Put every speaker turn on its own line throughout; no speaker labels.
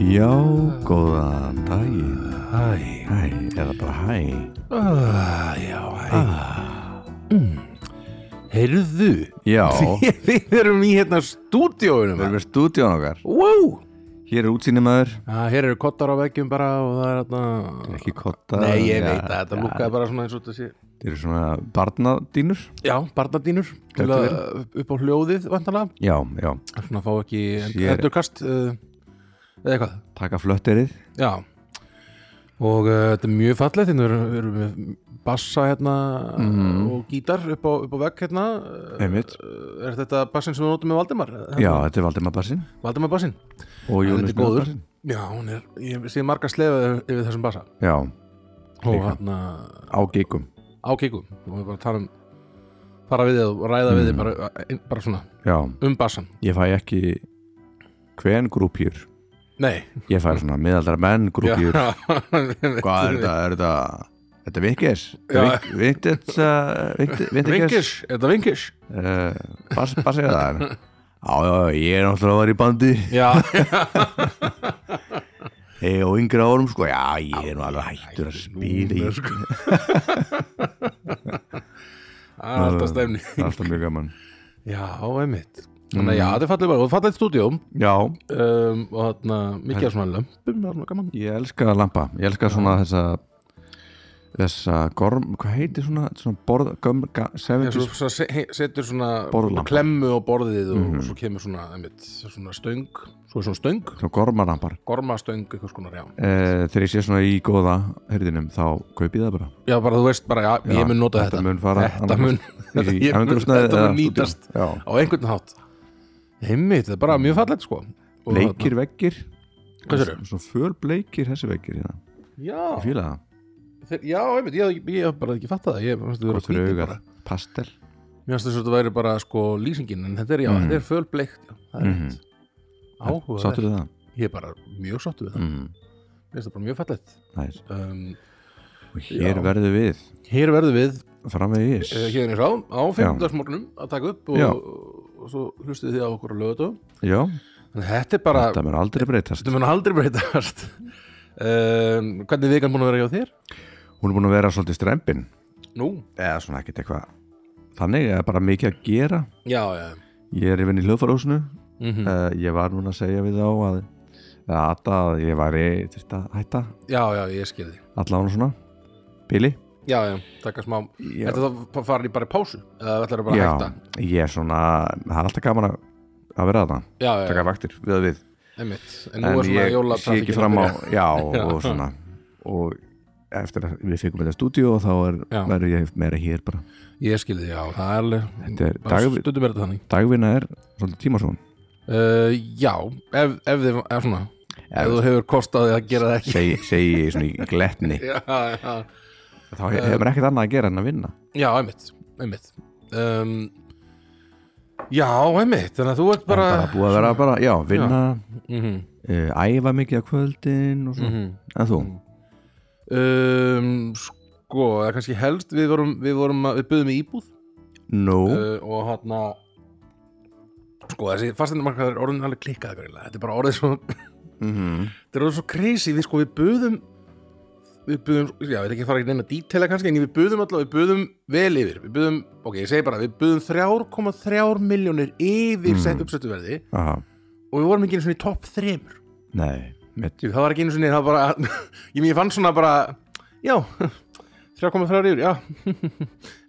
Já, góðan daginn
Æ,
Hæ, eða bara hæ
uh, já, æ
ah,
Heyrðu
Já, við
Við erum í hérna stúdíóinum
erum við stúdíón okkar
Wow
Hér er útsýnimaður,
Já, hér eru kottar á veggjum bara og það er hérna
ekki kotta
Nei, ég
Já,
veit að þetta
já,
lúkkaði bara svona eins og þetta sé
Þeir eru svona barnadínur
Já, barnadínur til
Gæti
að upp á hljóðið vantanlega
Já, já,
Svona fá ekki
Sér-
endurkast uh, eða eitthvað
taka flötterið
Já Og uh, þetta er mjög fallegt, hérna erum við erum með bassa hérna og gítar upp á, upp á vegg hérna Eh,
Einmitt.
Er þetta bassin sem við notum með Valdimar?
Já, þetta er Valdimar Barsin
Valdimar bassin?
og
Þetta
Jónus
er góður.
Mjölbarsinn.
Já, hún er, ég sé marga slefa yfir þessum bassa
Já,
og
Líka.
hérna
á geikum
á kíkum og við bara tala um fara við þið og ræða við þið bara, ein- bara svona
Já,
um bassan
ég fæ ekki hven grúpjur
Nei,
Ég fæ svona miðaldra menn grúpjur Hvað er þetta, er þetta Þetta er vikis
Já.
Vikis Vikis
Vinkish, er þetta vinkish? Eh,
Uh, bara bara segja það en- Já, já, ég er náttúrulega að vera í bandi
Já,
hey, og yngra árum sko, já, ég er nú alveg hættur að spila í
sko. Það er alltaf stefni
Það er alltaf mjög gaman
Já, einmitt Mm. Þannig að já, þetta er fallið bara og fallið stúdíum
Já,
um, og þarna mikið af svona lömpum og svona gaman
ég elska lampa Ég elska svona þessa þessa gorm, hvað heitir svona, svona borð, göm, ga,
Já, svo,
sevendis
svo se- he- setur svona
Borðlampa.
klemmu á borðið og svo kemur svona, einmitt, svona stöng svo er svona stöng,
svona gormarampar
gormastöng eitthvað skonar, já.
eh, Þegar ég sé svona í góða herdinum þá kaupi ég það bara
já, bara þú veist bara, já,
Já,
ég mun nota þetta
Þetta mun fara
þetta mun, þetta,
í
ég mun,
angrúfsnæði
þetta
eða
mun
stúdíó.
nýtast
Já.
á einhvern hátt heimmi, þetta er bara mjög fallegt sko Og
Bleikir veggir
þarna- hvað sérðu?
Svona fölbleikir þessi veggir hérna. Ég
já,
fíla það
þeir, já, einmitt, ég, hafði ekki- ég hef bara ekki fattað það ég fannst þetta vera
Gott fyrir
hvítið
augað
bara.
Pastel
mér fannst þess að þetta væri bara sko lýsingin en þetta er, já,
Mhm.
þetta er fölbleikt já, það er
Mhm.
mm. áhuga
Sáttu við það?
ég er bara mjög sáttu við það
Mm.
mér finnst það bara mjög fallegt
Næs
um,
Og hér
Já.
verðum við
hér verðum við
Framvegis
uh, hérna í sá á 15. morgunum að taka upp og,
Já.
og, svo hlustið þið á okkur að lögðu
Já
þannig þetta er bara,
Það mér aldrei breytast
þetta mun aldrei breytast
Ehm,
um, hvernig er vikan búin að vera hjá þér?
Hún er búin að vera svolítið strempin
Nú?
Eða svona ekkert eitthvað Þannig er bara mikið að gera
Já, já
Ég er yfirn í hljóðfarhúsinu
mm
uh, Ég var núna að segja við þá að Eða Ada að ég væri Þurft að hætta
Já, já, ég skil þig
Allána svona Bili
Já, já, taka smá
Já.
Þetta þá farin í bara í pásu eða ætlar bara að
Já
hætta
Ég er svona Það er alltaf gaman að, að vera þarna
Já, já,
Taka vaktir við að við
einmitt En nú
en
er svona
ég sé
jólatrafikin
ekki fram á
að byrja.
já, og svona og eftir að við fengum þetta stúdíu og þá er,
Já.
verður ég meira hér bara
Ég skil þig, já, það er alveg
Þetta er
bara
dag-
Stundum er þetta þannig
dagvinna er svolítið tímasón
uh, Já, ef, ef þið ef svona Ef þú hefur kostaði að gera það ekki
segi, segi ég svona í gletni
Já, já,
þá he- hefur maður ekkert annað að gera en að vinna
já, einmitt, einmitt um, Já, einmitt, þannig að þú ert bara,
bara búið að vera bara, já, vinna
mm
uh, æfa mikið á kvöldin og svona
Mhm.
en þú,
um, sko, eða kannski helst við vorum, við vorum að, við byggðum í íbúð
no
uh, og hann sko, þessi fasteinamarkaður er orðin alveg klikkað greinlega, þetta er bara orðið svo þetta
mhm,
er orðið svo crazy, við sko, við byggðum við byggðum, já, ég veit ekki að fara ekki neina dítela kannski, en við byggðum alltaf, við byggðum vel yfir, við byggðum, ok, ég segi bara við byggðum 3,3 miljónir yfir
Mm.
sett uppsettu verði
aha,
og við vorum ekki einu svona í topp 3
nei mitt,
Jú, það var ekki einu sinni, það var bara, ég, ég fann svona bara, já, 3,3 yfir, já,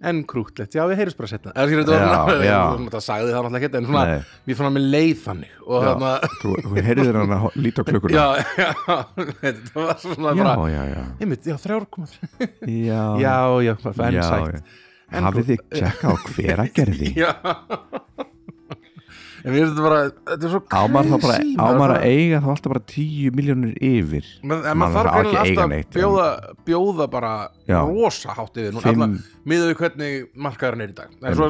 en krútlegt, já, við heyrjum bara setna. Það skilur þetta
Já,
var svona,
já.
svona, það sagði það náttúrulega ekki, en svona,
nei
ég fann að mér leið þannig og
Já.
þarna,
þú, þú heyrðir hann að ho- líta á klukkuna
já, já, þetta var svona
já,
bara,
já, já,
einmitt, já, 3,3,
já,
já, já, fenn
já,
sætt. sko,
já. hafið þið tjekka á hver að gerði
Já, en mér finnst þetta bara, þetta er svo
Ámar þá bara,
crazy, maður
ámar
bara-
að eiga þá alltaf bara 10 miljónir yfir
Men, en
Man
maður þarf
þarf ekki
greinilega
að eiga
alltaf
neitt,
að bjóða, bjóða bara
Já.
rosa hátt yfir núna
Fimm-
Fimm... miðað við hvernig markaðurinn er í dag en svo,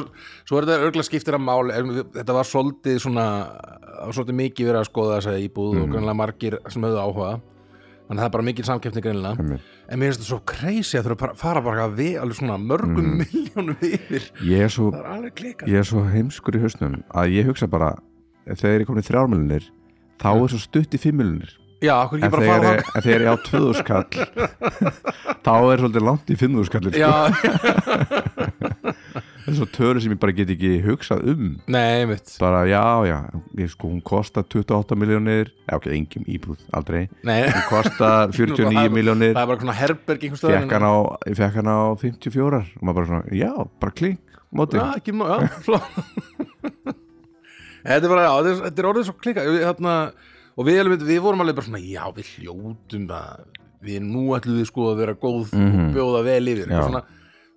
svo er þetta örgla skiptir að máli en við- þetta var svolítið svona það var svolítið mikið verið að skoða þessa íbúð
Mm.
og greinlega margir sem höfðu áhuga þannig að það er bara mikil samkeppni greinlega
Einmitt.
en mér finnst þetta svo crazy að þurfa bara- fara bara við alveg svona mörgum
Mm.
miljónum yfir
ég er, svo,
það er alveg klikað
ég er svo heimskur í hausnum að ég hugsa bara, þegar ég komin í þrjármiljónir þá er svo stutt í 5 miljónir
já, okkur
En
ekki bara
þegar
fara
ég- en þegar ég á 2000 kall þá er svolítið langt í 500 kallir sko.
Já,
það er svo tölu sem ég bara get ekki hugsað um
nei, mitt
bara já, já, ég, sko, hún kostar 28 miljónir, já ok, engin íbúð aldrei,
Nei,
hún kostar 49 miljónir,
það er bara svona herberg einhvers staðar
fekk hann á ég fekk hann á 54 og maður bara svona, já, bara klink móti,
Já, ekki má, já, flott Þetta er bara, já, þetta er- þetta er orðið svo klika þarna, og við, alveg- við vorum alveg bara svona já, við hljótum að við nú ætlum við sko að vera góð og bjóða vel yfir eitthvað
Mhm. Já.
svona,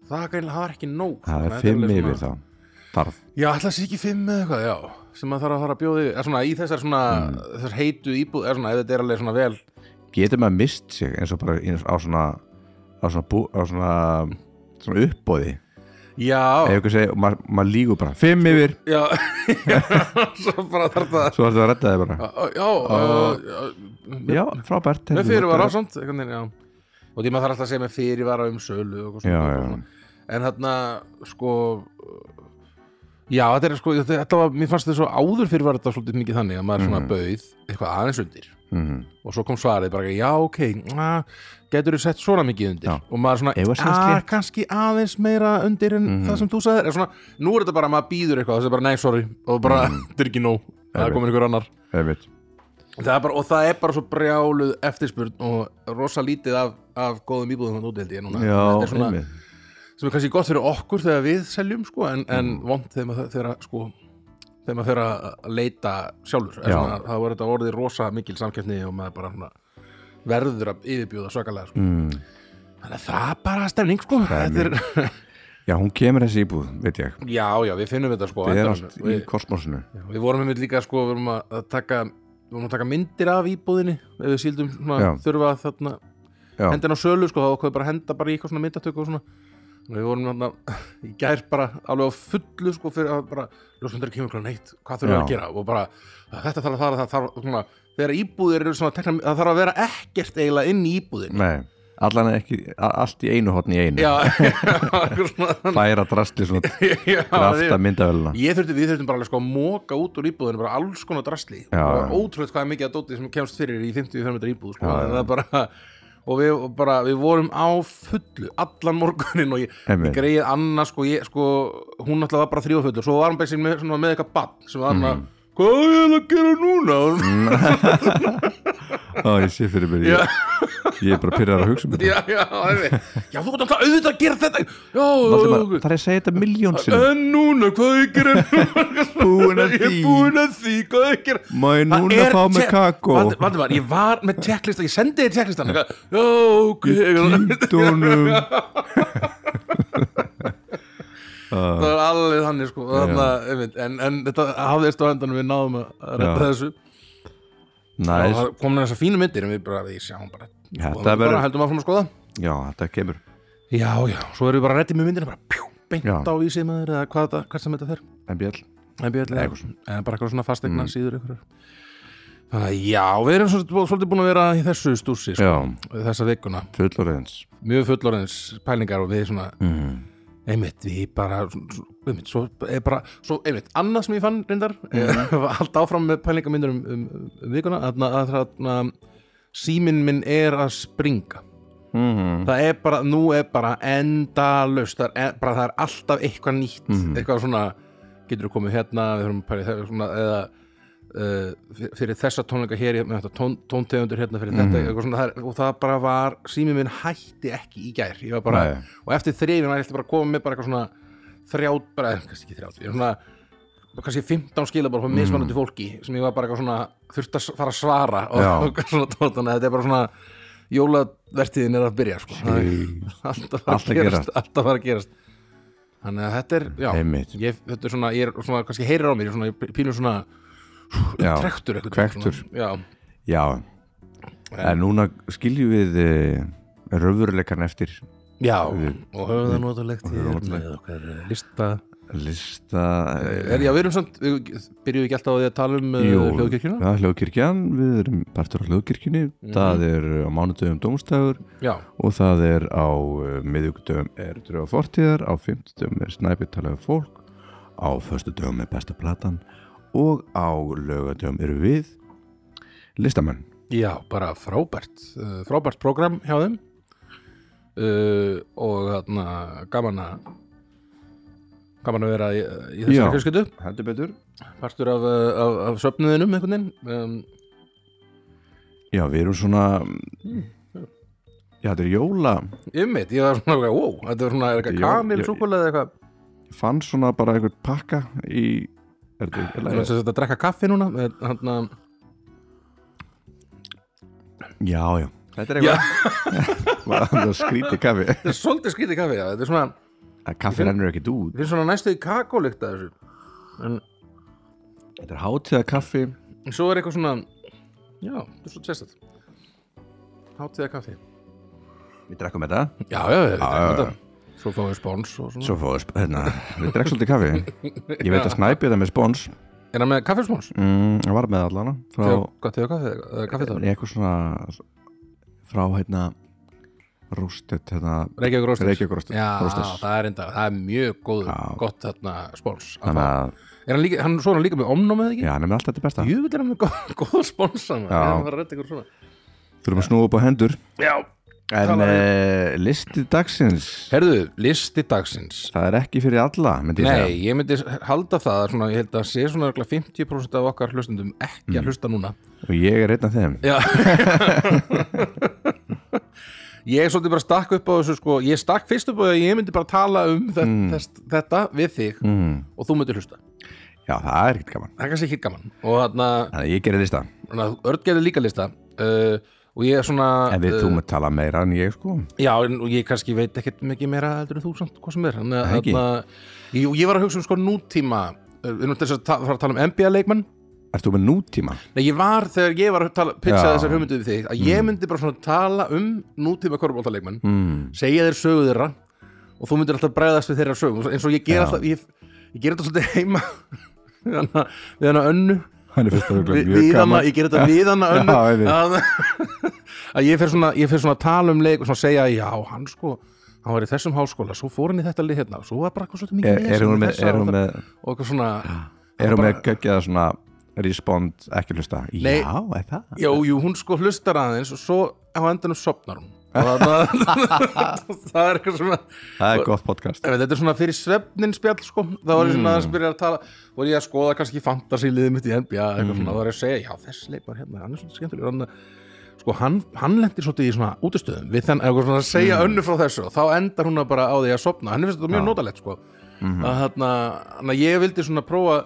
það, greinilega- það var ekki nóg Þetta
það er 5
alveg
yfir
svona,
þá þarf,
Já, alltaf sé ekki fimm eða eitthvað, já sem maður þarf að fara að bjóða yfir, eða svona í þessar svona
Mm.
þessar heitu íbúð, eða svona, ef þetta er alveg svona vel
getur maður mist sig eins og bara eins, á svona á svona, bú, á svona, svona uppbóði,
Já,
ef ykkur segir og maður, maður lígur bara, 5 yfir
já, svo bara þarf það
svo ætlum við að redda þið bara,
Já, uh, uh,
já, frábært
með fyrirvara samt einhvern veginn, já. og því maður þarf alltaf að segja með fyrirvara um sölu og eitthvað
Já,
svona,
já.
svona. en þarna sko já þetta er sko þetta- þetta var, mér fannst þetta svo áður fyrir var þetta svolítið mikið þannig að maður
Mhm.
svona bauð eitthvað aðeins undir
mm,
og svo kom svarið bara já ok na, getur þú sett svona mikið undir
Já.
og maður svona
Eigum við að segja
"Ah,
slétt?" Mhm.
kannski aðeins meira undir en það sem þú sagðir En svona, nú er þetta bara að maður býður eitthvað það er bara nei sorry og bara
Mhm.
þetta er ekki nóg það
Einmitt.
komir einhver annar
einmitt
Það er bara, og það er bara svo brjáluð eftirspurn og rosa lítið af, af góðum íbúðum hann útdeldi ég núna
já,
Þetta er svona,
einmitt
sem er kannski gott fyrir okkur þegar við seljum sko, en, en
Mm.
vond þegar maður þegar að, sko, þegar maður þegar að leita sjálfur Er
Já.
svona, það var þetta orðið rosa mikil samkeppni og maður bara svona, verður að yfirbjóða svakalega sko.
mm.
þannig að það er bara stemning sko. Þetta er,
Já, hún kemur þessi íbúð, veit ég
já, já, við finnum þetta sko, á
Það er
endanum.
allt í
við,
kosmosinu
já, við vorum einmitt líka sko, við vorum að að taka, við vorum að taka myndir af íbúðinni ef við síldum svona,
Já.
þurfa þarna
Já,
henda henn á sölu sko, þá okkur bara að henda bara í eitthvað svona myndatöku og svona og við vorum hérna í gær bara alveg á fullu sko fyrir að bara ljósmyndar kemur klán neitt, hvað þurfum við að
Já.
gera og bara þetta þarf að fara, það þarf svona þegar íbúðir eru svona tekna, það þarf að vera ekkert eiginlega inn í íbúðin
nei, allan ekki a- Allt í einu hotn í einu
já, eitthvað svona þannig.
Færa drastli svona til
já,
aftan
við-
myndavöluna
ég þurfti, við þurftum bara alveg sko að móka út úr íbúðinu bara alls konar drasli
Já,
og
já.
ótrúlega hvað er mikið að dóti sem kemst fyrir í 50-500 íbúð sko.
Já, já.
já, bara, og við, og bara, við vorum á fullu allan morgunin og ég,
Einmitt.
ég greið Anna sko, ég, sko, hún náttúrulega var bara þrjófullur svo var hann bæsinn með, svona með eitthvað bann sem var hann
Mm.
að hvað er það að gera núna
Ó, ég sé fyrir mér,
já,
ég, ég er bara pyrrar að hugsa um þetta
já, já, einmitt. já, þú ert alltaf auðvitað að gera þetta já,
Valdi
já, já
maður- Það er að segja þetta miljón sinni
en núna, hvað ég gera núna
Búin að
ég er
því.
búin að því, hvað ég gera
Má ég
Það
núna
er
fá mig
check-
kakó
Valdi- Valdimar, ég var með checklista, ég sendi þér checklistan eitthvað, Já, ok
Tíndónum
Það var alveg þannig sko þannig, að, einmitt, en, en þetta hafðist á endanum við náðum að redda
Já.
þessu og
Næs,
það komin þessar fínu myndir en við bara, við sjáum bara og
þetta
við bara
verður
heldum áfram að skoða
Já, þetta kemur
Já, já, svo erum við bara reddið með myndina bara pjú, beint
Já.
á vísið maður eða hvað, þetta- hvert sem þetta fer
MBL
en björlega,
Eitthvað svona.
eða bara eitthvað svona fastegna síður ykkur Þannig að já, við erum svolítið svolítið búin að vera í þessu stússi sko,
Já,
þessa vikuna
fullorðins
mjög fullorðins pælingar og við svona
mm.
einmitt, við bara einmitt, svo, er bara, svo, einmitt, annað sem ég fann reyndar, mm. var allt áfram með pælingamindar um, um, um vikuna að, að, að, að síminn minn er að springa
Mm.
það er bara, nú er bara endalaust, það er, bara, það er alltaf eitthvað nýtt,
Mhm.
eitthvað svona getur þú komið hérna, við höfum pæli þegar svona, eða uh, fyr- fyrir þessa tónleika hér, með þetta tón, tóntegundur hérna fyrir þetta,
Mhm.
eitthvað svona, það er, og það bara var, símið minn hætti ekki í gær ég var bara,
Nei.
og eftir þrifin var ég ætti bara að koma með bara eitthvað svona þrját, bara, eh, kannski ekki þrját, ég er svona kannski 15 skilabór frá mismanandi
Mhm.
fólki sem ég var bara eitthvað svona, þurfti að s- fara að svara
Já.
og eitthvað svona tótana, þetta er bara svona jólavertíðin er að byrja sko. Það er alltaf að,
Allt að
gerast,
gerast.
alltaf að fara að gerast þannig að þetta er,
Einmitt.
já, ég, þetta er svona, ég er svona, kannski heyrir á mér, ég er svona, ég pínur svona
Já,
trektur eitthvað
kvektur.
já,
Já, en núna skiljum við uh, raunveruleikan eftir
já, og höfum það notalegt hér
notalegt.
með okkar eh, lista
lista eh,
er, já, við erum samt, við byrjum við ekki alltaf á því að tala um
Jú,
hljóðkirkjuna Mhm.
ja, hljóðkirkjan, við erum partur á hljóðkirkjunni það er á mánudöfum dómstæður
já,
og það er á uh, miðugdöfum er dröga fortíðar, á fimmtudöfum er snæpið talaðu fólk á föstudöfum er besta platan og á lögadöfum eru við listamenn
Já, bara frábært uh, frábært prógram hjá þeim uh, og þarna gaman að gaman að vera í, í
Já.
þessari fjölskyldu
heldur betur
partur af, uh, af, af söfnuðinum einhvern veginn um,
já, við erum svona Mm, já, þetta er jóla
ymmit, ég var svona, wow, þetta er svona er
Jó,
eitthvað kamil,
ég-
súkulega eitthvað
Ég fann svona bara einhvern pakka í er þetta ekki
Þannig
lægir?
að þetta drekka kaffi núna eh, með, hana,
já, já, þetta er
Já.
eitthvað það skríti kaffi
Þetta er svolítið skrítið kaffi, já, þetta er svona
að kaffi rennur ekkert út
Við erum svona næstuði kakólykt að þessu En
þetta er hátíða kaffi
svo er eitthvað svona Já, þetta er svo tjæstað Hátíða kaffi
við drekkum þetta
Já, já, já,
já,
já, já. Svo fáum við spons og svona
Svo fóðu, sp- hérna, við drekk svolítið kaffi Ég veit að snæpi þetta með spons
Er það með kaffespons?
mm, ég Var með allana Frá,
Já Hvað tegðu kaffi? eða Kaffi þá?
Nei, eitthvað svona Frá, hérna, rústet hérna,
Reykjavík Róstis
Reykjavík Roasters.
Já,
Roasters.
það er enda Það er mjög góð,
Já.
gott þarna spons að
Þannig
fá.
að,
Er hann líka, hann svo er hann líka með omnum eða
já,
ekki?
nefnir allt þetta besta
Jú, vil er hann með góð, góð sponsa maður. Ég
Já.
er að fara að redda ykkur svona
Þurfum að snúa upp á hendur
Já
En
Talaðu.
uh, listi dagsins
Herðu, listi dagsins
Það er ekki fyrir alla, myndi ég segja
Nei, ég myndi halda það að svona, ég held að sé svona örugglega 50% af okkar hlustundum ekki að hlusta núna
Og ég er einn af þeim
Mm. Já Ég er svolítið bara stakk upp á þessu sko, ég stakk fyrst upp á að ég myndi bara tala um þe þess, þetta við þig
mm,
og þú myndir hlusta
Já, það er ekkert gaman
Það er kannski ekki gaman og þarna,
Þannig að ég gerir lista
þarna Örn gerði líka lista uh, og ég er svona
En við, þú maður tala meira en ég, sko
Já, en- og ég kannski veit ekkert mikið meira heldur en þú samt, hvað sem er Þannig að
Það ekki.
þarna, ég, ég var að hugsa um sko nútíma uh, við erum til þess að ta- fara að tala um NBA-leikmann
Ert þú með nútíma?
Nei, ég var, þegar ég var að tala, pitcha
Já.
þessar hugmyndu við þig, að ég myndi bara svona tala um nútíma korfbóltaleikmenn,
Mm,
segja þeir sögu þeirra og þú myndir alltaf bregðast við þeirra sögu, eins og ég ger
Já.
alltaf, ég, ég ger þetta svolítið heima við hana, við hana önnu,
hann er fyrst og
við, við hana, ég ger þetta við hana önnu,
Já, einmitt.
að, að ég fer svona, ég fer svona að tala um leik og svona segja, já, hann sko, hann var í þessum háskóla, svo fór hann í þetta lið hérna, svo var bara eitthvað svolítið mikið
Er, er
vesen
hún
með
með,
þessa
er hún
og það-
með,
og eitthvað svona,
er hún
bara-
með geggjaða svona respond ekki hlusta?
Nei.
Já, er það?
Jú, jú, hún sko hlustar aðeins og svo á endanum sopnar hún og það, það er eitthvað svona
Það er gott podcast.
Ég veit, þetta er svona fyrir svefnin spjall sko þá var ég svona aðeins byrjað að tala voru ég að skoða kannski fantasíliðið mitt í NBA eitthvað svona, þá var ég að segja, já þessi leik var hérna hann er svona skemmtilegur hann, sko hann, hann lendir svolítið í svona útistöðum við þann, eitthvað svona að segja mm. önnu frá þessu og þá endar hún að bara á því að sopna hann finnst þetta mjög notalegt sko að þarna, þannig að ég vildi svona prófa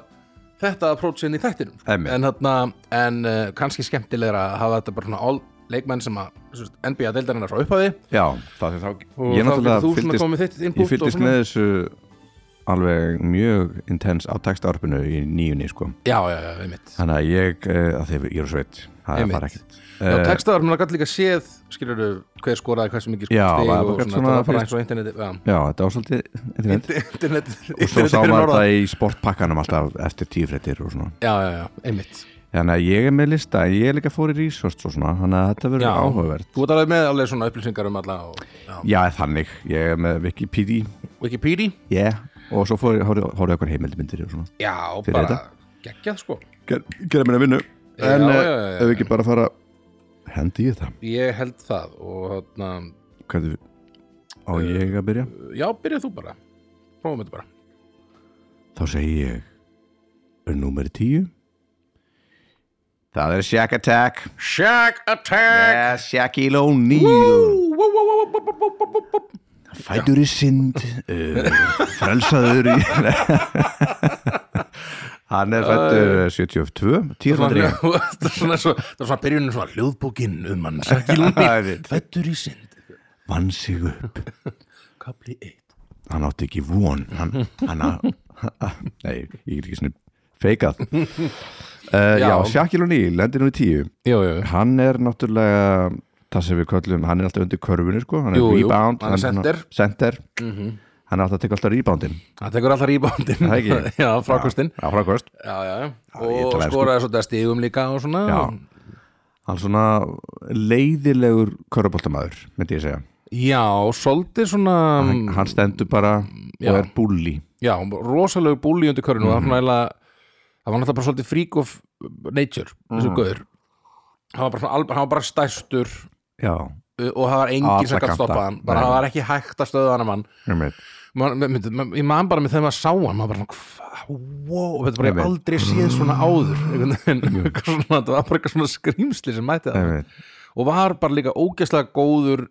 þetta approach inn í þættinum sko.
Einmitt.
en, þarna, en uh, kannski skemmtilegra að hafa þetta bara svona all leikmenn sem að sem sagt, NBA-deildarinnar frá upphafi
Já, það er þá,
og
ég
þá getur
náttúrulega
þú svona
fylgdist,
komið þitt input
ég
og
fylgdist
svona.
með þessu alveg mjög intens á textaarpinu í nýjunni, sko.
Já, já, já, einmitt
Þannig að ég, eh, að því ég er sveit, það er
Einmitt.
bara ekkert.
Já,
Eh,
textaðar, maður gæti líka séð skilur hver skoraði hversu mikið
Já,
stig
maður
og
gat
svona, það
svona
var bara
fylgst-
eins og interneti já.
Já, þetta var svolítið, internet.
Internet,
Og svo
internet
sá
fyrir
maður
norðan
það í sportpakkanum alltaf eftir tífrettir og svona.
Já, já, já, einmitt
Þannig að ég er með lista, en ég er líka fór í research og svona, þannig að þetta verður
Já.
áhugavert.
Þú ert alveg með alveg svona upplýsingar um alla og, já.
Já, þannig, ég er með Wikipedia
Wikipedia,
yeah. og svo fór- horfðu horfðu okkur heimildmyndir og svona
já,
Fyrir
bara
þetta.
geggjað sko
Ger, Gera minna vinnu
Já,
En
já,
eh,
já, já.
ef við ekki bara fara hendi í þetta
Ég held það og þarna,
Hvernig við Á ég að byrja?
já, byrjað þú bara Prófum þetta bara
Þá segi ég Númer tíu Það er Shack Attack
Shack Attack
yeah, Shaquille O'Neal
Wú, wú, wú, wú, wú, wú, wú, wú, wú, wú.
Fætur í synd uh, Frelsaður í Hann er fættur 72 10
Það
fættur í
er svona, svo- það er svona byrjunin svona hljóðbókin um hann Sækilunni, fættur í synd
Vann sig upp
Kapli 1
hann átti ekki von hann, hann að nei, ég er ekki svona feikað uh, já. já,
Já.
Shaquille O'Neal lendir nú í tíu,
Jú, jú,
hann er náttúrulega það sem við köllum, hann er alltaf undir körfunni sko, hann er
Jú, jú,
rebound
hann er
svona
center. Mhm.
center. hann er alltaf að teka alltaf reboundin
það tekur alltaf rýbándin
Það ekki?
Já, frákostin
já, frákvöst,
Já, já,
ég
og
ætla að vera
skoraði svolítið að stigum líka og svona
já hann er svona leiðilegur körfuboltamæður, myndi ég segja
Já, svolítið svona
hann, hann stendur bara
Mm. já.
og er bulli
Já, rosalegu búli undir
Mhm.
körun
Mhm.
og það var svona eiginlega- það var náttúrulega bara svolítið freak of nature þessu mm. gaur hann var bara, svona alb- hann var bara stærstur
já,
uh, og það var
Alla
engin sem gætt
kanta.
stoppað hann bara
Nei.
það var ekki hægt að stöða hann mann
einmitt
Man- man- myndi- man- ég man bara með þegar maður sá hann maður bara, svona, "Hva- wow, þetta bara ég
Einmitt.
aldrei séð svona áður einhvern veginn. Eitthvað svona, þetta var bara eitthvað svona skrýmsli sem mætti það
einmitt,
og var bara líka ógeðslega góður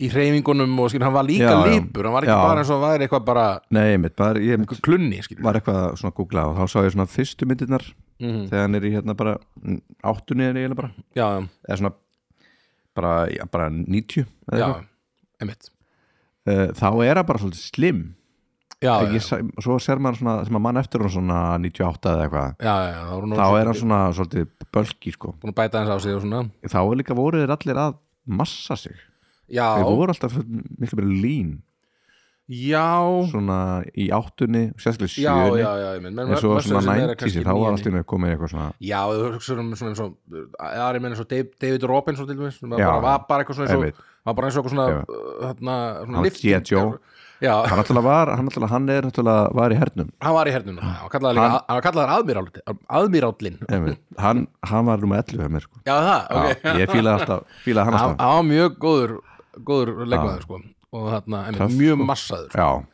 í hreyfingunum og skil, hann var líka
Já, já.
lípur, hann var ekki
Já.
bara eins og væri eitthvað bara
nei, einmitt bara, ég
einhver klunni, skil
var eitthvað að svona googla og þá sá ég svona fyrstu myndirnar
Mhm.
þegar hann er í hérna bara mm, áttunni er eiginlega bara,
já, já,
eða svona bara, já, bara 90 eða
já,
eitthvað.
einmitt
Eh, þá er hann bara svolítið slim
já, já,
ég, sá- svo ser maður svona, sem að mann eftir hann svona 98 eða eitthvað
já, já, þá er hann
þá
orðinn
er hann svona svolítið bölki sko.
búin að bæta hans á sig og svona
þá er líka voru þeir allir að massa sig
já,
þeir voru alltaf miklu meira lín
já,
svona í áttunni, sérstaklega
já,
sjöunni
já, já, ég minn
en svo svona 90 þá var alltaf komið eitthvað svona
Já, þú hugsaður um svona eins og aðri menn eins og Dave- David Robinson til dæmis sem var
Já.
bara, var bara eitthvað svona eins
Einmitt.
og var bara eins og eitthvað svona,
Já.
uh, þarna, svona
Hann var
lyfting.
G.I. Joe.
Já,
hann alltaf var, hann alltaf hann er alltaf var í hernum
hann var í hernum hann var kallaður
Hann-
líka- hann var kallaður aðmírállin
Einmitt. hann, hann var nummer 11 hjá mér sko.
Já, það,
Já,
ok
ég fílaði alltaf fílaði hann
Hann
alltaf
hann var mjög góður góður leikmaður sko og þarna, einmitt,
Töff,
mjög
sko.
massaður
já.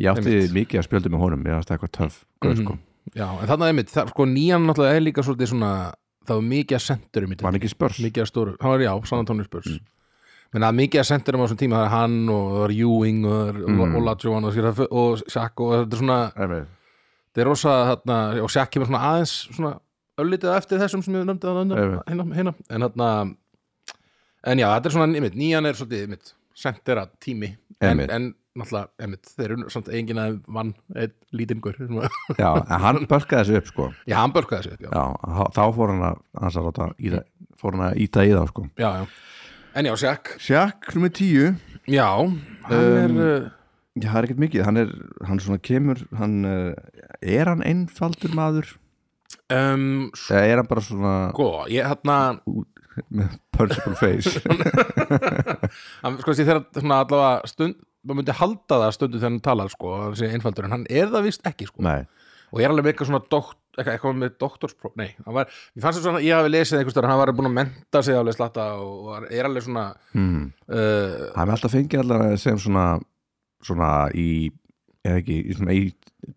ég átti mikið að spjöldu með honum ég átti eitthvað törf
Mhm.
mm sko.
Já, en þarna einmitt, það, sko nýjan náttúrulega er líka svolítið svona, það var mikið að sendurum í
var
þetta,
hann ekki spörs
mikið að stóru hann var, já, San Antonio Spurs mm. menn að mikið að sendurum á þessum tíma, það er hann og það var Ewing og það er mm. Olajuwon og, skilur það- og Shaq og þetta er svona
Einmitt.
þetta er rosa, þarna, og Shaq kemur svona aðeins svona öllítið á eftir þessum sem ég nefndi að
Einmitt.
hérna, hérna, en þarna en já, þetta er svona, einmitt, nýjan er svolítið, einmitt, sendera tími en,
Einmitt.
en náttúrulega, einmitt, þeir eru samt enginn að vann, einn lítingur
já, en hann bölkaði þessu upp sko.
já, hann bölkaði sér upp, já
já, þá- þá fór hann að, hans að láta í það, fór hann að íta í það sko.
já, já. En já, Shaq
Sjakk nummer 10
Já, hann er uh,
Já, það er ekkert mikið, hann er, hann svona kemur, hann, eh, er hann einfaldur maður?
um,
Eða er hann bara svona
Sko, ég hérna
með punchable face?
hann, Sko, þessi þegar svona allavega stund maður myndi halda það stundu þegar hann talar sko, að hann sé einfaldur, en hann er það vist ekki sko.
Nei,
og ég er alveg með eitthvað svona dokt, eitthvað, eitthvað með doktorspróf, nei, hann var ég fannst þess að ég hafi lesið einhvers þar hann var búin að menta sig alveg slatta og var- er alveg svona
mm.
uh,
hann er alltaf fengið allan sem svona, svona í, eða ekki, í svona í,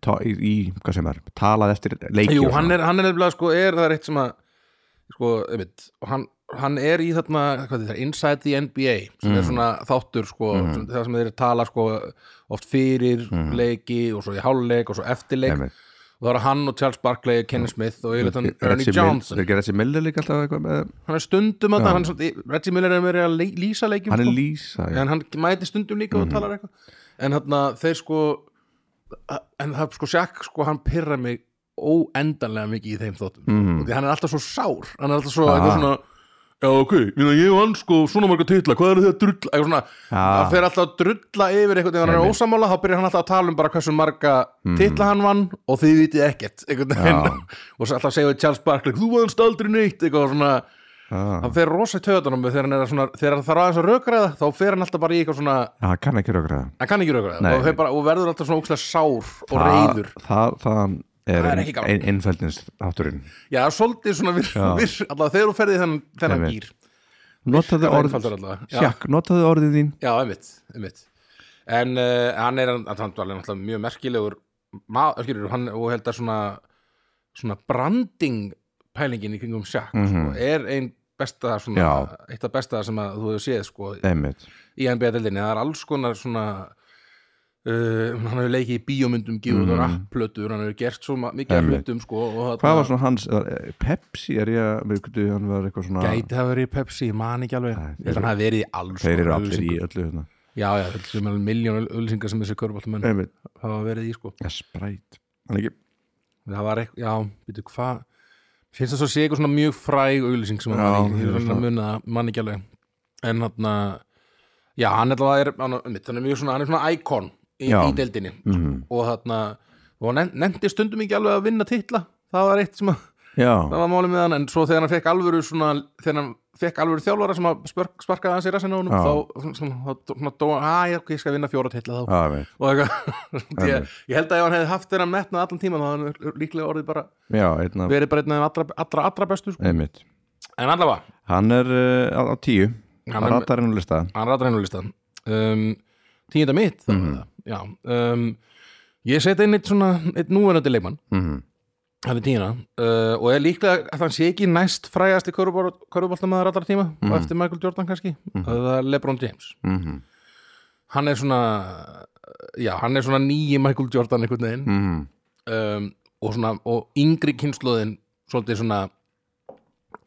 ta, í, í hvað sem er, talað eftir leiki
Jú,
og
hann
svona.
er, hann er nefnilega sko, er það er eitt sem að sko, einmitt, og hann, hann er í þarna, hvað þetta er, Inside the NBA sem
Mm.
er svona þáttur sko sem, það sem þeir tala sko oft fyrir leiki og svo í háluleik og svo eftir leik
Mm. Einmitt.
og það eru hann og Charles Barkley, Kenny Smith og yfirleitt hann
Er
Ernie
Reggie Mil-
Johnson
Er ekki Reggie Miller líka alltaf eitthvað með,
hann er stundum að það, hann er svona- Reggie Miller er meira að lei- lýsa leikjum
hann er
sko
Lisa, já. Mhm.
en hann mæti stundum líka og talar eitthvað en þarna þeir sko en það sko Sjakk sko hann pyrra mig óendanlega mikið í þeim þóttum
Mhm.
mm. því hann er alltaf svo sár hann er alltaf svo eitthvað svona já ok, Meina, ég og hann sko svona marga titla hvað eru þið að drulla, eitthvað svona
Ah.
hann fer alltaf að drulla yfir eitthvað þegar hann er
Einmitt. Mhm.
ósamála þá byrjar hann alltaf að tala um bara hversu marga titla hann vann og þið vitið ekkert einhvern veginn. og svo alltaf segja við Charles Barkley þú vannst aldrei neitt eitthvað svona
Ah.
hann fer rosa í töðunum þegar hann er að svona, þegar það þarf aðeins að rökraða þá fer hann alltaf bara í eitthvað svona
Já, hann kann ekki rökra það.
hann kann ekki rökraða
Nei.
og, fer bara, og verður alltaf svona ókslega sár og reyður
Það, það, það er,
Það er
er
ekki gaman.
ein, einfældins þátturinn.
já, svolítið svona vir, vir, alltaf þegar þú ferði þennan, þennan
Einmitt.
gýr
Notaðu
það er
orð,
einfaldur allavega. Já.
Sjakk, notaðu orðið þín
já, einmitt, einmitt. en uh, hann er hann, hann er alveg náttúrulega mjög merkilegur maður, skilur, hann, og held að svona svona branding pælingin í kringum sjakk sko, er ein besta svona,
Mhm. Já.
eitt af besta sem að þú hefur séð sko,
Einmitt,
í NBA-deldinni, það er alls konar svona uh, hann hefur leikið í bíómyndum gíður mm. og rapplötur, hann hefur gert svo ma- mikið af
Mhm. Einmitt.
hlutum sko og þarna-
hvað var svona hans eh, Pepsi er ég, að- við kutu, hann var eitthvað svona
gæti hafa verið í Pepsi, ég man ekki alveg
Nei,
ég held að hann hafi verið í alls
Þeir eru
konar
allir í
auglýsingum.
öllu hérna
já, já, þetta sem er miljón ölsingar sem þessi körfaltumenn
Einmitt,
hafa verið í sko
ja, spræt Hann ekki,
það var eitthvað, já, veitu hvað finnst það svo sé eitthvað svona mjög fræg auglýsing sem hann
Já,
var í, ég
það
er
er
svona að
svona-
muna það, mann ekki alveg en hann já, hann allavega er, hann, einmitt, hann er mjög svona hann er svona íkon í,
Já. Mhm.
í deildinni og þarna, og hann nefndi stundum ekki alveg að vinna titla, það var eitt sem að það
já,
var málið með hann, en svo þegar hann fekk alvöru svona, þegar hann fekk alvöru þjálfara sem að spark, sparkaði hans í rassinu á honum
Já.
þá, svona, svona, þá svona dó, að ég, ég skal vinna fjóra titla þá
já, einmitt
og eitthvað, ég, ég held að ef hann hefði haft þeirra metnað allan tíma þá hefði hann líklega orðið bara
Já, einna,
verið bara einn af þeim allra, allra, allra bestu sko.
einmitt
en allavega,
Hann er uh, á- á tíu
Hann
Hann
er-
ratar hennu lista
hann ratar einu listan um, tíunda mitt mm -hmm. já, um, ég seti inn eitt svona, eitt núverandi leikmann
Mhm.
hann er tíuna uh, og er líklega að hann sé ekki næst frægasti körfuboltamæður allra tíma og eftir Michael Jordan kannski eða Lebron James
Mhm.
hann er svona já, hann er svona nýji Michael Jordan einhvern veginn
Mhm.
um, og svona og yngri kynnslóðin svolítið svona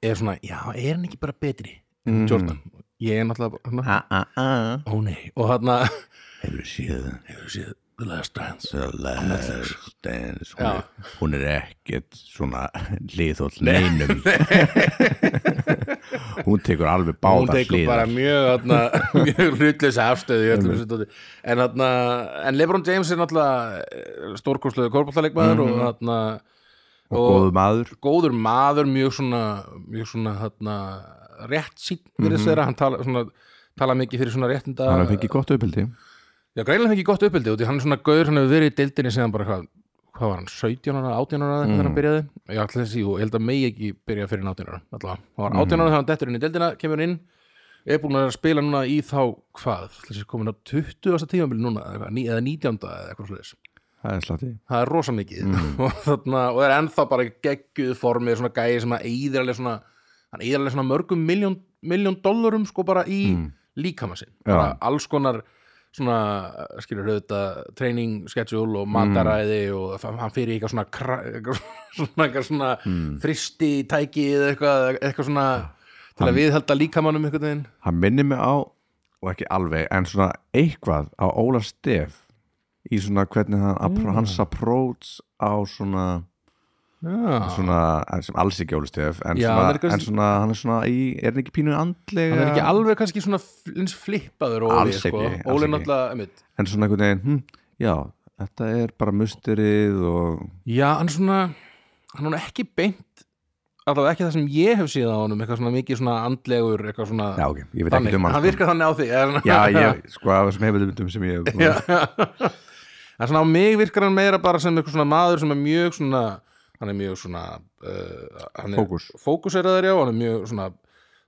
er svona, já, er hann ekki bara betri en Jordan, ég er náttúrulega bara, svona,
Ah, ah, ah.
ó nei, og þarna
Hefur séð
hefur séð The Last Dance
The Last Dance hún,
Já.
er- hún er ekkert svona liðhóll neinum hún tekur alveg
hún
báða
tekur bara
hliðar
mjög, þarna, mjög hlutleysa afstöðu í öllum þessu dóti. en, þarna, en Lebron James er náttúrulega stórkursluðu korpallaleikmaður og þarna
og góðu maður
góður maður mjög svona, mjög svona þarna, rétt sín virðist þeirra hann tala, svona, tala mikið fyrir svona réttinda
hann fengi gott uppildi
Já, greinlega fengi gott uppeldi út í hann er svona gaur, hann hefur verið í deildinni síðan bara hvað, hvað var hann, 17 ára, 18 ára mm. þegar hann byrjaði, ég ætla þessi og ég held að megi ekki byrja fyrir 18 ára, allavega hann var 18 ára þegar hann dettur inn í deildina, kemur hann inn er búin að spila núna í þá hvað, ætli þessi komin á 20. tímabili núna eða eitthvað, ní- eða 19. eða eitthvað slúðis
það er slatti
það er rosa mikið
Mm.
og, þarna, og er ennþá bara í gegguð formið svona gæi sem að eyðir alveg svona hann eyðir alveg svona mörgum miljón, miljón dollurum sko bara í líkama sinn bara
Mm. Já.
alls konar svona skilur auðvitað training schedule og mataræði
Mm.
og það- hann fyrir eitthvað svona kra- eitthvað svona, eitthvað svona
Mm.
fristi tæki eða eitthvað, eitthvað svona til að viðhalda líkamanum einhvern veginn
hann minnir mig á, og ekki alveg en svona eitthvað á Óla Stef í svona hvernig hann,
Mm.
hans approach á svona,
Já.
svona en sem alls ekki Óla Stef en,
Já, hann er
svona,
eitthvað-
en svona hann er svona í, er hann ekki pínu andlega
hann er ekki alveg kannski svona fl- eins flippaður og
Alls
sko.
ekki, alls
Óli er
ekki.
náttúrulega einmitt,
en svona einhvern veginn, hm, já þetta er bara musterið og
Já, hann er svona hann er nú ekki beint allavega ekki það sem ég hef séð á honum eitthvað svona mikið svona andlegur eitthvað svona
já ok, ég veit
þannig,
ekki um
hann
hann sko.
virkar þannig á því er,
já, ég, sko, af þessum heimildumundum sem ég já,
en svona á mig virkar hann meira bara sem eitthvað svona maður sem er mjög svona hann er mjög svona uh, hann er,
Fókus.
fókuseraður já, hann er mjög svona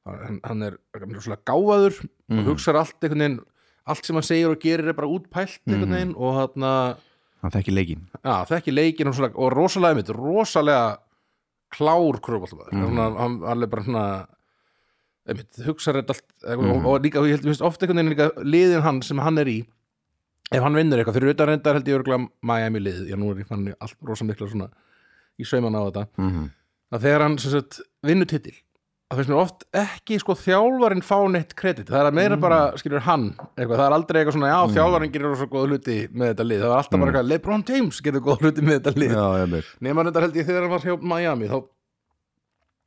hann, hann er mjög svona gáfaður
Mhm.
og hugsar allt einhvern veginn allt sem hann segir og gerir er bara útpælt
Mhm.
einhvern veginn og hann
hann þekki leikinn
Já, þekki leikinn og, svona- og rosalega mitt, rosalega klár kröfbóltamæður mm. hann, hann hann er bara svona einmitt, hugsa rétt allt mm. og, og líka, ég held, minnst ofta einhvern veginn líka liðin hann sem hann er í ef hann vinnur eitthvað, fyrir utan reyndar held ég örgulega Miami lið, já nú er ég fann allt rosa mikla svona í sauman á þetta
Mhm.
að þegar hann sem sagt vinnur titil það finnst mér oft ekki sko þjálfarinn fá neitt kredit, það er að meira bara skilur hann, eitthvað, það er aldrei eitthvað svona já, þjálfarinn gerir rosa góða hluti með þetta lið það var alltaf bara eitthvað, Lebron James gerir góða hluti með þetta lið
já, ég veit
nema þetta held ég þegar hann var hjá Miami þá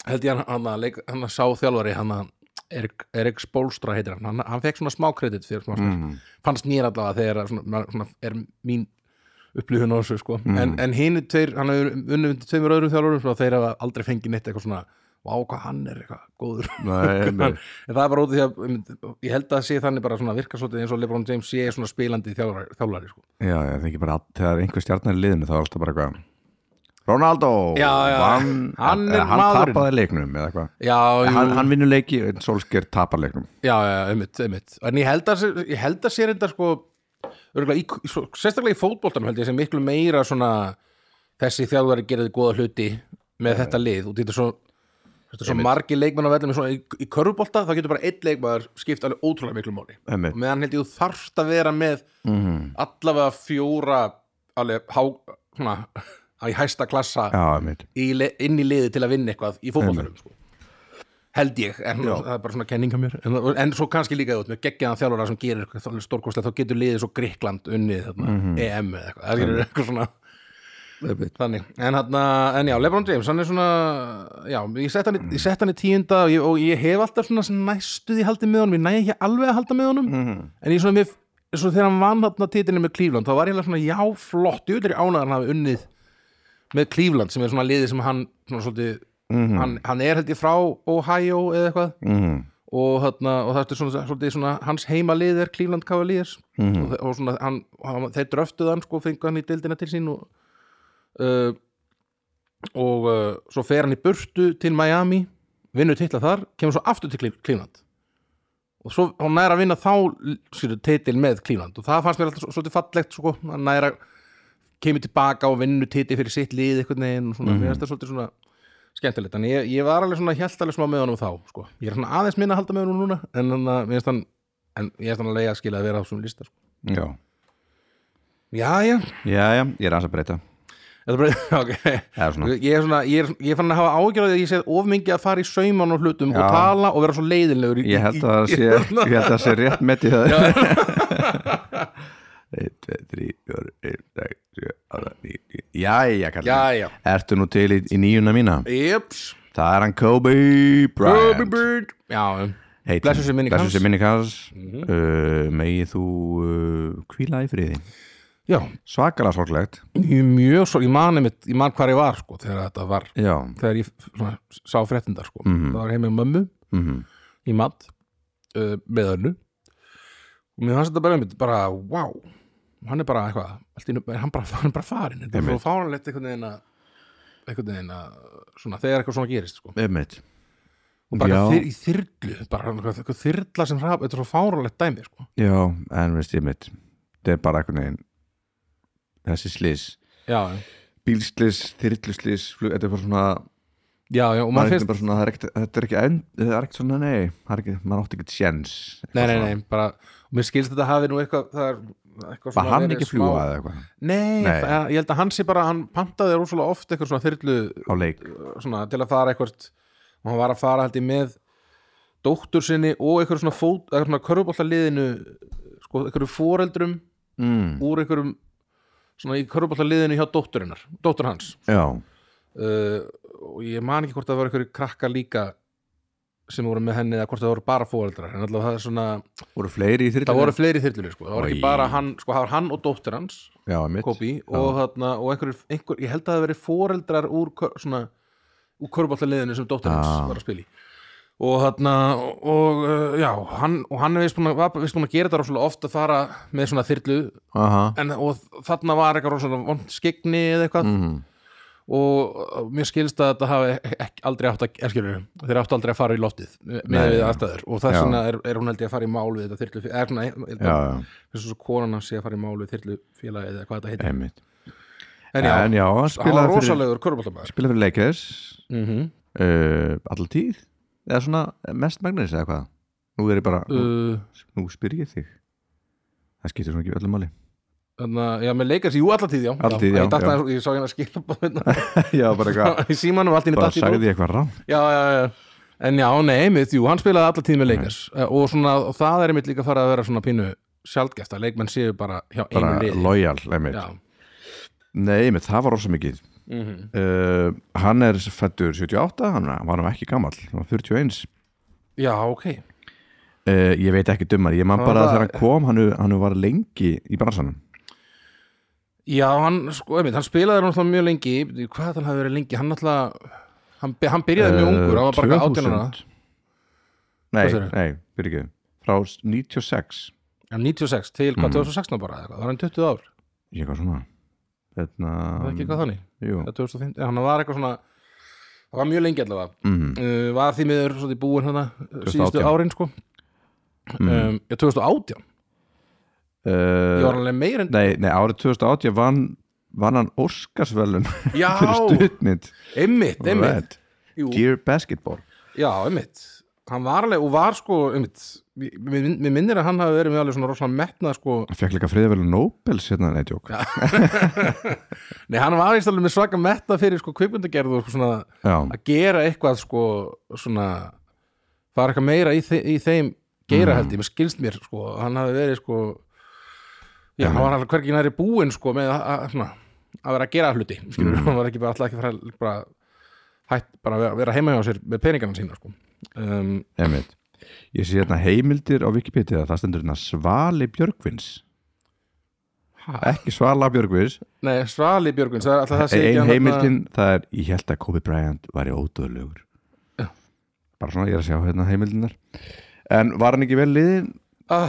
held ég hann, hann, að, leik, hann að sá þjálfari hann að Erik, Erik Spolstra heitir hann hann, hann fekk svona smá kredit fyrir smá mm.
Mhm.
fannst mér allavega þegar að svona, maður- svona er mín upplifun á þessu sko. en, en hinn tveir, hann hefur unnum undir tveimur öðrum þjálfurum svo að þeir hafa aldrei fengið neitt eitthvað svona vá hvað hann er eitthvað góður
Nei, ég
en
veit.
það er bara út af því að um, ég held að sé þannig bara svona virka svolítið eins og Lebron James sé svona spilandi þjálfari, þjálfari sko.
já, ég þekki bara að þegar einhver stjarnar í liðinu þá er alltaf bara eitthvað Ronaldo
Já, já,
hann,
hann er
eða hann
maðurinn.
tapaði leiknum eða eitthvað
já, jú,
hann, hann vinnur leiki, en Solskjær tapar leiknum
já, já, einmitt, einmitt en ég held að, sé- ég held að sé reynda sko, örugglega í, í- svo, sérstaklega í fótboltanum held ég sem miklu meira svona þessi þjálfari gerði góða hluti með þetta lið og þetta er svo Þetta er svo margi leikmenn á vellum svona í, í körfubolta, þá getur bara einn leikmaður skipt alveg ótrúlega miklu máli.
Einmitt.
Og meðan held ég þú þarft að vera með
Mhm.
allavega fjóra alveg há, svona, í hæsta klassa
já, ég veit
í, le- inn í liði til að vinna eitthvað í fótboltanum sko. held ég, en það er bara svona kenninga mér en, en svo kannski líka út með geggjaðan þjálfara sem gerir eitthvað stórkostlega, þá getur liðið svo Gríkland unnið þarna, EM eða eitthvað það gerir eitthvað svona þannig, en, hana, en já, Lebron James hann er svona, já, ég sett hann, í- ég sett hann í tíunda og ég, og ég hef alltaf svona næstuði haldið með honum, ég næ ekki alveg að halda með honum
Mhm.
en ég svona, mér, svo þegar hann vann hann titilin með Cleveland, þá var ég alveg svona já, flott, ég veitir ég ánaðan hafi unnið með Cleveland sem er svona liðið sem hann svona svolítið,
Mm.
hann, hann er held ég frá Ohio eða eitthvað
Mhm.
og, þarna, og það er svona, svolítið svona hans heimalið er Cleveland Cavaliers og, þe- og svona, hann, hann, þeir dröftuð hann sko, fengu hann í deildina til sín og, uh, og uh, svo fer hann í burtu til Miami vinnur titla þar, kemur svo aftur til Cleve- Cleveland og svo hann næra að vinna þá skilur, titil með Cleveland og það fannst mér alltaf svo- svolítið fallegt sko, hann næra kemur tilbaka og vinnur titil fyrir sitt lið einhvern veginn og svona, mér finnst það svolítið svona skemmtilegt, en ég, ég var alveg svona hjælt alveg smá með honum þá, sko, ég er svona aðeins minna að halda með honum núna, en hann, að- mér finnst hann en ég er þannig að leiða að skila að vera á svona lista sko.
já,
já, já,
já, já, ég er aðeins að breyta
þetta er bara, ok
eða svona,
ég er svona, ég er, ég er fann að hafa ágjörð að ég sé of mingi að fara í sauman og hlutum
Já.
og tala og vera svo leiðinlegur í-
ég held að það
í-
sé ég held að það sé rétt með í það 1, 2, 3, 4, 1, 6, 7, 8, 9, 10 Jæja, kallar
já, já,
Ertu nú til í, í nýjuna mína?
jöps
Það er hann Kobe Bryant
Bobby Bird já,
Heitin.
Blessuð sé minning
Blessuð
hans.
sé minning hans uh, Megið þú uh, hvíla í friði
já,
Svakalega sorglegt
ég er mjög svo ég man, einmitt, ég man hvar ég var sko þegar þetta var,
Já,
þegar ég svona, sá fréttindar sko,
Mhm.
það var heim með mömmu
mm
í mat uh, með önnu og mér fannst þetta bara, einmitt, bara wow, hann er bara eitthvað allt í einu- hann, bara, hann er bara farin þetta er
Einmitt.
svo fáranlegt einhvern veginn að einhvern veginn að svona, þegar eitthvað svona gerist sko.
einmitt
og bara
Já.
þyr, í þyrlu bara eitthvað, eitthvað þyrla sem hrap þetta er svo fáranlegt dæmi sko.
Já, en veist ég mitt Það er bara einhvern veginn Þessi slis
já,
Bílslis, þyrluslis, flug, þetta er bara svona
já, já, og
maður
maður
finnst
finnst
bara svona, það er ekkert, þetta er ekki end, það er ekkert svona, nei, það er ekki, maður átti ekkert sjens
nei, nei, nei, bara, og mér skilst þetta hafi nú eitthvað það er eitthvað
Var hann
verið
ekki
smá-
fljúa eða eitthvað
Nei,
Nei.
það- ég held að hann sé bara, hann pantaði rússalega oft eitthvað svona þyrlu
á leik
svona, til að fara eitthvað og hann var að fara held ég með dóttur sinni og eitthvað svona, fót- eitthvað svona körfubóltaliðinu sko, eitthvað fóreldrum
mm.
úr eitthvað svona í körfubóltaliðinu hjá dótturinnar dóttur hans
Já,
uh, og ég man ekki hvort það var eitthvað krakkar líka sem voru með henni eða hvort það voru bara fóreldrar en allavega það er svona,
voru fleiri í þyrlunni
það voru fleiri þyrlunni sko, það var
Oj.
ekki bara hann, sko það var hann og dóttur hans
Já, mitt
Kobi og, þarna, og einhver, einhver, ég held að það hafi verið foreldrar úr, kör- svona, úr körbáttaliðinu sem dóttir hans
Ah.
var að spila í og þarna og, og uh, já, hann, og hann er vist búin að, var vist búin að gera þetta rosalega oft að fara með svona þyrlu
Aha,
en, og þarna var eitthvað rosalega vond skegni eða eitthvað
mm.
og uh, mér skilst að þetta hafi e-, ekki, aldrei átt að, erskilur, þeir áttu aldrei að fara í loftið
Nei,
með við
já.
aðstæður og þess
Já.
vegna er, er hún held ég að fara í mál við þetta þyrlu, er svona, ég-
já,
þess
já,
að svo konan hans sé að fara í mál við þyrlu félagið eða hvað þetta heitir
einmitt
en já,
En já,
hann
hann
var
spilaði fyrir,
rosalegur körbáltamæður
spilaði fyrir leikers
mm
uh, Alla tíð Eða svona mest magnis eða hvað Nú er ég bara, nú,
uh,
nú spyr ég þig Það skiptir svona ekki öllu máli
þannig að, já, með leikars, jú, allatíð, já
Alla tíð, já,
ég, datt
já.
aðeins- ég sá hérna skilabóðina
Já, bara eitthvað
í símanum, allt í einu
Bara
datt í
sagði
bóð
ég eitthvað rám
já, já, já, en já, nei, mitt, jú, hann spilaði allatíð með leikars og svona, og það er einmitt líka farið að vera svona pínu sjaldgæft að leikmenn séu bara hjá einu
Bara
liði
lojal, einmitt
já,
Nei, einmitt, það var rosa mikið
Mhm.
uh, Hann er fættur 78 Hann var hann ekki gamall, hann var 41
já, ok
uh, Ég veit ekki dummar, ég man
Hann
bara
var-
að þegar hann kom Hann, hann var lengi í bransanum
já, hann, sko, einmitt, hann spilaði náttúrulega mjög lengi hvað þannig hafi verið lengi, hann náttúrulega hann, hann byrjaði mjög ungur, hann var
Eh,
bara eitthvað 18 ára
2000. Nei,
Hvað segirðu?
nei, byrja ekki Frá 96
Já, 96 til
Mm.
hvað 2016 bara, eða eitthvað, það var hann 20 ár
Ég eitthvað svona Þarna,
það er ekki eitthvað Hérna. þannig
jú,
eða 2015, hann var eitthvað svona það var mjög lengi allavega
mm,
uh, var því miður svona í búin hana uh, síðustu
2018.
árin sko
Mm.
um, já, 2018, ég var
uh,
alveg meir en
nei, nei, árið 2008 vann vann hann Óskarsvelun
já,
fyrir stuttmynd
einmitt, einmitt
Right.
Jú,
Dear Basketball
já, einmitt hann var alveg, og var sko, einmitt mér- mér mér minnir að hann hafi verið með alveg svona rosalega metnað sko,
Hann fekk líka friðavelun Nobels hérna, nei, tjók Já,
nei, hann var einst alveg með svaka metnað fyrir sko kvikmyndagerð og sko, svona
já.
að gera eitthvað sko svona fara eitthvað meira í, þe í þeim geira
Mm.
held ég, mér skilst mér sko hann hafi verið sko já, hann var alveg hvergi næri búinn sko með að, að, svona, að vera að gera hluti
Mm.
skilur, hann var ekki bara alltaf ekki að fara bara, hætt bara að vera- vera heima hjá sér með peningana sína sko um,
Einmitt. Ég sé hérna heimildir á Wikipedia það stendur hérna Svali Björgvins
ha,
ekki Svala Björgvins
nei, eh, Svali Björgvins það er alltaf það sé ekki
ein
hann þarna-
heimildin það er ég held að Kobe Bryant væri ódöðlegur bara svona ég er að sjá hérna heimildinar en var hann ekki vel liðin
Æ,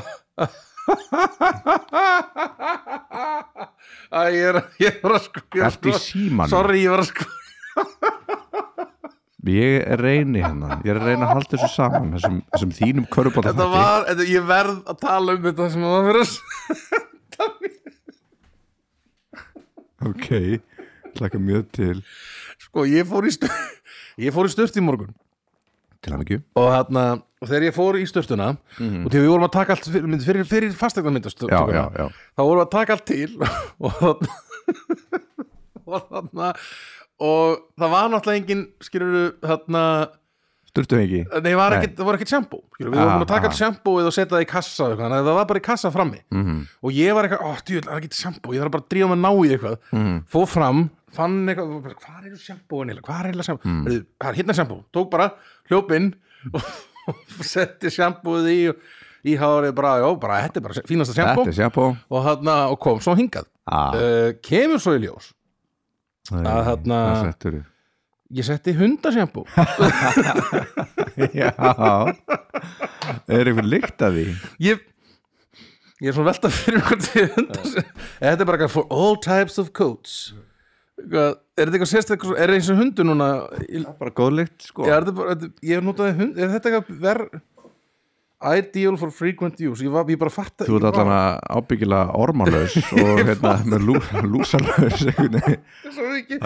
ég er, ég er að sko ég er
allt í
sko-
síman
sorry, ég var að sko
ég reyni hérna ég er að reyna að halda þessu saman þessum, þessum þínum körubóta
Þetta var, þetta, ég verð að tala um þetta sem það var fyrir að
ok, hlaka mjög til
Sko, ég fór í stört Ég fór í stört í morgun
til hann ekki
Og þarna, og þegar ég fór í störtuna Og þegar við vorum að taka allt fyrir, mynd- fyrir, fyrir fastegna
já, já, já,
Þá vorum við að taka allt til Og þarna Og þarna Og það var náttúrulega engin, skilurðu, þarna
styrtu hengi
Nei, var
Nei.
ekkit, það voru ekkit sjambó Við
Ah,
vorum búin að taka
ah.
allt sjambóið og setja það í kassa og eitthvað, Þannig að það var bara í kassa frammi
Mhm.
og ég var eitthvað, ó, djúl, það er ekki sjambó ég þarf bara að drífa mig að ná í eitthvað mm.
Mhm.
fór fram, fann eitthvað, og bara, hvað er sjambóin eiginlega, hvað er eiginlega sjambó
Mhm.
mm. það er hérna sjambó, tók bara, hljóp inn og, og setti sjambóið í og í hárið bara, já, bara, þetta er bara fínasta sjambó
þetta er sjapó
og, þarna, og kom svo hingað
ah,
uh, kemur svo í ljós að hérna-
nei,
þarna-
það settur
ég setti hundasjambó
já er einhver lykt að því
ég ég er svona velta fyrir mér hvort ég hundar þetta er bara eitthvað for all types of coats Eitthvað- er þetta eitthvað sérstaklega er þetta eins og hundur núna í-
bara góð lykt sko
Já, er þetta bara, þetta- ég hef notaði hund er þetta eitthvað verð ideal for frequent use ég, var, ég bara fatta
Þú ert
ég
allan
bara-
að ábyggila ormalaus og hérna með lú, lúsalaus einhvern veginn.
svo mikið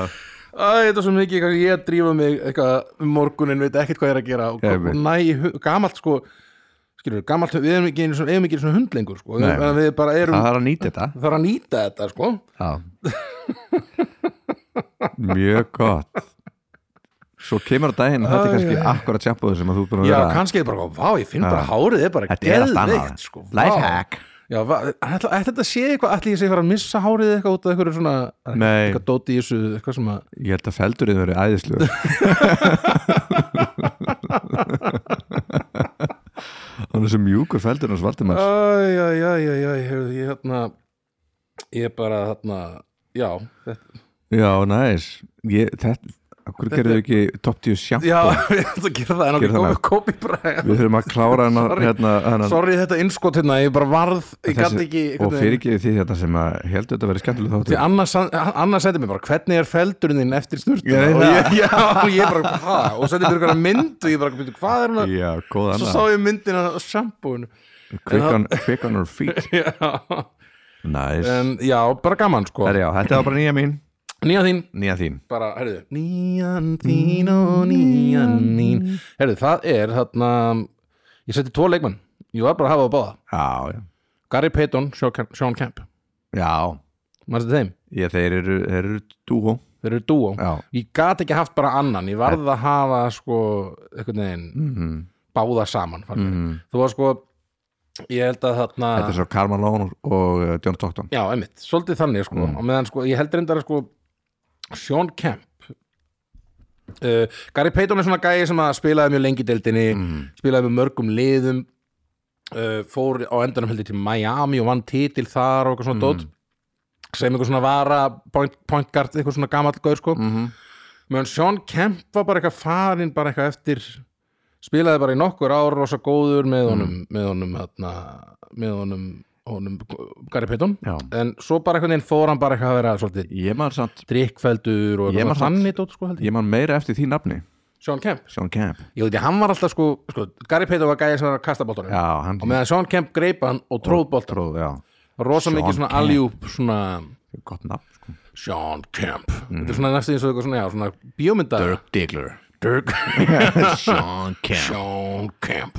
Æ, þetta er svo mikið, kannski ég að drífa mig eitthvað um morgunin, veit ekkert hvað ég er að gera og,
Ég
og
veit.
næ, í hu- gamalt sko skilur, gamalt, við erum ekki einu svona, eigum ekki einu svona hund lengur sko,
Nei.
en við bara erum
Það
það
er að nýta þetta
þarf að nýta þetta sko
Já. Mjög gott Svo kemur á daginn að þetta er kannski akkurat sjampuðu sem að þú er búin að
Já,
vera
kannski er bara, vá, ég finn bara hárið er bara
Þetta er allt
geðveikt,
annað.
sko, vá.
Lifehack.
Já, va- ætla, ætla þetta sé eitthvað, ætla ég sé að fara að missa hárið eitthvað út af eitthvað svona
Nei.
eitthvað dóti í þessu, eitthvað sem að
Ég held að feldurinn verið æðislu Hann er svo mjúkur feldurinn hans Valdimars
Æj, æj, æj, æj, æj, heyrðu, ég hérna ég er bara hérna já, þetta,
Já, næs Ég, þetta, Akkur gerðu ekki top 10 sjampu
já, ég ætla að gera það en
Gerðu
okkur
það
komið
með.
kópi bara
Við þurfum að klára hennar
Sorry.
hérna, hennar
sorry þetta innskot hérna, ég bara varð ég gæti ekki,
og fyrir ekki því þetta sem að heldur þetta verið skemmtileg
því
þáttur
annars, annars sendi mér bara hvernig er feldurinn þinn eftir sturtu
Ég veit
og
það.
ég, já, og ég bara, hvað og sendi mér eitthvað mynd og ég bara, "Bíddu, hvað er hún að
Já, góð
svo
annað
sá ég myndina á sjampúinu
quick, on, quick on her feet
já.
Næs nice.
en já, bara gaman sko
Herra já, Þetta var bara nýja mín
nýjan þín,
Nýja þín
bara, herðu nýjan þín og nýjan þín herðu, það er þarna ég seti tvo leikmann, ég var bara að hafa á báða
Já, já,
Gary Payton, Sean Sean Kemp
já.
mannstu þeim,
Ég, Þeir eru, þeir eru dúhó
þeir eru dúo
Já
ég gat ekki haft bara annan, ég varð að hafa sko, einhvern veginn
mm.
Mhm. báða saman, fann mm.
Mm.
þú var sko ég held að þarna
Þetta er svo Karman Lón og uh, John Stockton
Já, einmitt, svolítið þannig sko mm. og meðan sko, ég held reyndar að sko Sean Kemp uh, Gary Payton er svona gæi sem að spilaði mjög lengi í deildinni spilaði með mörgum liðum uh, fór á endanum heldur til Miami og vann titil þar og eitthvað svona dót sem eitthvað svona vara point, point guard, eitthvað svona gamall gaur sko
mm -hmm.
meðan Sean Kemp var bara eitthvað farinn bara eitthvað eftir spilaði bara í nokkur ár rosa góður með honum með honum, hérna, með honum, honum Gary Payton
Já
en svo bara einhvern veginn fór hann bara eitthvað að vera svolítið
Ég man samt
drikkfældur og
Ég
eitthvað
man samt-
þannig dót sko held ég
Ég man meira eftir því nafni
Sean Kemp,
Sean Kemp
ég veit ég, hann var alltaf sko, sko Gary Payton var gæðið sem var að kasta boltanum
Já, hann
og meðan Sean Kemp greip hann og tróð boltan
tróð, já
rosa
Sean
mikið svona
Kemp.
aljúp svona
Gott nafn sko
Sean Kemp þetta er svona næstu eins og eitthvað svona, já, svona bíómynda
Diggler
Dirk
Sean Kemp
Sean Kemp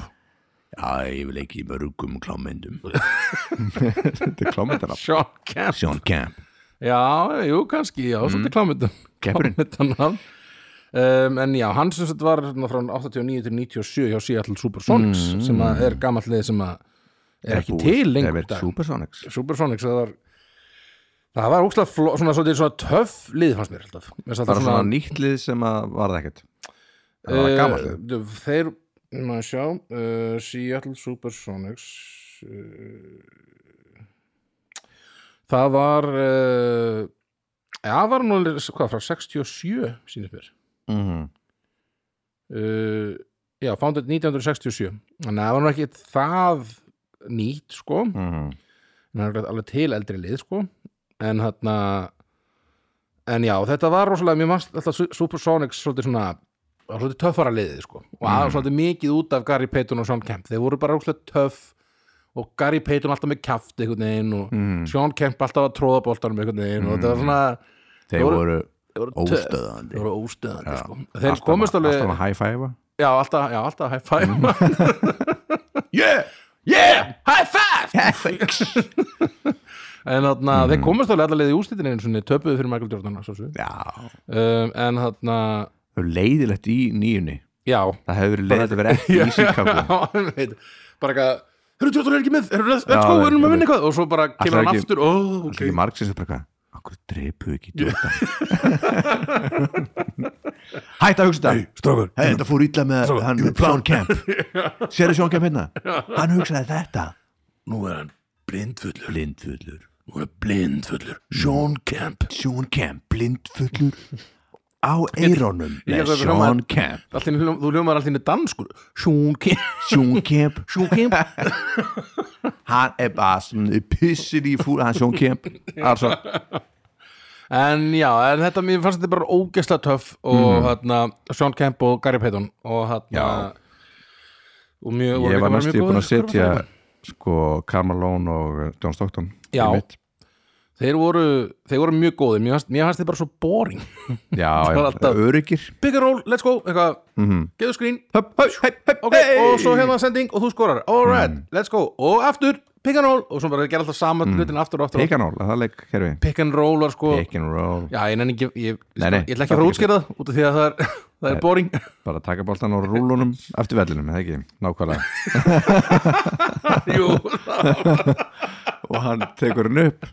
Já, ég vil ekki í mörgum klámyndum Þetta er klámyndarnafn
Sean Kemp
Sean Kemp
Já, jú, kannski, já, svolítið klámyndan
Kempurinn.
Klámyndan um, En já, hann sem sagt var svona, frá 89 til 97 hjá Seattle Supersonics sem að er gamall lið sem að er, ekki til lengur í
David
dag
Supersonics
Supersonics, það var það var ókslega fló, svona, svona, svona töff lið fannst mér alltaf Mér finnst alltaf
bara svona, nýtt lið sem að varða ekkert það var gamalt lið
uh, Þeir, maður sjá uh, Seattle Supersonics uh, Það var uh, Já, var nú alveg, hvað, frá 67 sínir mér
mm
mhm,
-hmm.
uh, Já, founded 1967 Þannig að það var nú ekki það nýtt, sko
Mm -hmm.
en það er alveg til eldri lið sko en þarna en já, þetta var rosalega, mér mannst alltaf Supersonics svolítið svona það var svolítið töffara liðið sko. og það
Mm.
var svolítið mikið út af Gary Payton og Sean Kemp þeir voru bara óslega töff og Gary Payton alltaf með kjaft einhvern veginn og
Mm.
Sean Kemp alltaf að tróða boltanum einhvern veginn og þetta var svona
þeir
voru-
voru
þeir voru töff.
óstöðandi
Þeir voru óstöðandi sko. þeir
Alltaf
komust
að-
alveg
alltaf Mm. að high-fivea
já, alltaf, já, alltaf high five
yeah, yeah, Mm.
high five
thanks
en þarna, þeir komust alveg allaveg í úslitin einu sinni töpuðu fyrir Michael Jordan að sjálfsögðu.
já,
um, en þarna,
þau eru leiðilegt í nýjunni
já
það hefur verið leiðilegt að vera ekki í Chicago
Já, einmitt. bara eitthvað Hörru, Tjóttur er ekki með, hörru, let's let's
Já,
go, við erum að
einmitt.
vinna eitthvað Og svo bara kemur hann
ekki-
aftur, ó,
Það
ok
er ekki marg sem sem bara eitthvað Akkur dreipu ekki Jordan Hætt að hugsa þetta
Strákur
Hei, þetta fór illa með hann Brown Camp Sérðu Sjón Camp hérna Hann hugsaði þetta
Nú er hann blindfullur,
Blindfullur
nú er hann blindfullur Sean Kemp
Sjón Camp, blindfullur Á eirónum
Ég-
með
ég-
Sjón Camp
Allt í einu hljó- Þú ljómar allir danskur Sean Kemp
Sjón Camp,
Sean Kemp
hann er bara svona pissir í fúr, hann Sjón Camp
altså. En já, en þetta, mér fannst þetta bara ógeðslega töff Og hérna, Sean Kemp og Gary Payton Og hérna
Mm. Já.
Og mjög, voru líka
Ég var
bara
næstu
mjög
búin að
góðir-
setja sko Carmelone og John Stockton
Já.
í mitt.
Þeir voru, þeir voru mjög góðir Mér fannst- mér fannst þið bara svo boring
Já,
var alltaf-
öryggir
Big and roll, let's go, eitthvað
Mhm.
Gefðu skrín,
Höpp, höpp, höpp, höpp
ok, og svo hefða sending og þú skorar, all
Mhm.
right, let's go og aftur, pick and roll og svo bara gera alltaf sama hlutin aftur og aftur
Mhm. Pick and roll, það er leik kerfi
pick and roll var sko
Pick and roll,
já, ég nenni ekki, ég,
Nei, nei,
ég ætla ekki að fara að útskýra það út af því að það er, það er boring
bara taka boltan og rúlunum eftir vellinum, eða ekki, nákvæmlega
jú,
og hann tekur hann upp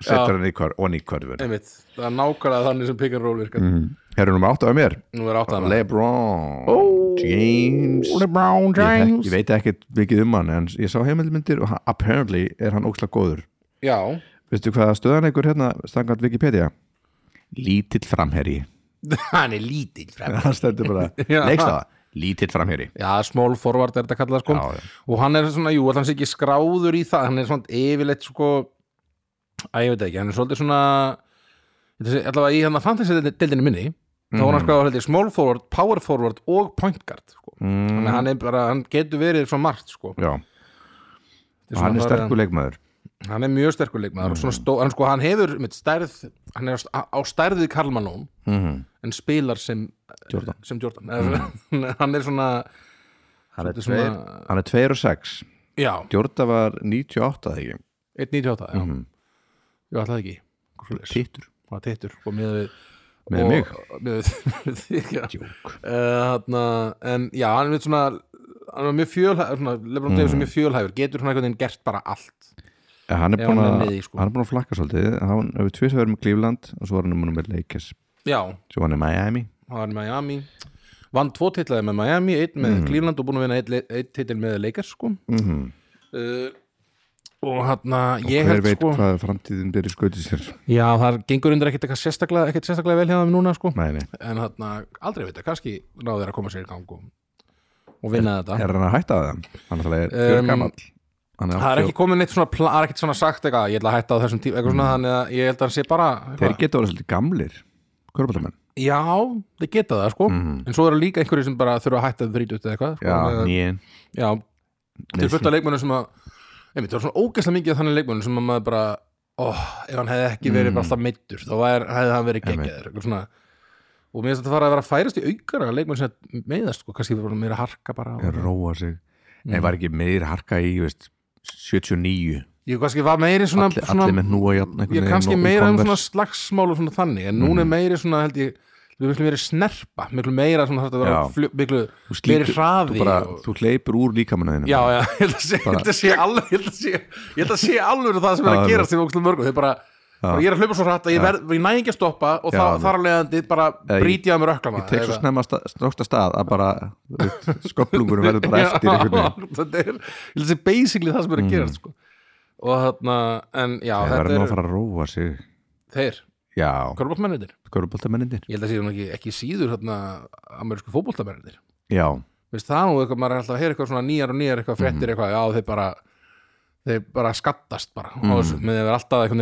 setur hann í hvar, og hann í hverfun
einmitt, það er nákvæmlega þannig sem pick and roll
Mm.
virkar
Herru nummer 8 á mér,
nú er átt að
Lebron James
Brown
Ég, þekk, ég veit ekkert mikið um hann en ég sá heimildmyndir og hann, apparently er hann ókslega góður
já,
Veistu hvaða stöðan einhver hérna stangað Wikipedia? Lítill framherji
hann er lítill fremd
Það stendur bara,
Já.
leikstaða Lítill framherji
Já, small forward er þetta kallað sko
Já, já.
og hann er svona, jú, hann sé ekki skráður í það hann er svona yfirleitt sko að ég veit ekki, hann er svolítið svona ég ætla að segja- allavega í hann að fantasy deildinni minni, þá
Mhm.
var hann skráður held ég, small forward, power forward og point guard sko.
mm,
þannig að hann er bara, hann getur verið svo margt sko,
Já,
Þetta
og hann
svona
er
bara-
sterkur Mhm. leikmaður
hann er mjög sterkur leikmaður mm. stó, hann, sko, hann hefur mitt stærð hann er á, á stærðið Karlmanón
Mhm.
en spilar sem
Jordan. Mhm.
sem Jordan. hann er svona
hann er,
Svolítið
tveir,
svona-
hann er tveir og sex
já,
Djórda var 98 þegar
1.98 já.
Mhm.
ég ætla það ekki
ekki Tittur
og að tittur og með við
Miðað
og-
mig?
með við þig, já. Eh, þarna, en já, hann er mitt svona hann er mjög fjölhæfur svona, Lebron Davis er
Mm.
mjög fjölhæfur, getur svona einhvern veginn gert bara allt
hann, er
Já,
búinn
hann er
að-
með í, sko.
hann er búin að flakka svolítið Hann hefur tvisað verið með Cleveland og svo var hann um með Lakers
já,
Svo var hann í Miami
hann var í Miami vann tvo titlaði með Miami, einn með
Mm.
Cleveland og búin að vinna einn, le- einn titil með Lakers sko. mm og hann ég
Hver
held
veit
sko
hvað framtíðin byrja skautið sér
já, það gengur undir ekkert eitthvað sérstaklega ekkert sérstaklega vel hjá þeim núna sko
Nei, nei.
en hann aldrei veit það, kannski náður að koma sér í gang og, og vinna þetta
Er hann að hætta það? Hann er alltaf fyrir
Um,
gamall Hann
það er
80
ekki komin neitt svona pla- það er ekkert svona sagt eitthvað, ég ætla að hætta á þessum tíma eitthvað svona, þannig að ég held að hann sé bara
Mm. Þeir
eitthvað.
geta verið svolítið gamlir Körbátamenn
já, þeir geta það sko en svo eru líka einhverju sem bara þurfa að hætta þeir þrítið eitthvað, sko,
Mhm. Já,
Eða-
nýjinn
já til fullt af leikmönnum sem að einmitt, það er svona ógeðslega mikið af þannig leikmönnum sem að maður bara, óh, ef hann hefði ekki
Mm.
verið bara alltaf meittur, þá var, hefði hann verið geggjaður eitthvað svona og mér finnst þetta fara að vera að færast í aukara leikmenn sem að meiðast, sko, kannski bara meira harka bara og,
Róa sig
Mm.
Nei, var ekki meir harka í, veist 79
ég kannski var meiri svona,
Allir
svona
allir með hnúa játn
ég er kannski meira um svona slagsmál og svona þannig, en núna er
Mm.
meiri svona held ég, við miklu meiri snerpa miklu meira svona þarf að vera
Já.
fljó, miklu
slítur-
meiri hraði
Þú, bara,
og,
þú hleypur úr líkamannaðinu
já, já, ég held að sé, ég held að sé alveg ég held að sé, ég held að sé alveg það sem er
Já,
að gerast í ógslum mörgum, þeir bara Bara, ég er að hlaupa svo hratt að ég, verð, ég næ ekki að stoppa og þá,
Já.
þar að leiðandi bara
ég-
brýti ég að mér ökla
tek svo snemma sta- snöggt að stað að bara skoplungur verður bara eftir einhvern veginn Mm.
þetta er, ég held að sé basically það sem er að gerast sko. og þarna, en já,
það verður
þetta
nú
er
að fara að róa sig
þeir,
já,
körbóltmenninir
köruboltamennindir
ég held að sé nú ekki, ekki síður hérna, amerísku fótboltamennir
já, Mhm.
Veist, það er nú eitthvað, maður er alltaf að heyra eitthvað svona nýjar og nýjar eitthvað fréttir eitthvað, já þeir bara þeir bara skattast bara
Mhm.
mm. og með þeir eru alltaf einhvern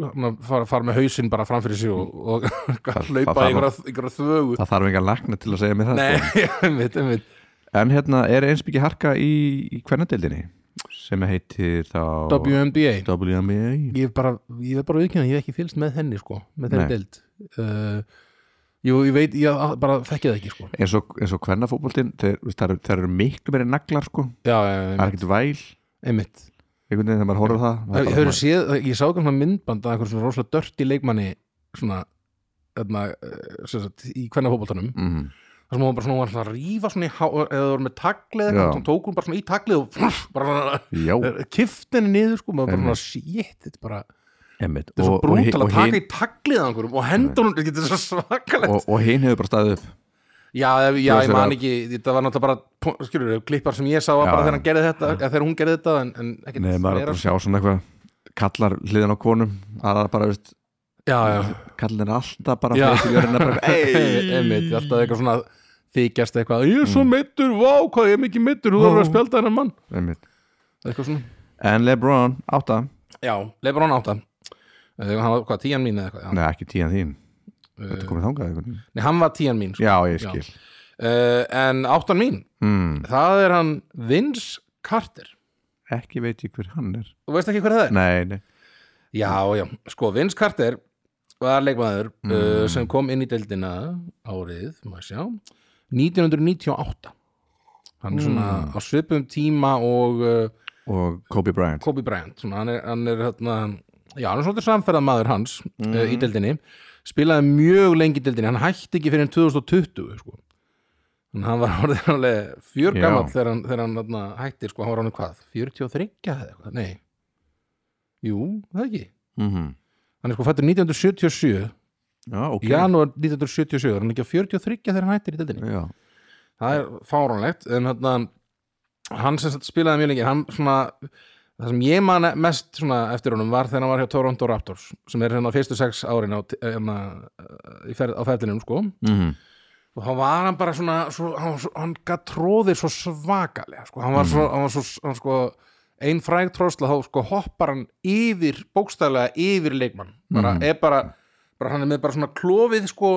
veginn að fara, fara með hausinn bara fram fyrir sig og, og
það
hlaupa
þarf-
einhverja, einhverja þvögu
það þarf engan lækna til að segja mér það
Nei,
sko.
einmitt, einmitt
en hérna er einsbyggja harka í, í hvernadeildinni sem heitir þá
WNBA
WNBA
Ég er bara, ég er bara viðkjörn, ég hef ekki fylgst með henni sko, með þeirri
Nei.
deild uh, Jú, ég veit, ég bara þekki það ekki sko
eins og, eins og hvernafótboltinn þeir, þú veist, þær eru- þær eru miklu meiri naglar sko
Já, já,
það
einmitt,
er ekkert væl
einmitt.
einhvern veginn þegar maður horfður á það það er
Ég,
bara
hefur
svona-
séð, ég sá ekki svona myndband að einhver svona rosalega dörti leikmanni svona, þarna, eh, sem sagt, í hvernig fótboltanum
Mhm.
þar sem hún var bara svona, hún var alltaf að rífa svona í há, eða það var með taglið,
Já.
hún tók hún bara svona í taglið og frf, bara
já,
svona kiftinni niður sko, maður bara svona, shit, þetta er bara þetta
emmitt
er svo
og, og,
brútal að
og,
taka
hin-
í taglið að einhverjum og henda hún, þetta er svo svakalegt
og, og hinn hefur bara staðið upp
Já, ef- já, ég
Þessar-
man ekki, þetta var náttúrulega bara skilur, klippar sem ég sá var
Já,
bara
já.
þegar hann gerði þetta, eða þegar hún gerði þetta en, en ekkert
Nei, maður er bara að sjá svona eitthvað kallar hliðan á konum aðra bara, veist,
Já, já,
kallar er alltaf bara
Já.
fyrir til jörðina bara,
Hey, Mm. einmitt, alltaf eitthvað svona þykjast eitthvað, ég er svo meittur vá, hvað ég er mikið meittur, þú þarf að spjálta hennar mann
einmitt.
eitthvað svona,
en Lebron, átta
já, leifur hann átta Eh, þegar hann var, hvað, tían mín eða eitthvað já.
Nei, ekki tíðan þín Þetta komið þangað einhvern veginn.
Nei, hann var tían mín, Eh, sko.
Já, ég skil
uh, en áttan mín
mm,
það er hann Vince Carter
Ekki veit ég hver hann er
þú veist ekki hver það er?
Nei, nei
Já, já, sko, Vince Carter var leikmaður uh, sem kom inn í deildina árið, maður sjá 1998 hann er svona á svipum tíma og uh,
Og Kobe Bryant
Kobe Bryant svona, hann er, hann er hérna já, hann er svolítið samferðað maður hans
Mhm.
uh, í deildinni, spilaði mjög lengi í deildinni, hann hætti ekki fyrir en 2020 sko en hann var orðið alveg
Já.
fjörgamall þegar hann, þegar hann hérna, hætti, sko, hann var orðið hvað 43 eða eitthvað, nei jú, það ekki
mm
hann er sko fættur 1977
Já, ok
okay. janúar 1977, hann er ekki á 43 þegar hann hættir í deildinni
Já.
það er fáránlegt en hérna, hann sem sagt spilaði mjög lengi hann svona það sem ég man mest svona eftir honum var þegar hann var hjá Toronto Raptors sem er hérna fyrstu sex árin á, hérna, í ferð, á ferðlinum sko
Mm
og þá var hann bara svona svo, hann, var svo- hann gætt tróðir svo svakalega sko. hann var svo, hann var svo hann, sko, ein fræg tróðsla þá sko, hoppar hann yfir, bókstæðlega yfir leikmann, bara, er bara, bara hann er með bara svona klófið sko,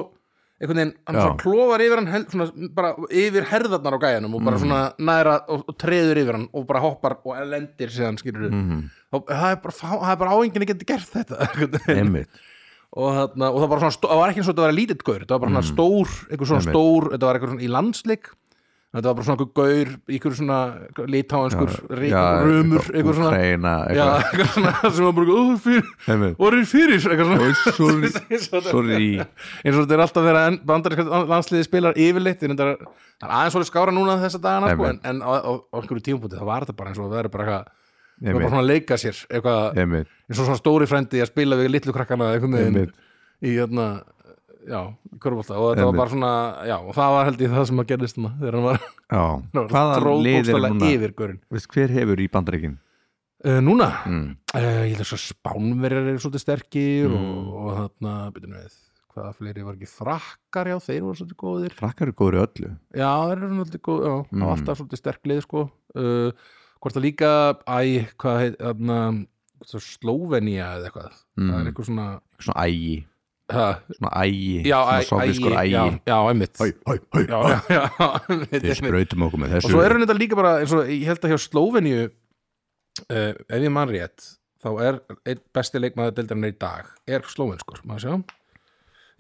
einhvern veginn, hann
Já.
svona klófar yfir hann hel, svona, bara yfir herðarnar á gæjanum og bara svona næra og, og treður yfir hann og bara hoppar og lendir síðan skilur mm. og, það er bara, fá- það er bara áengin að geta gert þetta einhvern veginn
Einmitt
og, þarna, og það, bara svona, stó- það var ekki eins og þetta var lítill gaur þetta var bara svona stór, einhver svona
Mm. Einmitt.
stór þetta var eitthvað svona í landsleik þetta var bara svona einhver gaur, einhver svona litáinskur rumur einhver svona,
Kreina
já, eitthvað svona sem var bara, ó, fyrir,
Einmitt
orðin fyrir eitthvað svona
Sorry
eins og þetta-
Sorry
eins og þetta er alltaf verið að bandarinska landsliði spilar yfirleitt en það er það er aðeins svolítið skára núna þessa dagana sko, en,
Einmitt.
en á, á, á einhverju tímpúti það var þetta bara eins og það verið bara eitthvað það var bara
Einmitt
svona að leika sér eitthvað,
Einmitt
eins og svona stóri frendi að spila við litlu krakkana eða einhvern veginn
Einmitt.
í hérna já, körfólta og þetta
Einmitt.
var bara svona já, og það var held ég það sem að gerðist hana, þegar hann var,
Já
hann var
Hvaða liðir er núna?
tróðbókstala yfir görin
Veist, hver hefur í bandaríkin?
uh, núna,
Mm.
uh, ég held að svo spánverjar eru svolítið sterkir
Mm.
og, og þarna, byrjum við hvaða fleiri var ekki frakkar, já, þeir voru svolítið góðir
Frakkar eru góður í öllu
já, þeir eru svolítið góð, já, mm.
Mm.
alltaf svolítið sterklið sko, uh, hvort það líka æ, hvað heit, þarna Slovenia eða eitthvað það er
mm.
eitthvað svona
Svona ægi
ha,
Svona ægi
já,
Svona
æ-
sovjaskur
ægi,
ægi
já, já, einmitt
Hæ, hæ, hæ
já, já, já, einmitt,
Þeir
einmitt.
sprautum okkur með
og
þessu
svo er hann þetta líka bara eins og ég held að hjá Slóveníu uh, ef ég man rétt þá er einn besti leikmaður deildarinnar í dag er slóvenskur, maður sjá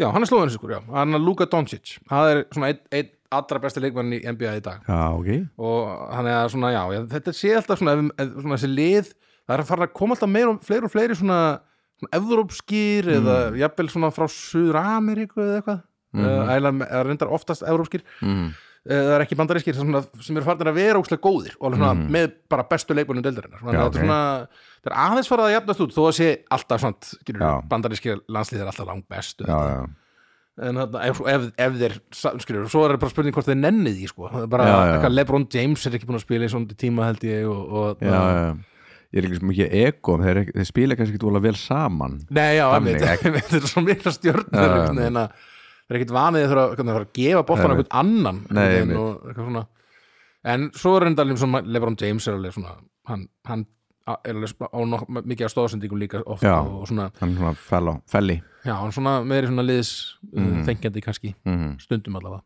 já, hann er slóvenskur, já, hann er Luka Doncic hann er svona einn ein allra besti leikmaður í NBA í dag
Já, ok
og hann er svona, já, já þetta sé alltaf svona, ef- ef- svona þessi lið það er að fara að koma alltaf meir og fleiri og fleiri svona, svona evrópskir
Mm.
eða jafnvel svona frá Suður-Ameríku eða eitthvað
Mhm.
mm -hmm. eða reyndar oftast evrópskir
mm.
Eh, það er ekki bandarískir sem, sem eru farin að vera ókslega góðir og alveg svona, með bara bestu leikmennum deildarinnar svona,
Mhm. Já,
þetta
ok.
er svona, það er aðeins farið að jafnast út þó að sé alltaf svona, skilur,
Já.
bandarískir landslið er alltaf langt bestu
Já, já,
en þarna, ef, ef, ef þeir sa- skilur, svo er bara spurning hvort þeir nenni því sko. Það er bara,
Já, já.
eitthvað Lebron James er ekki búin að spila í svona tíma held ég og, og,
já, já. Ég er ekki sem ekki ego þeir, ekki- þeir spila kannski ekki vola vel saman
Nei, já,
Þannig,
einmitt, einmitt, þetta er svo mikla stjórnur
Já, já,
einhvern veginn að það er ekkit vanið að þurfa að- hvernig að fara að gefa boltan
Nei,
einhvern annan
Nei,
einhvern
einmitt.
veginn og eitthvað svona. en svo er enda alveg svona Lebron James er alveg svona hann, hann á, er alveg sp- á nok, mikið af stóðsendingum líka oft
Já.
og, og svona,
hann er svona fellow, felli
já, hann svona meiri svona liðs mm. þengjandi kannski
mm.
stundum allavega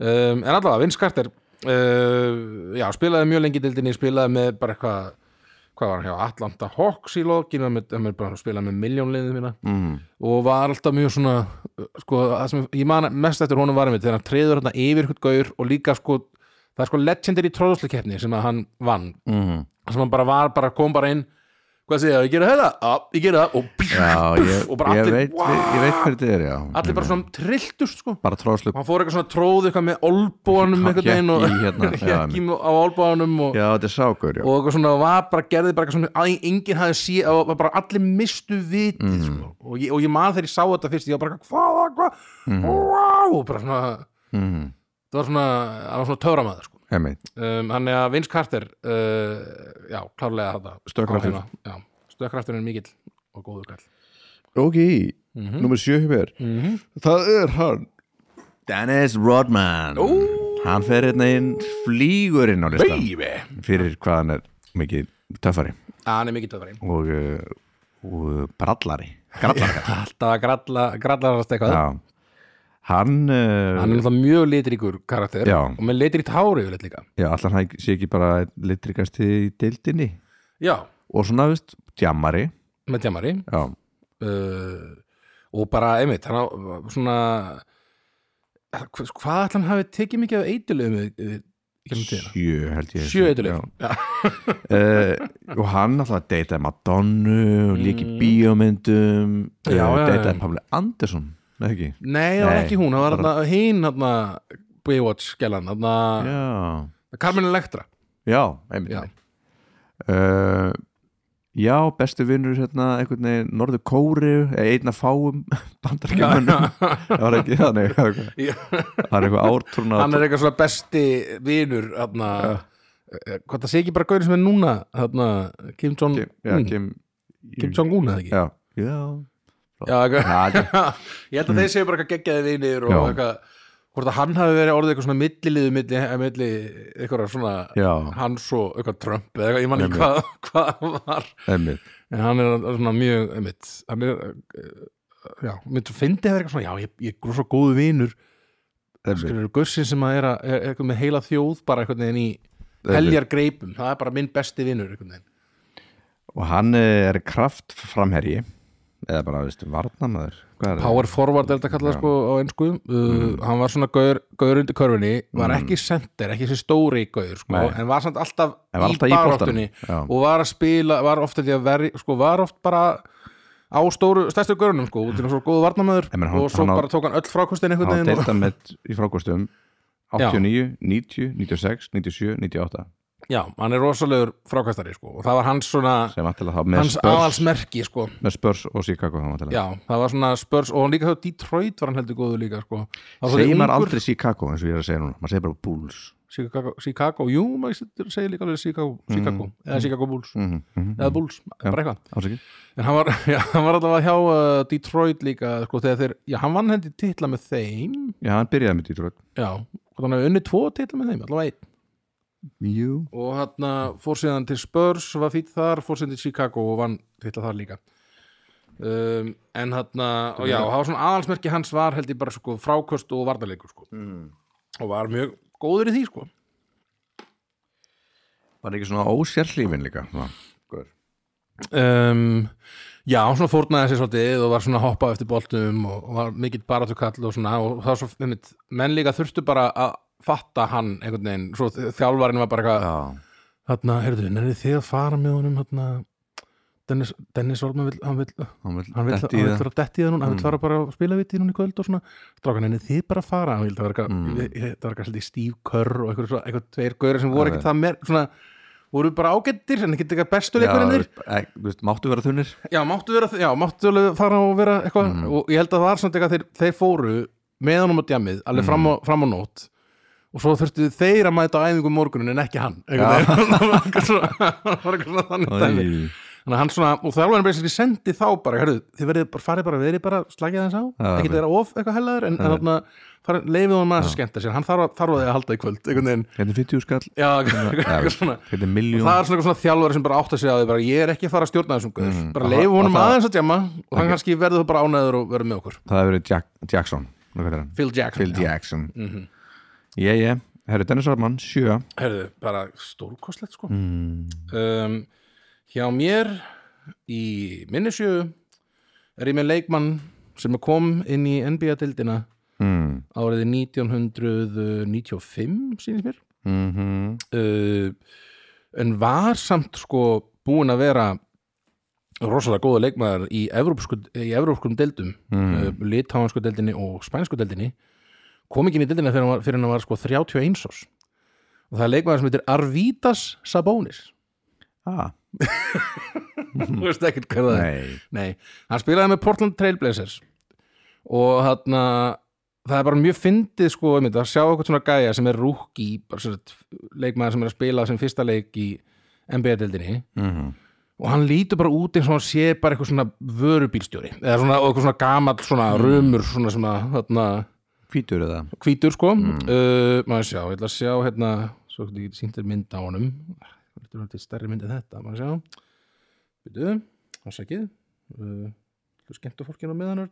um, en allavega, Vince Carter uh, já, spilaði mjög lengi í dildinni spilaði með bara eitthvað hvað var hann hjá, Atlanta Hawks í lokinu hann er- hann er bara spilaði með miljónliðið mína
Mm.
og var alltaf mjög svona uh, sko, það sem ég man mest eftir honum varum þegar hann treður hann yfir hvort gaur og líka sko, það er sko legendir í tróðsleikeppni sem að hann vann
Mm.
sem hann bara var, bara kom bara inn hvað segja, ég gera þetta, já, ég gera það og, bíf,
Já, ég,
og bara
ég,
allir,
veit, ég veit hverju þetta er já. Mm.
allir bara svona trilltust sko
bara tróðslu
og hann fór eitthvað svona tróð eitthvað með olbóanum
Hékk
eitthvað einn og
í hérna, já,
hékk í á olbóanum og,
Já, þetta er sákur, já
og eitthvað svona var bara gerði bara eitthvað svona að enginn hafði sé og var bara allir mistu vitið
Mhm.
sko. og, ég, og ég man þegar ég sá þetta fyrst ég var bara hvað, hvað,
Mhm.
wow og bara svona,
mm.
það var svona það var svona töframæður sko.
Einmitt,
um, hann er að Vince Carter uh, já, klárlega þetta
Stökkkraftur.
Á hérna, já, stökkraftur er mikill og góður kall
Ok, mm -hmm. nummer sjö hjá mér
Mhm.
Það er hann Dennis Rodman Ó. Hann fer hérna inn flýgur inn á listan
Baby!
Fyrir hvað hann er mikið töffari
Já, hann er mikill töfrarinn
Og, uh, og brallari Grallari
alltaf að gralla, grallarast eitthvað
Já Hann, uh,
hann er náttúrulega mjög litríkur karakter
Já.
og með litríkt hári yfirleitt líka
já, allan hann sé ekki bara einn litrikasti í deildinni
já,
Og svona, veist, djammari
með tjamari
Já,
uh, og bara einmitt hann á svona hva- hvað ætla hann hafi tekið mikið af eitilum
sjö held ég
sjö
Já.
eitilum
uh, og hann alltaf deytaði Madonnu og líki mm. bíómyndum Eh,
Já, já, já.
deytaði Pabli Andersson eða ekki?
nei, það var
Nei,
ekki hún, það var hann hinn hann Baywatch gælan hann
Já,
Carmen Electra
já, einmitt
Já.
já. já, bestu vinnur hérna, einhvern veginn, Norður Kóri einna fáum bandarkjumunum það var ekki þannig það
Já.
er eitthvað ártrúna
hann er eitthvað svona besti vinur hann hvað það sé ekki bara gaurin sem er núna hann Kim Jong
Kim, já,
Un
Kim,
Mm. Kim Jong-un eða ekki
já, já
Já, eitthvað-
Það er-
ég held að þeir séu bara eitthvað geggjaði vinir og
Já.
eitthvað hvort að hann hafi verið orðið eitthvað svona milliliðu milli, eh, milli eitthvað svona
Já.
hans og eitthvað Trump eða eitthvað, ég man ekki hvað hvað hann var
einmitt.
en hann er svona mjög einmitt, hann er eh, já, mitt fyndi hefur eitthvað svona, já, ég, ég er svo góðu vinur
einmitt.
skilur, gussin sem að er, að, er eitthvað með heila þjóð bara eitthvað neginn í heljar greipum það er bara minn besti vinur eitthvað neginn
og hann eh, er kraftframherji eða bara, veistu, varnamaður hvað er
Power forward er þetta kallað sko á einsku uh,
Mm.
hann var svona gaur, gaur undir körfunni var ekki center, ekki þessi stóri gaur sko,
Nei.
en var samt alltaf,
En var alltaf
í
í boltanum,
baráttunni
já.
og var að spila, var ofta því að veri sko, var oft bara á stóru, stærstu gaurunum sko, út í svo góðu varnamöður
Ég meina, hann-
og svo
hann á-
bara tók hann öll frákostin
það?
einhvern
hann
veginn og,
deilta með í frákostum 89, 90, 96, 97, 98
já, hann er rosalegur frákastari sko, og það var hans svona,
sem vantilega þá með
hans
spörs,
aðalsmerki sko,
með spörs og Chicago þá vantilega
já, það var svona spörs og hann líka þá Detroit var hann heldur góðu líka sko, Það var
segir
svolítið
maður
ungur.
aldrei Chicago eins og ég er að segja núna maður segir bara Bulls
Chicago, Chicago jú, maður segir líka alveg Chicago, Chicago eða Chicago Bulls,
mm -hmm.
eða Bulls bara eitthvað,
ásakið
en hann var, já, hann var allavega hjá uh, Detroit líka, sko, þegar þeir já, hann vann hendi titla með þeim
já, hann byrjaði með Detroit
já, hvort hann hefði unni tvo titla með þeim, allavega einn
jú
og hann fór síðan til Spurs var fýtt þar, fór síðan til Chicago og vann titla þar líka um, en hann, og já, og það var svona aðalsmerki hans var held ég bara sko frákost og varnarleikur sko, og var mjög góður í því sko
var ekki svona ósérhlífin líka svona. Gaur.
um, Já, hann svona fórnaði sér svolítið og var svona að hoppa eftir boltum og, og var mikill baratukall og svona og það var svo, einmitt, menn líka þurftu bara að fatta hann einhvern veginn svo þjálfarinn var bara eitthvað
já,
þarna, heyrðu, nærðu þið að fara með honum þarna, Dennis, Dennis Orman vill, hann vill,
hann vil
hann vill,
detti í
hann vill
það. Mm.
vera dett í það núna, hann vill fara bara að spila vitið núna í kvöld og svona, strákan, nærðu þið bara að fara hann vill, það var eitthvað, mm. það var eitthvað svolítið Steve Kerr og eitthvað, svona- eitthvað tveir gauður sem voru
Já,
ekkert það mér, svona, voru bara ágættir en ekki eitthvað bestu leikurinnir
Já, eh, þú veist, máttu vera þunnir
Já, máttu vera, já, máttu alveg fara og vera eitthvað og ég held að það var samt eitthvað þeir, þeir fóru með honum á djamið, alveg fram, á, fram á nót og svo þurftu þeir að mæta á æfingu morgunin en ekki hann einhvern veginn. það var eitthvað svona- það var eitthvað svona þannig dæmi
Æ.
þannig að hann svona, og þjálfarinn basically sendi þá bara, herru, þið verðið bara farið bara verið bara, slagið hans á,
Já,
ekki
já.
vera of eitthvað hellaður, en, en þarna farið- leifið honum að skemmta sér, hann þarf, að- þarf að þið að halda í kvöld einhvern veginn,
Hérna er 50 skall
já, eitthvað svona
Hérna er
og
miljón
það er svona eitthvað svona þjálfari sem bara átt að segja að því bara ég er ekki að fara að stjórna þessum guður bara leifu honum
Mm. og það-
aðeins að djama og hann kannski verður þú bara ánæður og verður með okkur
Það hefur verið Jack, Jackson Nú, hvað er hann?
Phil Jackson
Phil Jackson
Mhm.
Ég, ég, herru Dennis Arman, sjö
Herðu, bara stórkostlegt sko um, Hjá mér í minnisjöu er ég með leikmann sem kom inn í NBA-dildina
mm.
árið 1995 sýnist mér
Mm -hmm.
uh, en var samt sko búin að vera rosalega góða leikmaður í evrópsku, í evrópskum deildum mm. uh, litánsku deildinni og spænsku deildinni kom ekki inn í deildina fyrir hann var, fyrir hann var sko 31 ás og það er leikmaður sem heitir Arvitas Sabonis
ah,
þú veist ekkert hvað það er
Nei,
Nei, hann spilaði með Portland Trailblazers og þarna það er bara mjög fyndið sko einmitt, að sjá eitthvað svona gæja sem er rúki bara svona leikmaður sem er að spila sem fyrsta leik í NBA-deldinni
mm
og hann lítur bara út eins og hann sé bara eitthvað svona vörubílstjóri eða svona, og eitthvað svona gamall svona rumur svona sem að þarna
hvítur er það
hvítur sko
Mm.
uh, maður sjá, ég ætla að sjá hérna svo hvernig ég geti sýntir mynd á honum þetta er alveg stærri mynd en þetta maður sjá byrju, ásækið uh, þú skemmtu fólkinu á miðanur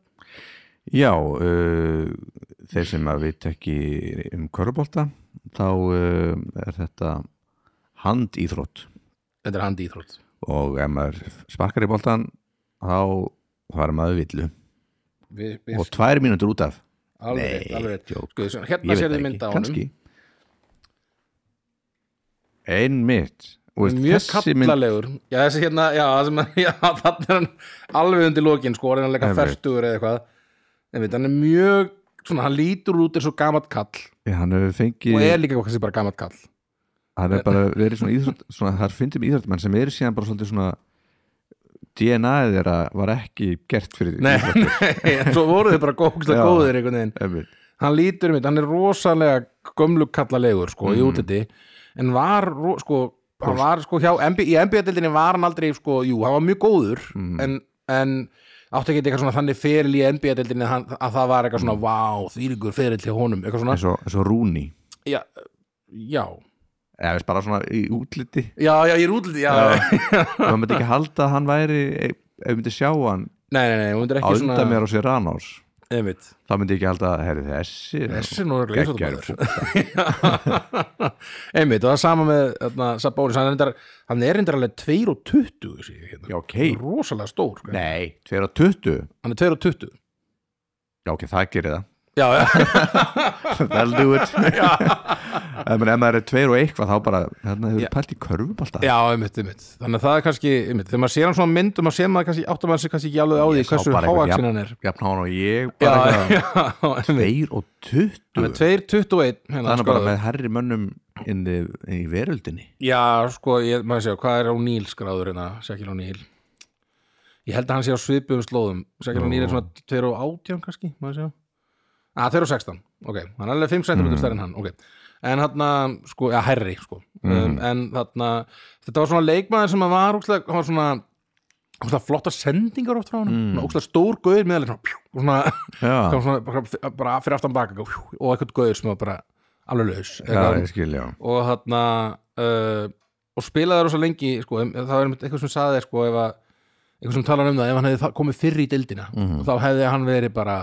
Já, uh, þeir sem að veit ekki um körubólta þá uh, er þetta handíþrótt
þetta er handi íþrótt
og ef maður sparkar í boltan þá var maður villu
við,
og tvær mínútur út af
alveg, rétt,
Nei,
alveg rétt.
djók.
Sko, svona,
ég
hérna
veit
sér
það
þið
ekki,
mynd á honum
kannski einmitt Og veist,
mjög
þessi mynd-
kallalegur já, þessi hérna, já, það sem, já, þannig er hann alveg undir lokin, sko, orðin að leika
Einmitt.
ferstugur eða eitthvað, en veit, hann er mjög svona, hann lítur út eins og gamalt kall
Já, hann hefur
og
fengið
er líka kannski bara gamalt kall
hann hefur bara verið svona íþrótt svona, það er fyndið með íþróttmenn sem eru síðan bara svolítið svona DNA-ið þeirra var ekki gert fyrir
nei, nei, en svo voru þið bara gókslega
Já.
góðir einhvern veginn,
einmitt
hann lítur um mitt hann er rosalega gömlu kallalegur sko,
Mm.
í útliti, en var ro- sko, hann var sko hjá MB, í NBA-dildinni var hann aldrei, sko, jú, hann var mjög góður
Mm.
en, en átti ekki eitthvað svona þannig feril í NBA-dildinni að, að það var
Mm.
eitthvað svona, vá, þýringur feril til honum, eitthvað svona,
eins og, eins og Rúni
já já,
eða veist, bara svona í útliti
já, já, ég er útliti, já, já.
maður myndi ekki halda að hann væri ef við myndi sjá hann
nei, nei, nei, hún er
á
ekki
undan
svona
mér á sér rannás
einmitt,
þá myndi ég ekki halda að herri þessi er nú
þessi er nú er
geggjaður sko.
ekki
fútbol.
einmitt, og það er sama með þarna, Sabonis, hann er reyndar- hann er reyndar alveg 22 sé ég hérna.
já ok,
rosalega stór sko.
nei, 220
hann er 22
já ok, það gerir
já, já,
það that'll do it ef maður- ef maður er 2 og eitthvað þá bara þarna hefur
Já.
pælt í körfubalta
já, einmitt, einmitt þannig að það er kannski, einmitt, þegar maður sér hann svona mynd og maður sér maður kannski, áttar maður sér kannski ekki alveg á því
Ég sá
hversu
bara eitthvað
háaksin
jafn-
hann er
jafn hann og ég
já,
bara eitthvað
já, einmitt
2 og 20
hann er 221 hérna,
þannig
sko,
bara með herri mönnum inn í, í veröldinni
já, sko, ég, maður séu, hvað er á Níl skráður hérna, Sækil og Níl ég held að hann sé á svipum slóðum Sækil og Níl er svona 2 og 18 kannski, maður séu að 2 og 16, ok, hann er alveg 5 cm
Mm.
stærri en hann, ok en hann, sko, já, herri, sko
Mm.
um, en þarna, þetta var svona leikmaður sem að var, úkslega, hann var svona ókslega flottar sendingar oft frá hann mm. ókslega stór gauður meðal svona, pjú, og svona,
Já.
kom svona bara, bara fyrir aftan baka pjú, og eitthvað gauður sem var bara alveg laus
já,
eitthvað.
ég skil, já
og þarna uh, og spilaði rosa lengi sko, em- það var einmitt eitthvað sem saði þér sko, ef að, eitthvað sem talar um það, ef hann hefði þa- komið fyrr í dildina þá hefði hann verið bara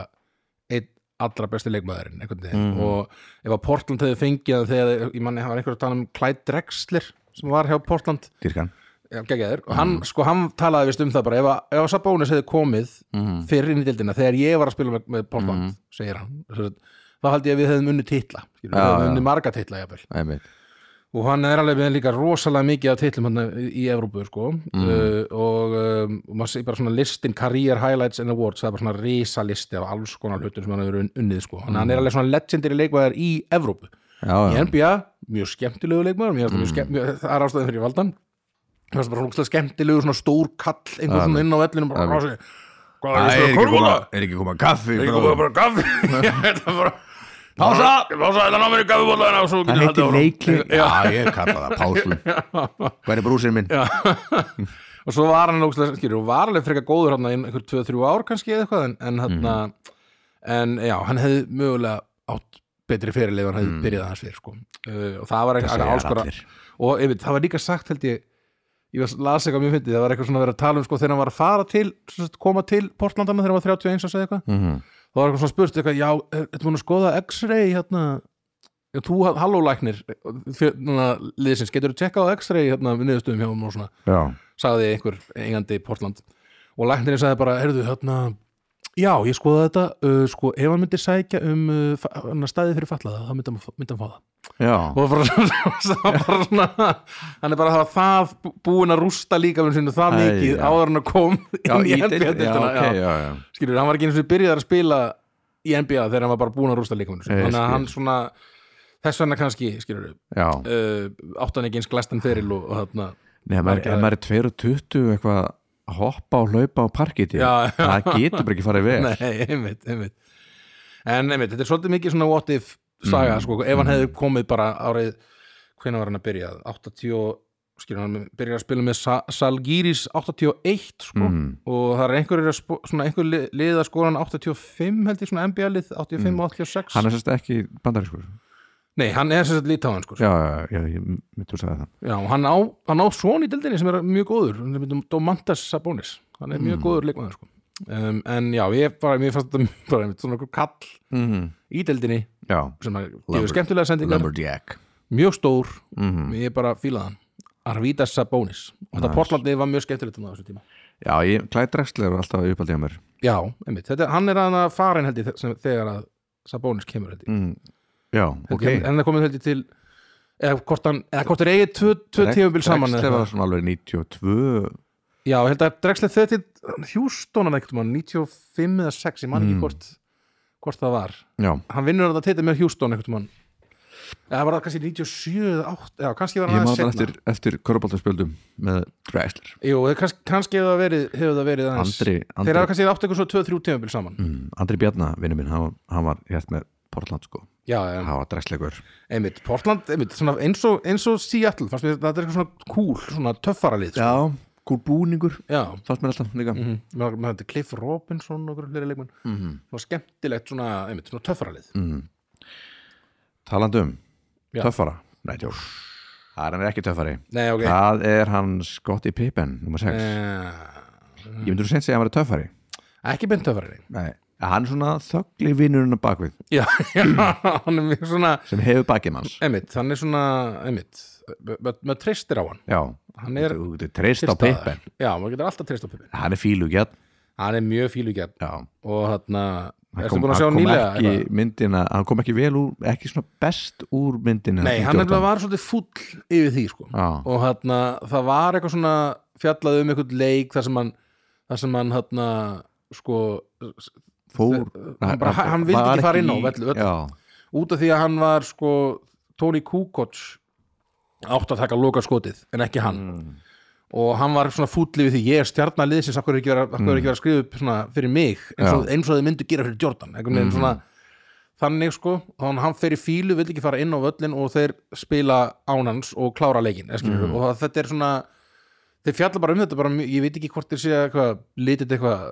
einn allra besti leikmaðurinn einhvern veginn og ef að Portland hefði fengið hann þegar, ég manni, hann var einhver að tala um Clyde Drexler sem var hjá Portland
dýrkan
Já, geggjaður. og hann, sko, hann talaði vist um það bara ef, að- ef að Sabonis hefði komið
Mhm.
fyrr inn í dildina þegar ég var að spila með, með Portland segir hann Svo að- þá held ég að við hefðum unni titla skilur, við
Já,
hefðum
já.
unni marga titla jafnvel
einmitt
og hann er alveg með líka rosalega mikið af titlum hann í Evrópu sko.
Mm.
uh, og, um, og maður sé bara svona listin Career Highlights and Awards það er bara svona risalisti af alls konar hlutum sem hann hefur unn- unnið sko. mm. hann er alveg svona legendary leikmaður í Evrópu
já,
í
já,
NBA, mjög skemmtilegu leikmaður mér mm. skemm, mjög, það er ástæðin fyrir valdan það er bara svona ógeðslega skemmtilegu svona stór kall einhver svona inn á vellinum bara,
Amen.
"Rási, hvað er þetta korfbóla?
er ekki koma kaffi
er ekki bara gaffi þetta er bara Pása, pása, þetta námið er gaffibólaðina og svo getur
Það
haldið
heitir
áfram.
leikli Já, ég kalla það pásun Hver er brúsinn minn?
Já. og svo var hann ógstlega, skilur, og var alveg frekar góður hann einhver 2-3 ár kannski eða eitthvað en, en, hann,
Mhm.
en já, hann hefði mögulega átt betri fyrirlið hann hefði byrjað hans fyrir sko. uh, og það var
Mhm. segja
eitthvað áskora
allir.
og einmitt, það var líka sagt held ég ég var las eitthvað mjög fyndið, það var eitthvað svona að vera að tala um sko, þegar hann var að fara til, sem sagt, koma til Portlandana þegar hann var 31 og segja eitthvað
Mhm.
þá var eitthvað svona spurt eitthvað, já, ertu múin að skoða x-ray hérna já, þú, hallólæknir hérna, liðsins, getur þú tjekkað á x-ray hérna, við niðurstöðum hjá um og svona
Já,
sagði einhver eigandi í Portland og læknirinn sagði bara, heyrðu, hérna já, ég skoða þetta, uh, sko ef hann myndi sækja um uh, fa- hérna, staðið fyrir fallaða, þá myndi hann, fá- myndi hann fá það
já,
og bara, svo, bara svona hann er bara að hafa það bú- búinn að rústa líka með sínu það
Æ,
mikið
já.
áður en að kom
já,
inn í
í deild- já,
NBA-deildina
ok, já, já.
skilur, hann var ekki eins og byrjaðar að spila í NBA þegar hann var bara búin að rústa líkamann
Ég
þannig að
skil.
hann svona þess vegna kannski, skilur,
já.
uh, áttan ekki eins glæstan feril og, og þarna
Nei, ef maður,
Margar-
ef maður er 22 eitthvað að hoppa og hlaupa á parkiti
Já, já.
það getur bara ekki farið vel
nei, einmitt, einmitt en einmitt, þetta er svolítið mikið svona what if saga, sko, ef hann hefði komið bara árið, hvenær var hann að byrja 80, skilur hann byrjar að spila með Sa Salgiris 81 sko,
Mhm.
og það er einhverjir að spo- svona einhver li- lið að skora hann 85 held ég svona NBA lið, 85 og 86
hann er sérst ekki bandarískur
nei, hann er sem sagt lítáðan sko,
já, já, já, ég myndi að segja það
Já, og hann á, hann á svon í dildinni sem er mjög góður, hann er myndum Domantas Sabonis, hann er mjög góður leikmaður sko. um, en já, ég bara, mér fannst þetta bara einmitt svona einhver kall
mm.
í dildinni
já,
sem að
Lumber-
gefur skemmtilega sendingar
Lumberjack
mjög stór,
Mhm.
ég bara fílaði hann Arvidas Sabonis og þetta Portlandi var mjög skemmtilegt um það á þessu tíma
já, ég, Clyde Drexler er alltaf uppaldið á mér
Já, einmitt, þetta, hann er hann að farin held ég sem, þegar að Sabonis kemur held ég
mm. já, ok
okay. en það komið held ég til eða hvort, hann, eða hvort er eigið tvö, tvö
Drex-
tímabil saman eða
Drexler
eitthvað.
var svona alveg 92
Já, ég held að Drexler þegar til Hjústónan ekkert um mann, 95 eða 6 ég man
Mm.
ekki hvort, hvort það var
já,
hann vinnur þetta titið með Hjústón ekkert mann eða var það kannski 97 eða 8 já, kannski var
ég
hann
maður
aðeins
það
seinna.
eftir, eftir körbaldarspjöldum með Drexler
Jú, þeir kannski, kannski hefur það verið, hefur það verið aðeins
Andri,
Þeir
Andri,
hafa kannski átt eitthvað svo 2-3 tímabil saman
mm, Andri Bjarna, vinnu minn hann, hann var hér með Portland sko
Já, em,
hann var Drexlegur
einmitt, Portland, einmitt, svona eins og, eins og Seattle, fannst mér þetta er eitthvað svona cool, svona töffara lið sko.
já, gúr búningur
Já,
fannst mér alltaf líka
mm, með þetta Cliff Robinson og hverju leikmenn mm
Mhm.
-hmm. Svona skemmtilegt, svona, einmitt, svona töffara lið
Mm. Talandum,
Já.
um töffara Nei, tjók Það er hann ekki töffari
Nei, ok uh,
Það er hann Scottie Pippen, nummer 6
Eh,
Ég myndi þú seint segja að hann var töffari
Ekki beint töffara lið
Nei Hann er svona þöggli vinnurinn á bakvið
Já, já, hann er mjög svona
sem hefur bakið manns
Einmitt, hann er svona, einmitt Maður treystir á hann
Já,
Hann er
þú getur treyst
til
á
staðar.
Pippen
Já, maður getur alltaf treyst á Pippen
Hann er fílugjarn
Hann er mjög fílugjarn
Já
og þarna
Hann
ertu
kom,
búin að sjá
hann kom
nýlega
ekki
eitthvað?
myndina, hann kom ekki vel úr ekki svona best úr myndina
nei, hann
98.
nefnilega var svolítið fúll yfir því sko.
Já.
og þarna, það var eitthvað svona fjallað um einhvern leik þar sem hann, þar sem hann þarna, sko, s-
fór
hann bara- hann vildi
var
ekki fara inn á
í-
velli- velli.
Já,
út af því að hann var sko, Tony Kukoc átt að taka loka skotið en ekki hann og hann var svona fúll yfir því ég er stjarnaliðsins, akkur er ekki verið mm. að skrifa upp svona fyrir mig, eins og, eins og þið myndu gera fyrir Jordan, einhvern veginn svona þannig sko, þannig hann fer í fílu vill ekki fara inn á völlin og þeir spila ánans og klára leikin mm. og það- þetta er svona þeir fjalla bara um þetta, bara, mjög- ég veit ekki hvort þeir sé eitthvað, litið eitthvað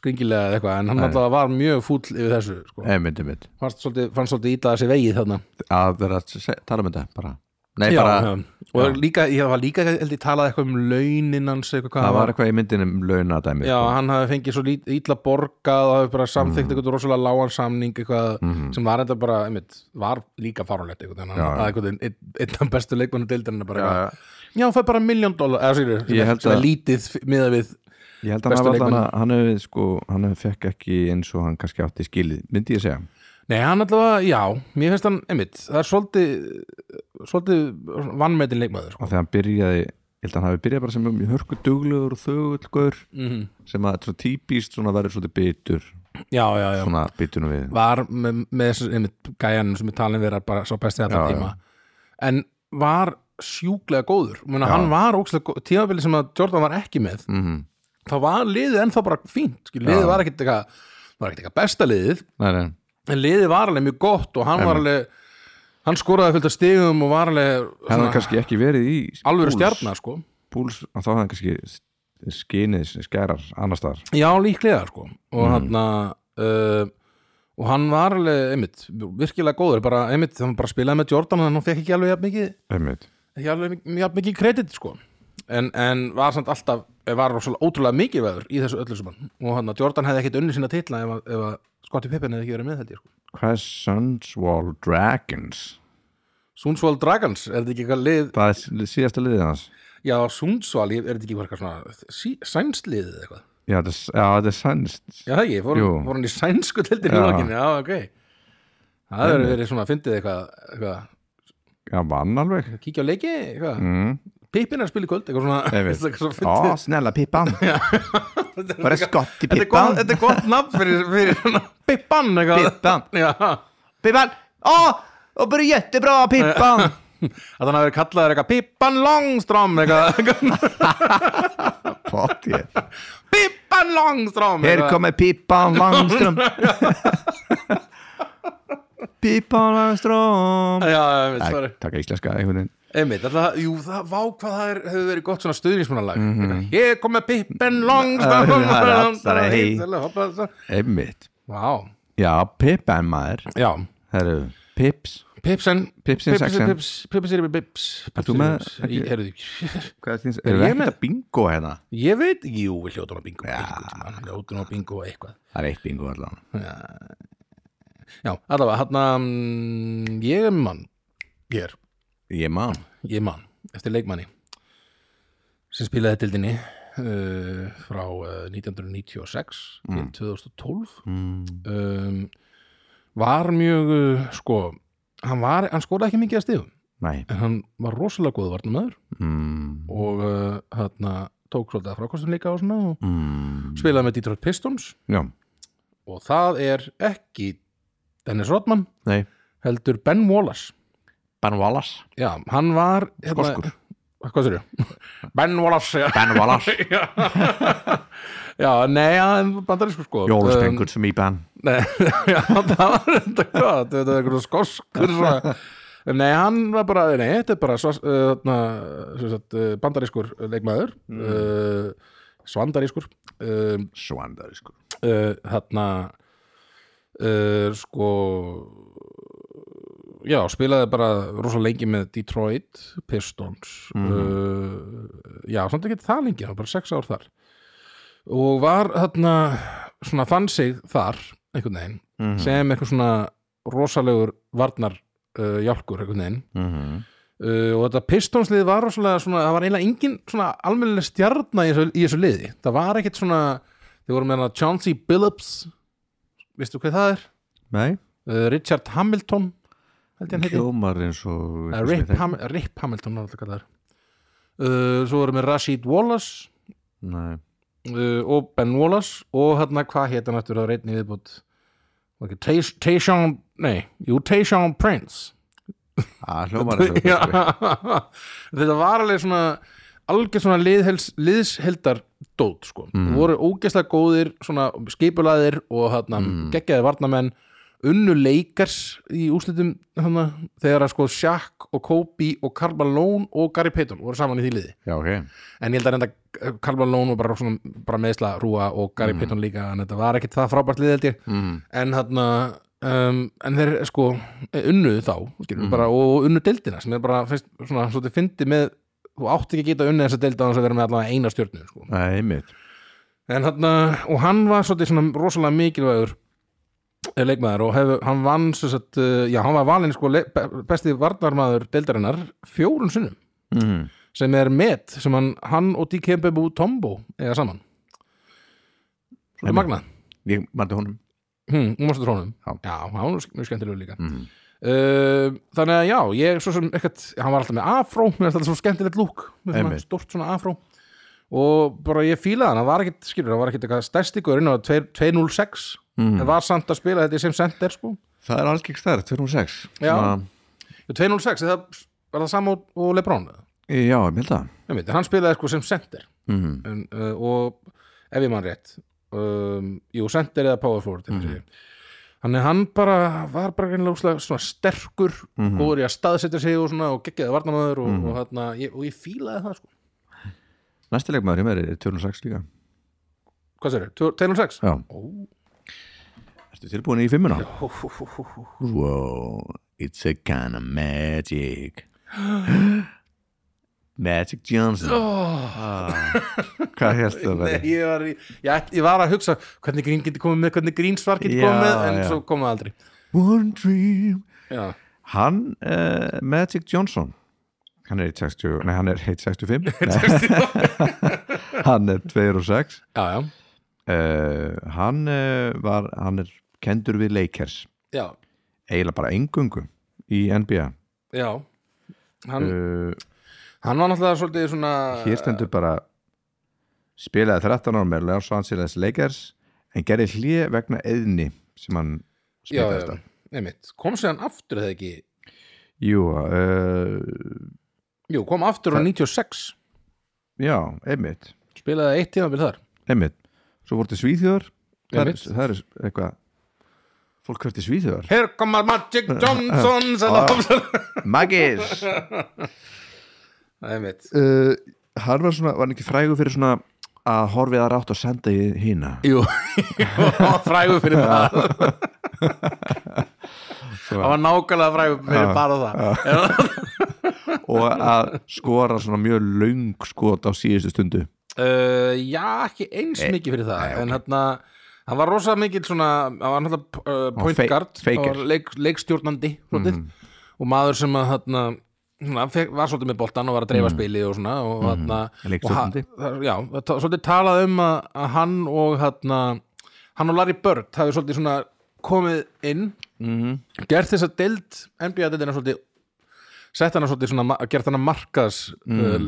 skringilega eða eitthvað, en hann alltaf var mjög fúll yfir þessu, sko,
einmitt, einmitt
fannst svolítið, fannst svolítið ítlaði þessi vegið þarna
að vera að se- tala um þetta bara Nei,
já,
bara,
já. og líka, ég var líka held ég talað eitthvað um launinans eitthvað hvað
það
hann
var eitthvað í myndinum launadæmi
Já,
sko.
hann hafði fengið svo lít- illa borgað og hafði bara
Mhm.
samþykkt eitthvað rosalega lágan samning eitthvað sem var þetta bara, einmitt, var líka farulegt eitthvað, en hann
Já, já.
hafði eitthvað einn- einn- einn af bestu leikmannu deildarinn bara
Já,
eitthvað, já, hann fæði bara miljón dólar, eða sér,
Ég held
sem er
að-
lítið f- miðað við,
ég held að hann
Bestu
var allan að
leikmenn.
hann hefði sko, hann hefði fekk ekki eins og hann kannski átti skilið, myndi ég segja
nei, hann allavega, já, mér finnst hann, einmitt, það er svolítið, svolítið vannmetin leikmaður, sko.
og þegar hann byrjaði, ég held að hann hafi byrjað bara sem mjög hörku duglegur og þögulgur
Mhm.
sem að svona típist svona verður svona bitur,
Já, já, já.
svona bitunum við
var með, með þessu einmitt, gæjanum sem er talin vera bara svo besti þetta
Já, já.
tíma en var sjúklega góður Muna, hann var ókslega góð, tímabili sem að Jordan var ekki með
Mhm.
þá var liðið ennþá bara fínt Skil, liðið
Já.
var ekkit eitthvað var ekkit eitthvað besta liðið
Nei, nei.
en liðið var alveg mjög gott og hann var alveg hann skoraði fullt af stigum og var alveg
hann
svona
hefði kannski ekki verið í
alvöru
Bulls-
stjarnar sko
Bulls, að þá hefði hann kannski skinið sem skærar annar staðar
Já, líklega sko
Mhm.
og mm. hann uh, og hann var alveg, einmitt, virkilega góður bara, einmitt, hann bara spilaði með Jordan en hann fekk ekki alveg jafn mikið,
einmitt,
ekki alveg mik- jafn mikið kredit sko en, en var samt alltaf eh, var rosalega ótrúlega mikið veður í þessu öllu saman og hann að Jordan hefði ekkit unni sína titla ef að, ef að Scottie Pippen hefði ekki verið með held ég sko
hvað er Sunswall Dragons
Sundsvall Dragons, er þetta ekki eitthvað lið
það er síðasta liðið hans
já, Sundsvall, ég- er þetta ekki bara eitthvað svona sí- sænsliðið eða eitthvað
já, þetta er, já, þetta er sænst
Já, það ekki, fór,
Jú.
fór hann í sænsku tildin í
Já.
lokinu, já, ok Það hefur verið svona, fyndið eitthvað, eitthvað
já, vann alveg
kíkja á leiki, eitthvað
mm.
Pippin er að spila í kvöld, eitthvað svona
Einmitt.
eitthvað svona fyndið.
Ó, snella pippan bara skott í
Þetta er gott- Þetta er gott nafn fyrir, fyrir svona Pippan, eitthvað
Pippan.
Já,
pippan, ó, og bara jättebra pippan
að hann hafi verið kallaður eitthvað Pippan Longstrom, eitthvað eitthvað,
pott ég
Pippan Longstrom
Hér
eitthvað.
kommer Pippan Langström Pippan Langström
Já, einmitt,
Æ,
sorry
Takk íslenska einhvern veginn
Einmitt, alltaf, jú, það, vá hvað það er, hefur verið gott svona stuðnismannalag Hér kom með Pippen Longstrom
Já, Mhm. Mm, það er allt, það er hei.
hei
Einmitt
Vá,
Já, Pippan maður
já
Herru, Pips
Pipsen
Pipsin sexen.
Pipsen Pips
Ert þú með- ekki-
Herðu,
Hvað er þín-
Er
Erum við
ég
ekkert
með-
að bingo hérna?
ég veit, jú, við hljóttum á bingo Hljóttum á bingo eitthvað
Það er eitt bingo allan
Já, allavega, hann að Ég er mann Ég er,
Ég man
ég er mann Eftir leikmanni sem spilaði dildinni uh, frá uh, 1996 til 2012
mm.
um, var mjög uh, sko, hann var hann skoraði ekki mikið að stigum,
Nei
en hann var rosalega góð varnamöður
mm.
og uh, hérna tók svolítið að frákostum líka og svona og
Mm.
spilaði með Detroit Pistons
Já,
og það er ekki Dennis Rodman,
nei
heldur Ben Wallace
Ben Wallace
já, hann var hérna-
Skoskur
hvað sér Ben Wallace, já
Ben Wallace
já, já nei, hann bandarísku sko Um,
Jólaspengur sem í Ben
Nei, já, það var þetta hvað, þetta er eitthvað skoskur svona. Nei, hann var bara, nei, þetta er bara svas, uh, na, sagt, uh, bandarískur leikmaður, uh, svandarískur, uh,
Svandari sko
uh, þarna, uh, sko, já, spilaði bara rosa lengi með Detroit Pistons, uh, já, samt ekki það lengi, hann var bara sex ár þar og var þarna, svona fann sig þar, einhvern veginn,
mm
sem eitthvað svona rosalegur varnar uh, hjálkur einhvern veginn
-hmm.
uh, og þetta pistónslið var rosalega svona, það var eiginlega engin svona almennileg stjarnar í þessu, í þessu liði það var ekkert svona, þið voru með hana Chauncey Billups veistu hvað það er?
Nei
Uh, Richard Hamilton held ég hann heiti
Hljómar eins og
Eh, Rip, Ham Rip Hamilton var alltaf kallar uh, svo voru með Rashid Wallace
Nei
uh, og Ben Wallace og hérna hvað hétt hann eftir að reyna í viðbútt okay, Tays- Tayshaun nei, jú, Tayshaun Prince
Það Ah, hljómar eins og
Já. þetta var alveg svona algjör svona liðhels, liðsheldar dót sko, mm. voru ógeðslega góðir svona skipulaðir og hérna geggjaði varnamenn unnu leikars í úrslitum hana, þegar að sko Shaq og Kobe og Karl Malone og Gary Payton voru saman í því liði
Já, ok
en ég held að reynda Karl Malone og bara, svona, bara meðsla rúa og Gary Payton líka en þetta var ekkit það frábært lið held ég
mm.
en þarna um, en þeir sko unnu þá skilur, bara, og unnu deildina sem er bara finnst, svona, svona fyndi með þú átt ekki að geta unnið þessa deilda á þess að vera með allavega eina stjörnu sko.
Nei, einmitt
en þarna, og hann var svolítið svona rosalega mikilvægur eh, leikmaður og hef, hann vann sem sagt, eh, já, hann var valinn sko le- be- besti varnarmaður deildarinnar fjórun sinnum
mm.
sem er met sem hann, hann og D.K. Bú Tombo eða saman
Einmitt.
Svolítið magnað
Ég mætti honum
Hmm, hún varstu trónum
Já.
já, hann var nú sk- mjög skemmtilegur líka
Mhm.
uh, þannig að já, ég svo sem ekkert, hann var alltaf með afró mér er alltaf svo skemmtilegt lúk með svona
Einmitt.
stort svona afró og bara ég fílaði hann, hann var ekkert skilur, hann var ekkert eitthvað stærsti gurinn og 206
Mhm.
en var samt að spila þetta í sem center sko
Það er algeg stærð, 206
Já.
Svona-
206, er það, var það sama og, og Lebron
Já, ég held það
Einmitt, en hann spilaði sko sem center
mm.
en, uh, og ef ég man rétt um, jú, center eða power forward
Mhm.
mm. þannig að hann bara var bara einlega svona sterkur
Mhm.
góður í að staðsetja sig og svona og geggjaði varnamöður og, og, þarna, ég, og ég fílaði það sko
næsti leikmaður hjá mér er 2006 líka
Hvað sér þau? Taylor 6?
Já.
Ó.
Ertu tilbúin í fimmuna? Whoa, it's a kind of magic Magic Johnson Hvað hérst það
Nei,
verið?
ég var, í, ég, ætl- ég var að hugsa hvernig grín geti komið með, hvernig grín svar geti
Já,
komið með en
já.
svo komið það aldrei
One dream
Já,
Hann, uh, Magic Johnson Hann er 1.60 Nei, hann er 1.65 Nei. Hann er 2 og 6
já, já,
uh, Hann uh, var Hann er kendur við Lakers
já,
eiginlega bara engungu í NBA
já. Hann,
uh,
hann var náttúrulega svolítið svona
Hér stendur bara spilaði 13 ára með Los Angeles Lakers en gerði hlið vegna eðni sem hann
já,
smitaðist
já,
af
einmitt, kom síðan aftur eða ekki
Jú, uh,
Jú, kom aftur á 96
já, einmitt
spilaði eitt tíma bil þar
einmitt, svo voru til Svíþjóðar það, er-
Einmitt.
það er eitthvað fólk hvert til Svíþjóðar
Here comes Magic Johnson sagði hann.
Magis!
Einmitt
uh, hann var svona, var hann ekki frægur fyrir svona að horfið að rátt og senda í hína
Jú, frægur fyrir það Það var nákvæmlega frægur fyrir bara það
og að skora svona mjög löng skot á síðustu stundu
uh, Já, ekki eins mikið fyrir það En hérna, hann var rosa mikill svona Hann var náttúrulega uh, point
fe-
guard
faker.
og leik, leikstjórnandi mm. Og maður sem að hérna Svona, fekk, var svolítið með boltan og var að dreifa mm. spilið og svona og þarna og hann-
Leikstjórnandi.
það- já, það- svolítið talað um að, að hann og þarna, hann og Larry Bird hafi svolítið svona komið inn gert þess að deild NBA deildina svolítið sett hana svolítið svona ma- gert hana markas uh,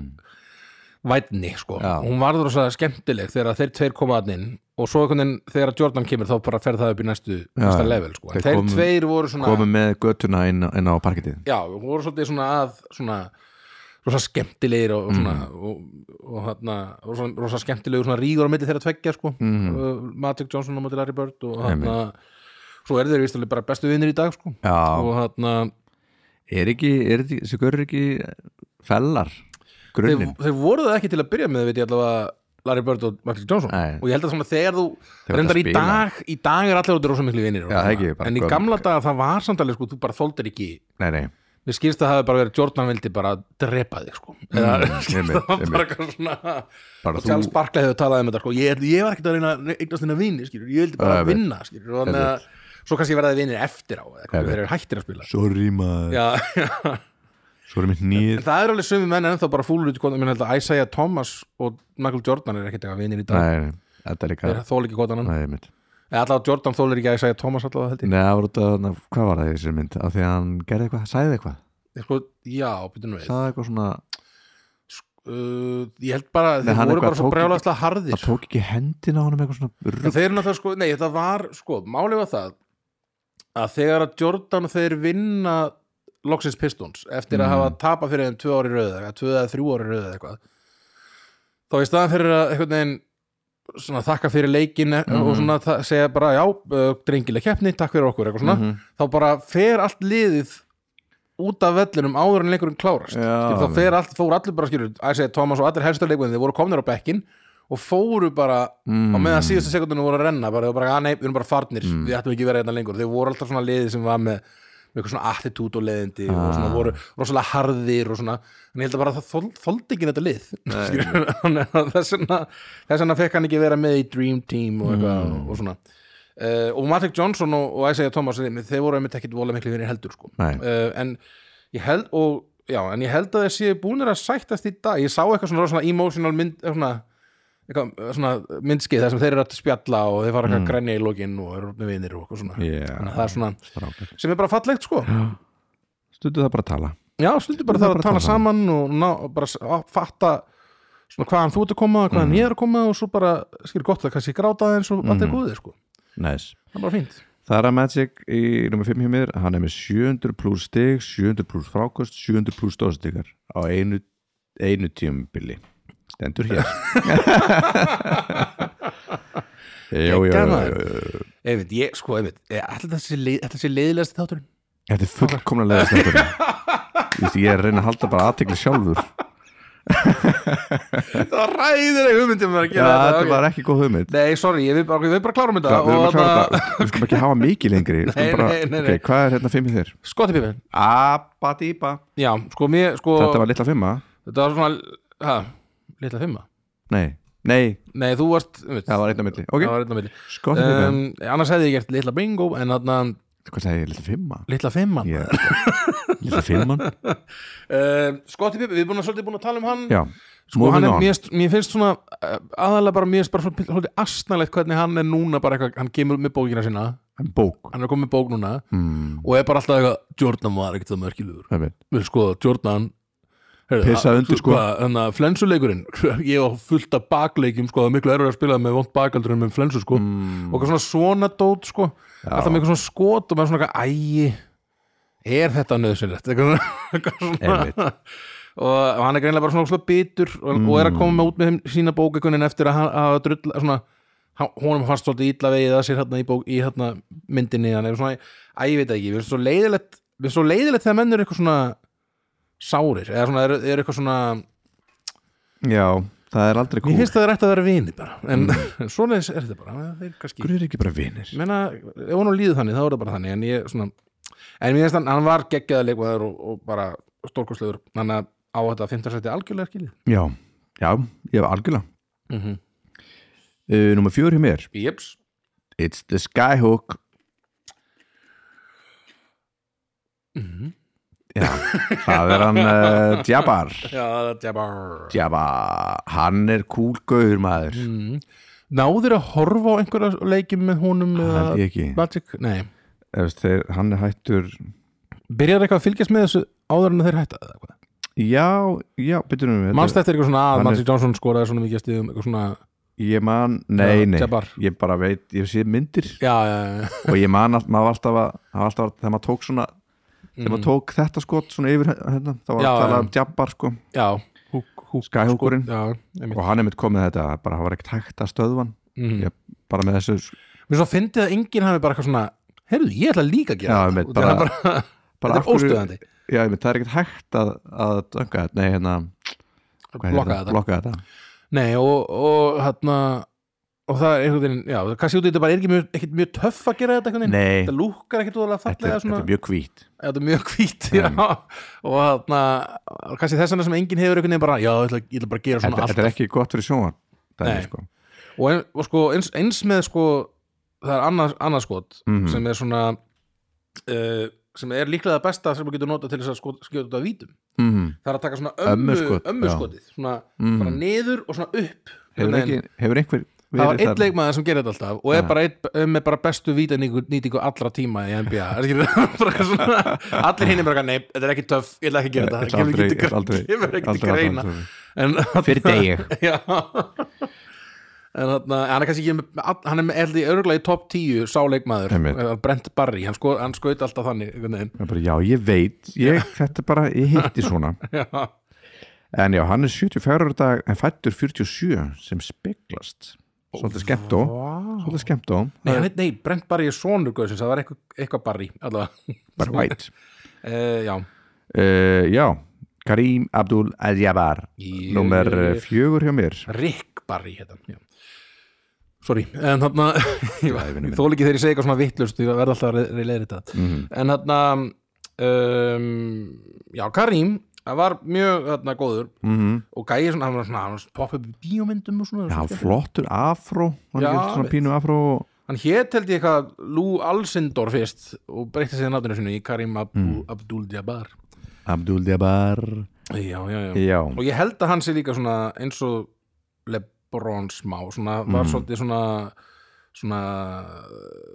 vætni sko
Mm. Já.
hún varður þess að skemmtileg þegar þeir tveir koma að inn og svo einhvern veginn þegar Jordan kemur þá bara fer það upp í næstu, næsta level sko en
Þeir
þeir
komu-
tveir voru svona
komið með göttuna inn, inn á parkitið
já, voru svolítið svona að svona rosa skemmtilegir og, og svona
Mm.
og, og þarna, rosa, rosa skemmtilegur svona rígur á milli þeirra tveggja sko mm. Magic Johnson á móti Larry Bird og þarna svo eru þeir vístulega bara bestu vinnir í dag sko
Já.
og þarna
er ekki, er ekki, þessi görur ekki fellar,
þeir,
grunnin
þeir voru það ekki til að byrja með veit ég allavega Larry Bird og Michael Johnson
Nei.
og ég held að svona þegar þú
voru
reyndar
að
í
spila.
dag í dag er allir út í rosa miklu vinir og
Já,
svona.
það ekki, bara
en í
gömul.
gamla daga það var samtalið sko, þú bara þóldir ekki
nei, nei,
mér skilst að það hafi bara verið Jordan vildi bara drepa þig sko eða skilst
Mm, einmitt,
það var bara
einmitt.
eitthvað svona
Bara
og Charles
þú-
Barkley hefur talað um þetta sko ég, ég var ekkert að reyna að eignast þennan vini skilur ég vildi bara
Já, ég veit.
vinna skilur og þannig að svo kannski verða þið vinir eftir á eða
Ég
hvað
veit.
þeir eru hættir að spila
sorry maður
já, já
sorry mitt nýð
En það er alveg sömu menn ennþá bara fúlur út í kvotan, mér held að Isaiah Thomas og Michael Jordan er ekkert eitthvað vinir í dag
nei, nei, þetta er líka
þeir þóla ekki kvotan hann,
nei, mitt
eða allavega Jordan þólar ekki Isaiah Thomas allavega held
Nei, það var út að, na, hvað var það í þessari mynd? Af því að hann gerði eitthvað, sagði eitthvað
ég sko, já, býtum við uh,
sagði eitthvað svona,
ég held bara,
Nei,
þeir
hann
voru
eitthvað
bara svo
tók-
brjálaðslega harðir
það tók ekki hendina á hann eitthvað svona
en þeir eru náttúrulega sko, nei, þetta var sko, málið var það að þegar að Jordan og þeir vinna Loxins Pistons eftir að hafa tapa fyrir þeim tvö ári rauðið eða tvö eða þrjú ári rauðið eitthvað þá í staðan fyrir að einhvern veginn svona þakka fyrir leikin og svona þa- segja bara já, uh, drengileg keppni takk fyrir okkur eitthvað
Mhm.
svona þá bara fer allt liðið út af vellinum áður en leikurinn klárast
Já,
Skilur, þá fer allt, fór allir bara skilur að segja Thomas og allir helstu leikurinn þeir voru komnir á bekkin og fóru bara á
Mhm.
meðan
Mm.
síðustu sekundinu voru að renna bara, þau bara að nei, við erum bara farnir, við ættum ekki að vera hérna lengur þeir voru alltaf svona liðið sem var með með eitthvað svona attitút og leiðindi og svona voru rosalega harðir og svona en ég held að bara það þol, þoldi ekki þetta lið skilur, þannig að þess vegna þess vegna fekk hann ekki vera með í Dream Team og eitthvað og svona uh, og Magic Johnson og, og Isaiah Thomas þeir voru einmitt ekkit vola miklu vinir heldur sko.
Nei.
uh, en ég held og já, en ég held að þeir séu búnir að sættast í dag ég sá eitthvað svona, svona emotional mynd eh, svona, eitthvað, eh, svona myndskið þar sem þeir eru að spjalla og þeir fara eitthvað mm. grænja í lokin og eru orðnir vinir og eitthvað svona
Já.
Þannig að það er svona
Strákar.
sem er bara fallegt sko
stundu það bara að tala
já, stundir bara það að tala saman og ná, bara s- á- fatta svona hvaðan þú ert að koma, hvaðan ég er að koma og svo bara, skilur gott að kannski gráta aðeins og allt er góðið sko,
Næs
það er bara fínt
Það er að Magic í nummer 5 hjá mér hann er með 700 pluss stig 700 pluss frákost, 700 pluss stóðstikar á einu, einu tímubili stendur hér Jó, jó, jó,
Geggjað,
jó, jó.
Einmitt, ég, sko, einmitt, alltaf þessi, leið- þetta sé leiðilegast þátturinn
Þetta er fullkomna leðast Ég er að reyna að halda bara aðtekli sjálfur
það var ræðileg hugmyndum um að
Já,
gera þetta,
þetta
ok.
var ekki góð hugmynd
Nei, sorry, ég vil bara, ég vil bara klárum þetta
Hvað, Við erum
og
að klára
það,
þetta Við skulum ekki hafa mikið lengri Við skulum
Nei,
bara,
nei, nei, nei.
Ok, hvað er hérna fimm í þér?
skottipipin
Abadíba
Sko, Já, sko, mér, sko,
Þetta var litla fimma
þetta var svona, hæ, litla fimma
Nei, nei,
Nei, þú varst, um veit,
það var einn á milli Ok,
það var einn á milli
skottipipin
um, Annars hefði ég gert litla bingo, en þarna
Hvað sagði ég, litla fimma?
litla fimman yeah.
Ég, litla fimman?
uh, Skottipipin, við erum búin að svolítið búin að tala um hann
Já,
Sko, hann er,
moving on.
mér, mér finnst svona eh, aðalega bara, mér finnst bara svona svolítið astnalegt hvernig hann er núna bara eitthvað, hann kemur með bókina sína,
bók
hann er komið með bók núna
mm,
og er bara alltaf eitthvað, Jordan var ekkert það mörkilegur
það veit.
við sko, Jordan heyrðu,
Pissa
að-
undir, sko.
hvað, þannig að flensuleikurinn, ég var fullt af bakleikjum sko, það er miklu erfið að spila með vond bakaldur en með flensu sko,
Mm,
og eitthvað svona svona dót sko, alltaf með eitthvað svona skot og maður svona eitthvað, ægi er þetta nöðsynlegt eitthvað svona- eitthvað
Einmitt.
svona og hann er greinlega bara svona, svona bitur og, og er að koma með út með þeim, sína bókakunnin eftir að, hann- að drulla svona hann- honum fannst svolítið illa vegið að sér hérna í, bók, í hérna myndinni hann er svona, að ég veit það ekki, við erum svo leiðilegt við erum svo leiðilegt þegar menn eru eitthvað svona sárir, eða svona eru er eitthvað svona
Já, það er aldrei
mér
kúl
finnst að það er eftir að vera vini bara en svona er þetta bara, þeir kannski
Hverju er ekki bara vinir?
Ég meina, ef hún líður þannig, þá er það bara þannig en ég, svona, en mér finnst hann, hann var geggjaða leikmaður og, og bara stórkurslegur, hann að á þetta 15 sæti algjörlega skilið
Já, já, ég hef algjörlega
mm -hmm.
uh, Númer fjör hjá mér
Jeps
It's the skyhook Mhm. Já, það er hann uh, Jabbar
Já, þetta er bara
Jabbar, hann er kúlgauður maður
mm. Náður að horfa á einhverja leikjum með
Mm.
honum eða
Held ég ekki
Magic, nei
Efst, þeir, Hann er hættur
Byrjar eitthvað að fylgjast með þessu áður en þeir hætta eða eitthvað
Já, já, byrjum við þetta-
Manst þetta eitthvað svona að
Hann er-
Magic Johnson skoraði svona mikið stíðum eitthvað svona
Ég man, nei,
Já,
nei
Jabbar.
Ég bara veit, ég sé myndir
Já, já, já
og ég man að maður var alltaf að, það var alltaf að þegar maður tók svona þegar
Mhm.
maður tók þetta skot svona yfir hérna, þá var
Já,
að
já.
tala um Jabbar sko
Já, húk, húk
Skyhookurinn
Já, einmitt
og hann er mitt komið þetta bara það var ekkert hægt að stöðvan
Mhm.
ég, bara með þessu
Mér svo fyndið að enginn hafi bara eitthvað svona Heyrðu, ég ætla líka að gera
Já,
þetta."
einmitt,
Og það er
bara-
bara, Þetta
bara af
er
hverju-
óstöðandi
já, ég, það er ekkert hægt að, að dönga þetta nei hérna hvað heitir
Blokka
það?
þetta
blokka þetta
Nei, og, og hérna Og það er einhvern veginn, já, það er kannski út í þetta bara er ekki mjög, ekkit mjög töff að gera þetta einhvern veginn
nei
Þetta lúkkar ekkit úðalega
þetta
fallega
er, þetta
svona
er mjög Mm. hvít
Já, Þetta er mjög hvít, já Og hérna, kannski þess vegna sem enginn hefur einhvern veginn bara Já, ég ætla, ég ætla bara að gera svona
þetta,
allt
þetta er ekki gott fyrir sjónvar
Nei.
sko.
og, ein, og sko, eins, eins með sko, það er annars, annars skot
Mhm.
sem er svona uh, sem er líklega það besta sem maður getur notað til þess að skot, skjóta út af vítum
mm
það er að taka svona
Ömmu
ömmu,
skot,
ömmu
já.
skotið svona
Mhm.
bara niður og svona upp
hefur,
Nei,
ekki, hefur einhver
það var einn
þar?
leikmaður sem gerir þetta alltaf og er bara einn með bara bestu vítanýtingu nýtingu allra tíma í NBA Er ekki- bara eitthvað svona, allir hinn er bara eitthvað, nei, þetta er ekki töff, ég ætla ekki að gera
Ég
þetta
ætla
kemur
aldrei-
ekki til
ég ætla
greina-
aldrei-
kemur ekki til
aldrei- aldrei-
greina
aldrei-
En-
fyrir degi
Já En þarna, en hann er kannski ekki með, all- hann er með eldi örgulega í topp 10 sáleikmaður
Einmitt.
Brent Barry, hann, sko, hann skaut alltaf þannig einhvern veginn.
Ég bara, já, ég veit, ég, þetta er bara, ég hitti svona
Já,
En já, hann er 74 ára í dag en fættur 47 sem speglast Svolítið skemmt á Svolítið skemmt á
nei, hann, nei, Brent Barry er sonur guðsins, það var eitthvað, eitthvað Barry allavega,
Bara white
uh, já
uh, Já, Karim Abdul Adjabar
Í-
Númer eh, fjögur hjá mér
Rick Barry hérna já. Sorry, en þarna
vinur minn. Mhm.
þó ekki þegar ég segi eitthvað svona vittlust ég verð alltaf að reyleira þetta en þarna um, já, Karim það var mjög þarna, góður
mm
og gæði svona, hann var svona, hann var svona popp upp í bíómyndum og svona,
Já, hann
svona
flottur afró Hann
Já,
er ekki svona
veit.
pínu afró
hann hét held ég eitthvað Lou Alcindor fyrst og breytti sér nafninu sinu í Karim Ab
Mm.
Abdul Jabbar
Abdul Adjabar
já, já, já,
Já,
og ég held að hann sé líka svona eins og Lebron smá, svona
Mm.
var svolítið svona svona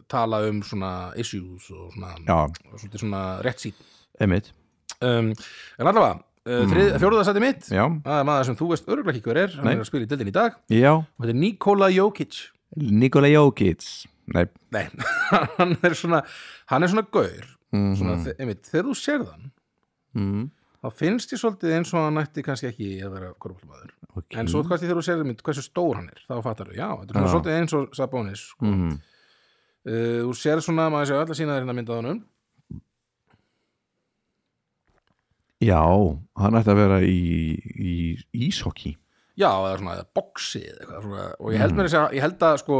tala um svona issues og svona,
já,
svolítið svona rétt sín
einmitt
um, en allavega, uh, þrið, fjóruða sæti mitt
Mm. Já,
það er maður sem þú veist örgulega ekki hver er hann
Nei.
er að spila í dildin í dag
já,
og þetta er Nikola Jokic
Nikola Jókits Nei,
Nei, hann er svona hann er svona gaur svona,
Mhm.
þe- einmitt, þegar þú sér þann
mm.
þá finnst ég svolítið eins og hann ætti kannski ekki að vera korfbólmaður
ok
en svo kannski þegar þú sér þann hversu stór hann er þá fattar þú, já, þetta er
Mm. Já.
svona svolítið eins og Sabonis sko.
Mhm.
uh, þú sér svona, maður sér öll að sína þér hérna myndað honum
Já, hann ætti að vera í, í íshokki
Já, eða svona eða boxi eða eitthvað svona, og
Mhm.
ég held mér að segja, ég held að sko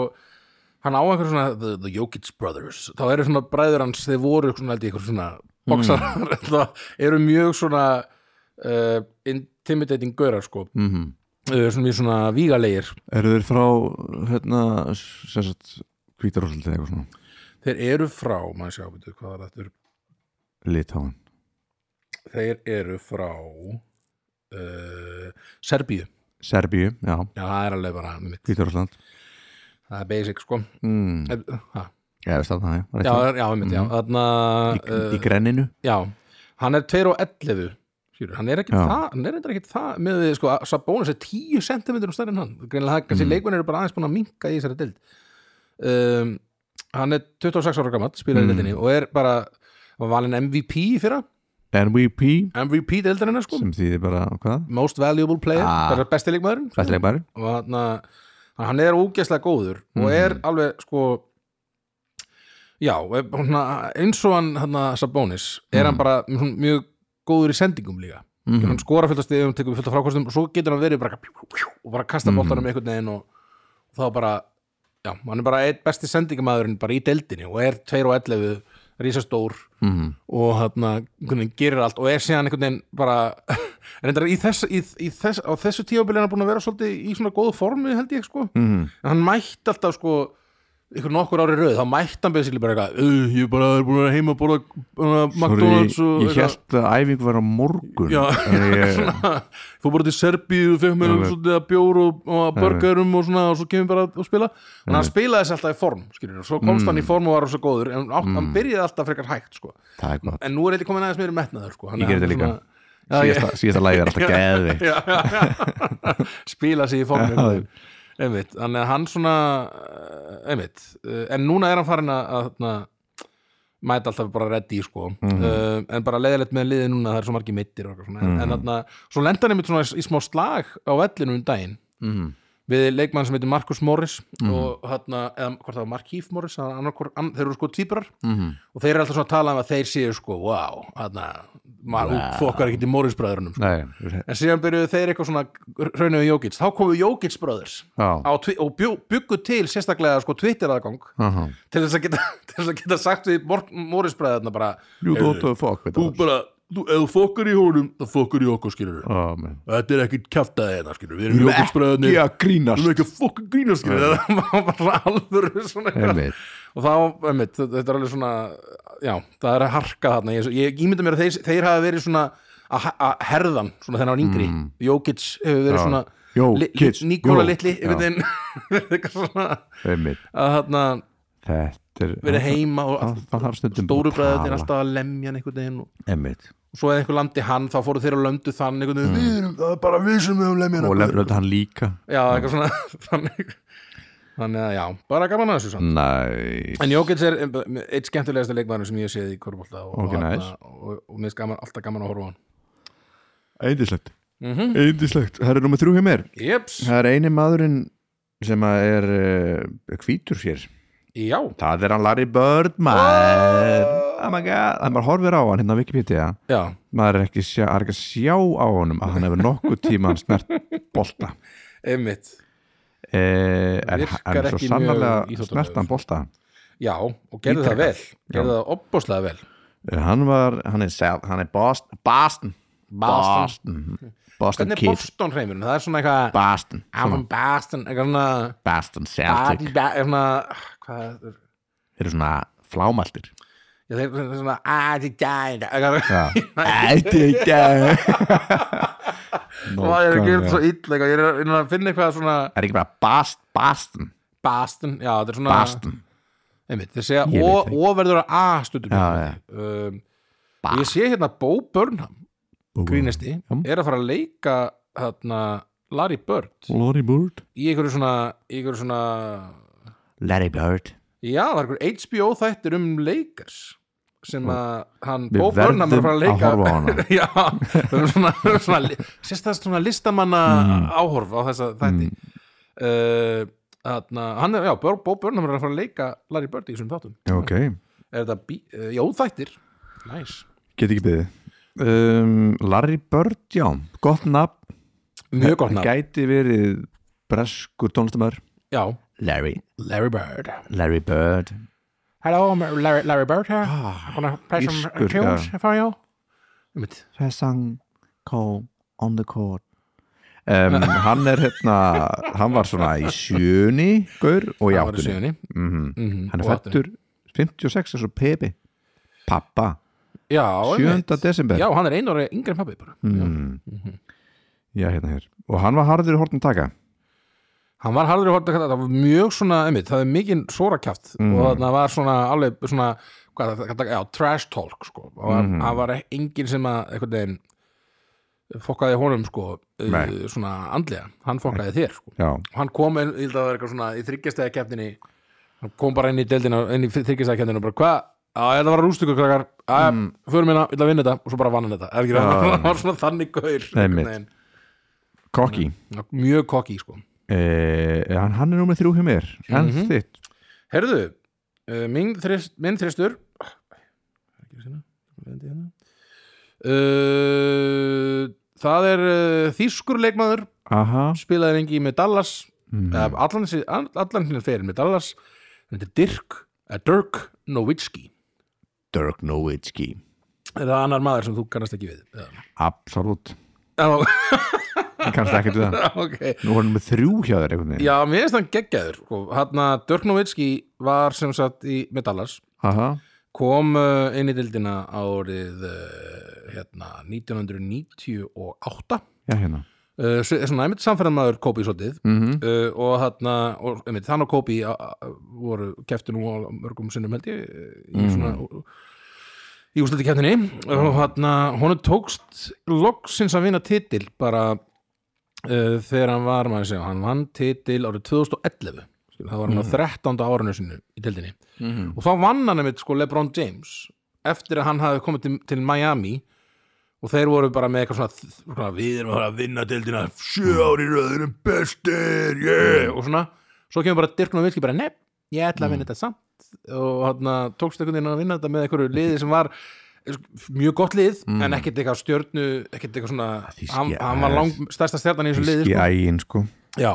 hann á einhver svona the, the Jokic Brothers þá eru svona bræður hans, þeir voru svona held ég einhver svona
Mhm.
boxarar mm. eru mjög svona uh, intimidating gaurar sko
mm -hmm.
uh, svona mjög svona vígalegir
Eru þeir frá hérna sem sagt hvítarúsland eða eitthvað svona
þeir eru frá, maður sjá, veitu, hvað var þetta
litáin
þeir eru frá uh, Serbíu
Serbíu, já,
Já, það er alveg bara mitt.
hvítarúsland
það er basic sko
mm.
Eh, ha,
Já, það er það, já, rétt
Já,
hjá.
já, mitt,
Mhm.
já, þarna
í,
uh,
í grenninu
Já, hann er 2 og 11 skilur, hann er ekki
Já.
það hann er reyndar ekkit það með því, sko, Sabonis er 10 cm um stærri en hann greinlega það,
Mhm.
kannski mm. leikmenn eru bara aðeins búin að minka í þessari dild um, hann er 26 ára gammal, spilaði
Mhm.
mm. dildinni og er bara, hann var valinn MVP í fyrra,
NVP,
MVP dildarinn sko,
sem þýðir bara, hvað?
most valuable player
Ah.
bara besti leikmaðurinn sko.
Bestileg bara
og hann, hann er ógeðslega góður og er alveg sko já, er bara svona, eins og hann hann Sabonis, er hann bara svona mjög góður í sendingum líka
Mhm.
hann skora fullt af stigum, tekur fullt af frákostum og svo getur hann verið bara pjú, pjú, pjú, og bara kasta
Mhm.
boltanum einhvern veginn og, og þá bara, já, hann er bara einn besti sendingamæðurinn bara í deildinni og er 2 og 11, rísastór
mm -hmm.
og hérna, einhvern veginn gerir allt og er síðan einhvern veginn bara reyndar í þess, í, í þess, á þessu tíðabili er hann búin að vera svolítið í svona góðu formi held ég sko,
Mm -hmm.
en hann mætti alltaf sko ykkur nokkur ári rauð, þá mætti hann basically bara eitthvað, "Uh, ég bara er búin að vera heima að borða uh, McDonalds og
Ég held að æfingu var á morgun
Já.
En ég,
fór bara til Serbíu og fekk mér
Alveg.
svolítið að bjór og, og burgerum og svona og svo kemur bara að spila en hann spilaði þessi alltaf í form, skilur svo komst
Mm.
hann í form og var svo góður, en átt, hann byrjaði alltaf frekar hægt, sko,
Það er gott
en nú er eitthvað komin aðeins meiri metnaður, sko Þannig
Ég geri
að
þetta
hann
líka.
svona- Já, ég-
Síðasta, síðasta lægi er alltaf geðvi
já, já, já. spila sig í formi
Já.
einmitt, þannig að hann svona eh, einmitt, eh, en núna er hann farin að, að na, mæta alltaf bara ready sko,
Mhm.
uh, en bara leiðilegt með liðið núna, það er svo margir meittir og, eitthvað svona, en,
Mhm.
en þarna, svo lenda hann einmitt svona í, í smá slag á vellinu um daginn
mm.
við leikmann sem heitir Markus Morris
Mhm.
og þarna, eða hvort það var Markíf Morris það var annar hvor- ann- þeir eru sko týpurar
mm.
og þeir eru alltaf svona að tala um að þeir séu sko, wow, þarna maður wow. fokkar ekki til Morris bræðurunum
Nei,
En síðan byrjuðu þeir eitthvað svona raunuðu Jókits, þá komu Jókits brothers
já
á, tvi- og bjó, byggu til sérstaklega sko Twitter aðgang
Aha.
til þess að geta, til þess að geta sagt við Móris bræðarna bara
You
"Heyrðu,
don't fuck with
Þú
us
bara, þú, ef þú fokkar í honum þá fokkar í okkur skilur við
Ó, men.
Þetta er ekkit kjaftaði hérna skilur við, við erum Jókits bræðarnir
Ekki
Við
að
erum
grínast
ekki að fokka grína skilur við Það var bara alvöru svona eitthvað.
Einmitt.
Og þá, einmitt, þetta er alveg svona Já, það er að harka þarna Ég, ég ímynda mér að þeir, þeir hafa verið svona að að herðan, svona þennan yngri mm. Jókits hefur verið
Já.
svona
Jó,
Li-
kids,
Li- Nikola
jó.
litli
Já.
einhvern veginn verið eitthvað svona
Einmitt.
að þarna
Þetta er
verið heima og
Það- Það þarf stundum
stóru
bara
bræðin er
að tala.
alltaf að lemja hann einhvern veginn og
Einmitt.
og svo eða einhver landi hann, þá fóru þeir að löndu þann einhvern veginn, við erum, það er bara við sem við um lemja
Mm. Og
hann
lefnir hann líka
Já, eitthvað svona þannig, þannig að já, bara gaman að þessu samt
Næ
En Jókits er eh, eitt skemmtilegasta leikmæður sem ég séð í Körbólta og,
Ok,
og, þarna-
nice.
og, og mér er gaman, alltaf gaman að horfa á hann
Eindislegt Eindislegt Það er nummer þrjú hjá mér
Jeps,
Mhm. Það er eini maðurinn sem að er uh, hvítur hér
já
Það er hann Larry Bird maður oh my god Það maður horfir á hann hérna á Wikipedia
Já,
maður er ekki, sjá, er ekki að sjá á honum að hann hefur nokkuð tíma hann snert bolta
einmitt
eh, en
Virkar
hann er svo
ekki mjög
sannarlega
íþróttalegur.
snert hann bolta
Já, og gerði það
Ítrekað.
vel gerði það opbóðslega vel
Eh, hann var, hann er, South- hann er Boston Boston Boston Boston
Hvernig er Ah,
Kid
Boston hreimurinn? Það er svona eitthvað
Boston
I'm from Boston, eitthvað svona
Boston
Ah, Baden-
Celtic
Ba- eitthvað svona ah, Hvað er það?
þeir eru svona flámaltir
Já, þeir eru svona "Ah, the guy", eitthvað-
Ætti ekki
Það er ekki
Nákvæmlega.
svo illa eitthvað. Ég er að- ég er að finna eitthvað svona
Er ekki bara Bast, Bastin
Ah. Boston, já, þetta er svona
Bastin
Einmitt, þeir segja
Ég veit
"Ó- ó verður að A stundum
Já,
Um,
Ba-
Ég sé hérna Bo Burnham grínisti, er að fara að leika hérna, Larry Bird
Larry Bird
í einhverju svona, í einhverju svona
Larry Bird
já, það er einhverju HBO þættir um leikars sem að hann
Við
Bo Burnham er að fara að
verðum
leika
að horfa á hana.
já, við erum svona, við erum svona sérstæðast svona listamanna
Mm.
áhorf á þessa þætti mm. Þarna, hann er, já, Bo Bo Burnham er að fara að leika Larry Bird í þessum þáttum
Ok,
er þetta, bí- eh, já, þættir næs nice.
get ekki beðið um, Larry Bird, já gott nafn,
mjög gott nafn
gæti verið breskur tónlistamæður
já,
Larry,
Larry Bird
Larry Bird
Hello, I'm Larry, Larry Bird here
Ah,
I'm gonna play some
írskur,
tunes
já.
for you Einmitt.
Það sang call on the court um, Hann er hérna hann var svona í sjöni gaur og
Það var
í
í
áttunni
sjöunni
Mhm. Hann er
og áttunni.
fættur 56 eins og Pepi Pappa,
Já,
7.
einmitt.
desember
Já, hann er einu ári yngri en pabbi bara Já.
Mm. Já, hérna hér Og hann var harður í hortin taka
Hann var harður í hortu það var mjög svona, einmitt, það er mikið sórakjaft og þarna var svona alveg svona, hvað það, hvað það, já, trash talk sko, og hann mm. var engin sem að einhvern veginn fokkaði honum sko, uh,
Nei.
svona andlega, hann fokkaði þér sko.
Já,
og hann kom, inn- ég held að það var eitthvað svona í þryggjastæða keppninni, hann kom bara inn í deildina, inn í þryggjastæða keppninni og bara, hvað Já, þetta var rústökur krakkar, að, mm. förum hérna, ég ætla að vinna þetta og svo bara vann hann þetta, er ekki
Já.
það, hann var svona þannig gaur,
Einmitt.
einhvern
Kokki
veginn. mjög kokki, sko.
eh, hann, hann er númer þrjú hjá mér En
Mhm.
þitt
Herðu, uh, minn, þrist, minn þristur uh, Það er uh, þýskur leikmaður
Aha,
spilaði lengi með Dallas mm. allan, þessi- all- allan hérna fyrir með Dallas þetta er Dirk uh, Dirk Nowitzki
Dirk Nowitzki
er það annar maður sem þú kannast ekki við Já,
Absolutt,
Já,
kannski ekki til það
ok
Nú var hann með þrjú hjá þér einhvern veginn
Já, mér finnst hann geggjaður sko. hann að Dirk Nowitzki var sem sagt í, með Dallas
Aha,
kom uh, inn í dildina árið uh, hérna, 1998
já hérna
Uh, s- svona einmitt samferðamaður Kobi svolítið
mm
uh, og þarna og, einmitt, hann og Kobi uh, uh, voru keftu nú á mörgum sinnum held ég uh, í svona í úsleiti keftinni og þarna honum tókst loksins að vinna titil bara uh, þegar hann var maður að segja, hann vann titil árið 2011 Skil, það var hann á 13. árinu sinu í tildinni
Mhm.
og þá vann hann einmitt sko Lebron James eftir að hann hafði komið til, til Miami og þeir voru bara með eitthvað svona, svona við erum að fara að vinna deildina sjö ári röðurum bestir yeah! og svona, svo kemur bara Dirk Nowitzki bara nepp, ég ætla að vinna þetta samt og hann uh, tókst einhvern veginn að vinna þetta með einhverju liði sem var eh, mjög gott lið, en ekkert eitthvað stjörnu ekkert eitthvað svona,
Þýski-
hann, hann var lang, stærsta stjarnan í þessu liði
Í
sko.
ægin sko
Já,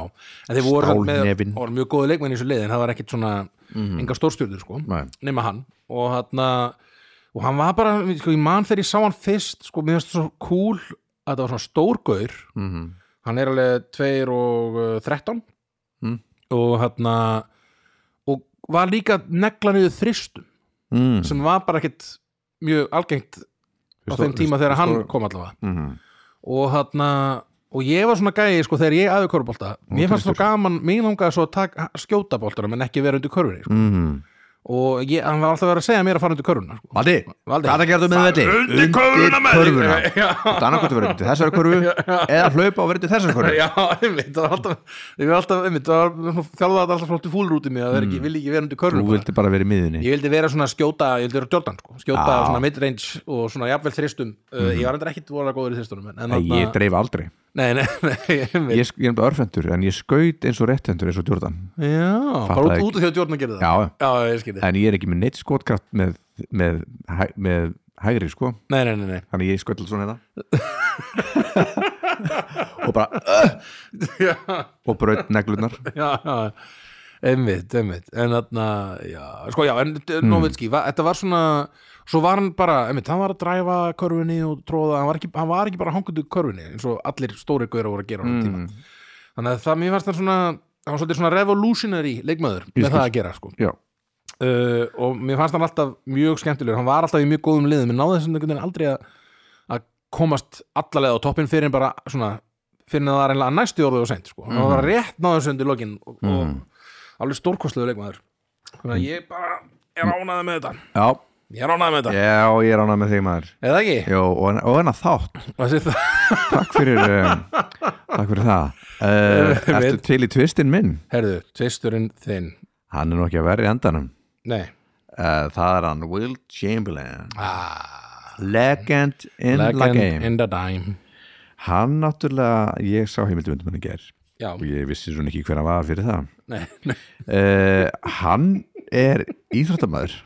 en þeir voru, samt með,
Stálnefinn.
voru mjög góði leikmenn í þessu liði en það var ekkert svona, enga stórstjörnur sko
Nei.
nema hann og hann og hann var bara, sko, ég man þegar ég sá hann fyrst sko, mér finnst það svo cool að það var svona stórgaur
mm
hann er alveg 2 og uh, 13
Mm.
og hann og var líka negla niður þristum
mm.
sem var bara ekkit mjög algengt á
Stór-
þeim tíma þegar hann
stór-
kom allavega
Mhm.
og hann og ég var svona gæi sko þegar ég aðu körubólta mér fannst svo gaman, mér langaði svo að taka, skjóta bóltanum en ekki vera undir körfunni sko.
Mhm.
og ég, hann var alltaf að vera að segja mér að fara undir körfuna sko.
Valdi,
Valdi.
hvað það gerðu með þetta? Undir körfuna með körfuna. Þetta annað hvort að vera undir þessari körfu eða hlaupa og vera undir þessari körfu
Já, einmitt, það var alltaf, ég var alltaf, einmitt, það var þjálfaði þetta alltaf flóttu fúlur út í mig að vera ekki, vilja ekki vera undir
Mm. Þú
körfuna
vildi bara vera í miðunni
Ég vildi vera svona skjóta, ég vildi vera Jordan, sko, skjóta
Já.
svona midrange og svona jafnvel þristum, uh, ég var endur ekkit voru góður í þristunum, en, en
Nei, ég
þarna-
dreif aldrei
nei, nei, nei, einmitt,
Ég, sk- ég er bara örfendur, en ég skaut eins og réttendur eins og Jordan
já, bara út,
ekki.
út af því að Jordan gerði það,
Já,
já ég skildi,
en ég er ekki með neitt skotkraft með, með, hæ- með hægri sko
nei, nei, nei, nei,
Þannig ég skaut alltaf svona hérna Og bara uh,
já,
Og braut neglunar
já, já, einmitt, einmitt, en þarna, já, sko, já, en mm. Novitski, va, þetta var svona, svo var hann bara, einmitt, hann var að dræfa körfunni og tróða, hann var ekki, hann var ekki bara hangundu körfunni, eins og allir stóri gauðra voru að gera á mm.
Hmm.
tíma, þannig að það, mér fannst það svona, hann var svolítið svona revolutionary leikmaður með það að gera, sko,
Já,
uh, og mér fannst hann alltaf mjög skemmtilegur, hann var alltaf í mjög góðum liðum en náði þessum einhvern veginn aldrei að, að komast allalega á toppin fyrir en bara svona, fyrir en það var reynilega að næstu orðið og seint, sko, hann var rétt náðu þessu undir lokin og, og alveg stórkostlegur leikmaður þannig að ég bara er ánaði með þetta
já,
ég er ánaði með þetta,
já og ég er ánað með þig maður
eða ekki
Jó, og, en- og hennar þátt
Og þessi það-
Takk fyrir, um, takk fyrir það uh, Ertu til í tvistinn minn?
herðu, tvisturinn þinn
Hann er nú ekki að vera í endanum
nei,
uh, Það er hann Will Chamberlain
ah,
Legend in the
legend
game
in the dime
Hann náttúrulega, ég sá heimildumundum hann í ger
já,
og ég vissi svona ekki hver hann var fyrir það
nei, nei
uh, Hann er íþróttamæður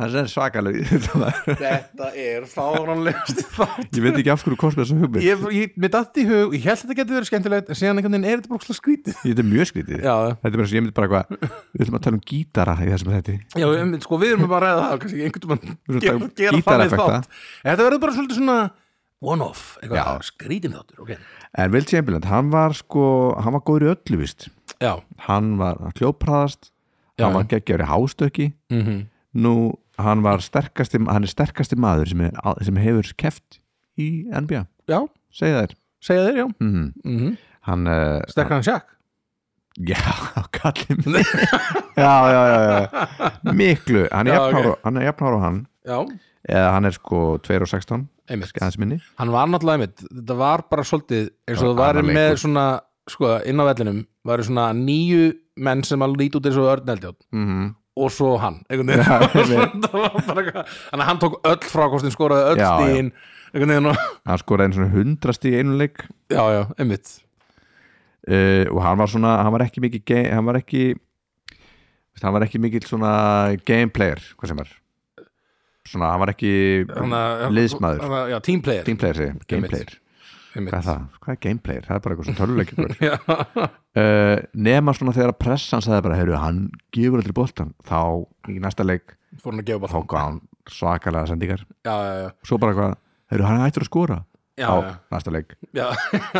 það er svakaleg þetta var-
Þetta er fáránlegast þátt
ég veit ekki af hverju kostið þessum hugmynd
Ég, ég, mér datt í hug, ég held að þetta getur verið skemmtilegt en síðan einhvern veginn er þetta bara ókslega skrítið
þetta er mjög skrítið
Já,
þetta er bara eins og ég myndi bara eitthvað við ætlum að tala um gítara í þessum þetta
já, einmitt, sko við erum bara að ræða það kannski einhvern
Við erum að
veginn gera, gera
taka
þannig
gítareffekta.
þátt En Þetta verður bara svolítið svona one-off,
Já.
eitthvað skrítin þáttur okay.
en Will Chamberlain, hann var sko hann var góður í öllu vist
Já,
hann var hljópraðast hann
Já.
var geggjari hástöki
mm
nú, hann var sterkasti hann er sterkasti maður sem, er, sem hefur keft í NBA,
já,
segja þær
segja þeir, já
mm
mm
hann, uh,
Sterkar en sjakk
já, kallið mig já, já, já, já miklu, hann er
Já,
jafnháru okay. jafn á hann
Já,
eða hann er sko 2 og 16
einmitt
kannski aðeins minni
Hann var náttúrulega einmitt, þetta var bara svolítið eins og
Það
það
var
var
annar
með
leikur.
svona, sko, inn á vellinum varu svona nýju menn sem að líti út eins og örneldjátt
mm -hmm.
og svo hann einhvern veginn Það var bara eitthvað- þannig að hann tók öll frákostin skoraði öll
Já, já.
stíðin einhvern veginn og
hann skoraði einu svona hundrasti í einu leik
já, já, einmitt
uh, og hann var svona, hann var ekki mikið ge- hann var ekki veist, hann var ekki mikið svona game player hvað sem er svona, hann var ekki liðsmaður
hann að- já, team player
team player segi, ég, game
Einmitt.
player
einmitt.
hvað er það, hvað er game player, það er bara eitthvað svona töluleik
Já,
uh, nema svona þegar pressan sagði bara, heyrðu, hann gefur allir boltan, þá í næsta leik
fór hann að gefa
þá
bara
gaf hann svakalega sendingar
já, já, já,
svo bara hvað, heyrðu, hann hættur að skora
já,
á
já,
næsta leik,
já.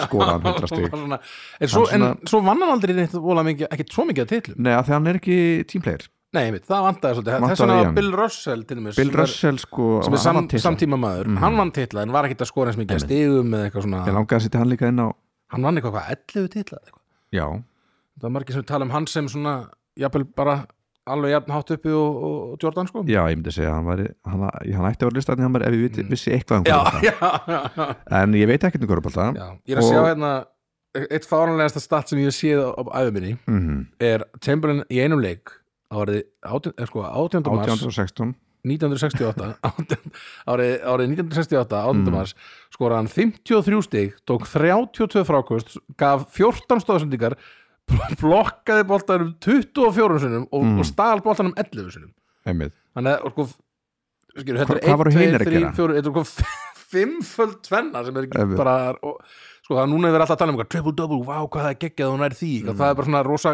skora hann
Bara
100 stig
svona, en, svo,
Hann svona-
en svo vann hann aldrei neitt vola mikið, ekkert svo mikið að titlum
Nei, af því að hann er ekki team player
nei, einmitt, það vantaði svolítið,
Vantaði
þess vegna
í
var
hann.
Bill Russell til dæmis,
Bill
sem er-
Russell sko
sem er
hann
sam,
var titla.
samtíma maður hann vann titla en var ekkert að skora eins mikið að stigum eða eitthvað
Ég
svona,
langaði að setja hann líka inn á
hann vann eitthvað hvað, 11 titla eða eitthvað.
Já,
það var margir sem tala um hann sem svona jafnvel bara alveg jafn hátt uppi og, og, og Jordan sko
já ég myndi segja að hann, væri, hann, hann ætti að vera listarni hann var ef ég viti, vissi eitthvað um
Mm. já,
korfbalta
já, já,
En ég veit ekkert um korfbalta
já. ég er að
Og-
sjá hérna eitt fáránlegasta stat sem ég séð á, á æfuminni
mm -hmm.
er Chamberlain í einum leik árið 18, er sko, 18. mars
1816
1968 átján- árið, árið 1968 18. mars skoraði hann 53 stig tók 32 frákvöst gaf 14 stóðsendingar blokkaði boltanum 24 sinnum og, og stal boltanum 11 sinnum
einmitt
þannig að sko, skilur, þetta
Hva- hvað voru hinir
er 1,
að
2,
gera?
3, 4 þetta er sko fimmföld tvenna sem er ekki
Ef-
bara og, sko það er núna verið alltaf að tala um eitthvað triple-double, wow hvað það er geggjað að hún er því mm. það er bara svona rosa,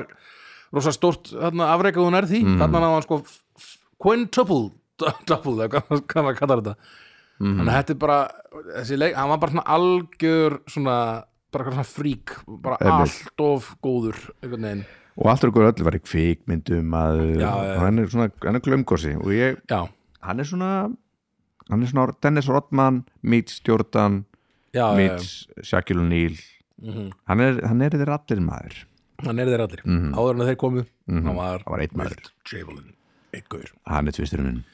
rosa stort þarna afrekað að hún er því mm. þarna náðan sko f- f- quintuple d- double, eða hvað hvað maður kallar þetta
Mm.
þannig að þetta er bara þessi leik, hann var bara svona algjör svona, bara eitthvað svona frík bara
Einmitt.
allt of góður einhvern veginn,
Og alltaf ykkur öllu var í kvikmyndum að
Já, já.
og hann er svona, hann er glömgósi og ég,
já,
hann er svona hann er svona Dennis Rodman meets Jordan,
já, já, já. Mhm.
meets Shaquille O'Neal hann, er, hann er þeir allir maður
hann er þeir allir áður en að þeir komu hann var,
Mhm. Það var einn maður.
Javelin, einn gaur
Hann er tvisturinn minn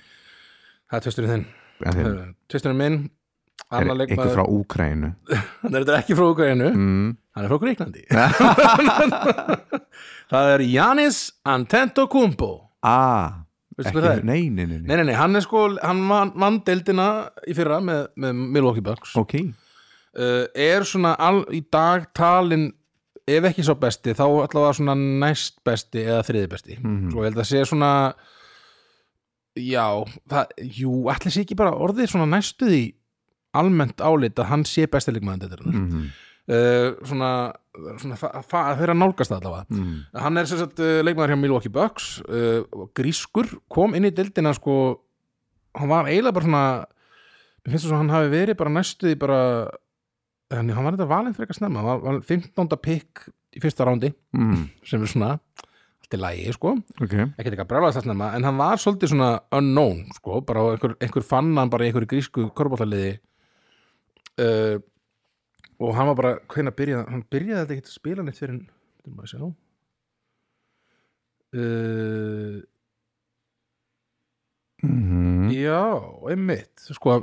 það er tvisturinn þinn,
En þeim
Heyrðu, tvisturinn minn
er
annar
einhver
leikmaður,
frá Úkrænu
hann er þetta ekki frá Ukraínu
mm.
hann er frá Greiklandi það er Janis Antetokounmpo
Ah,
veistu
ekki,
hvað það er?
nei, nei, nei, nei.
Nei, nei, nei, hann er sko, hann vann, vann deildina í fyrra með, með Milwaukee Bucks
Ok,
uh, er svona all, í dag talin ef ekki svo besti þá allavega svona næst besti eða þriði besti
Mhm. Mm.
svo ég held að sé svona já, það, jú, allir sé ekki bara orðið svona næstu því almennt álit að hann sé besti líkmaðan þetta mm.
mm
uh, svona, svona það, það þeirra nálgast það allavega
-hmm.
Hann er sem sagt uh, leikmaður hjá Milwaukee Bucks uh, grískur, kom inn í dildina sko, hann var eiginlega bara svona mér finnst þess að hann hafi verið bara næstu því bara eh, hann, hann var þetta valinn fyrir eitthvað snemma hann var, var 15. pick í fyrsta rándi
Mm.
sem er svona, allt í lægi sko
ok
ekkert eitthvað brálaðast það snemma, en hann var svolítið svona unknown, sko, bara á einhver, einhver fann hann bara í einhverju grísku korbóttaliði uh, og hann var bara, hvernig byrjaði hann byrjaði þetta ekkert að spila neitt fyrir hann maður sjá uh,
mm
já, einmitt sko,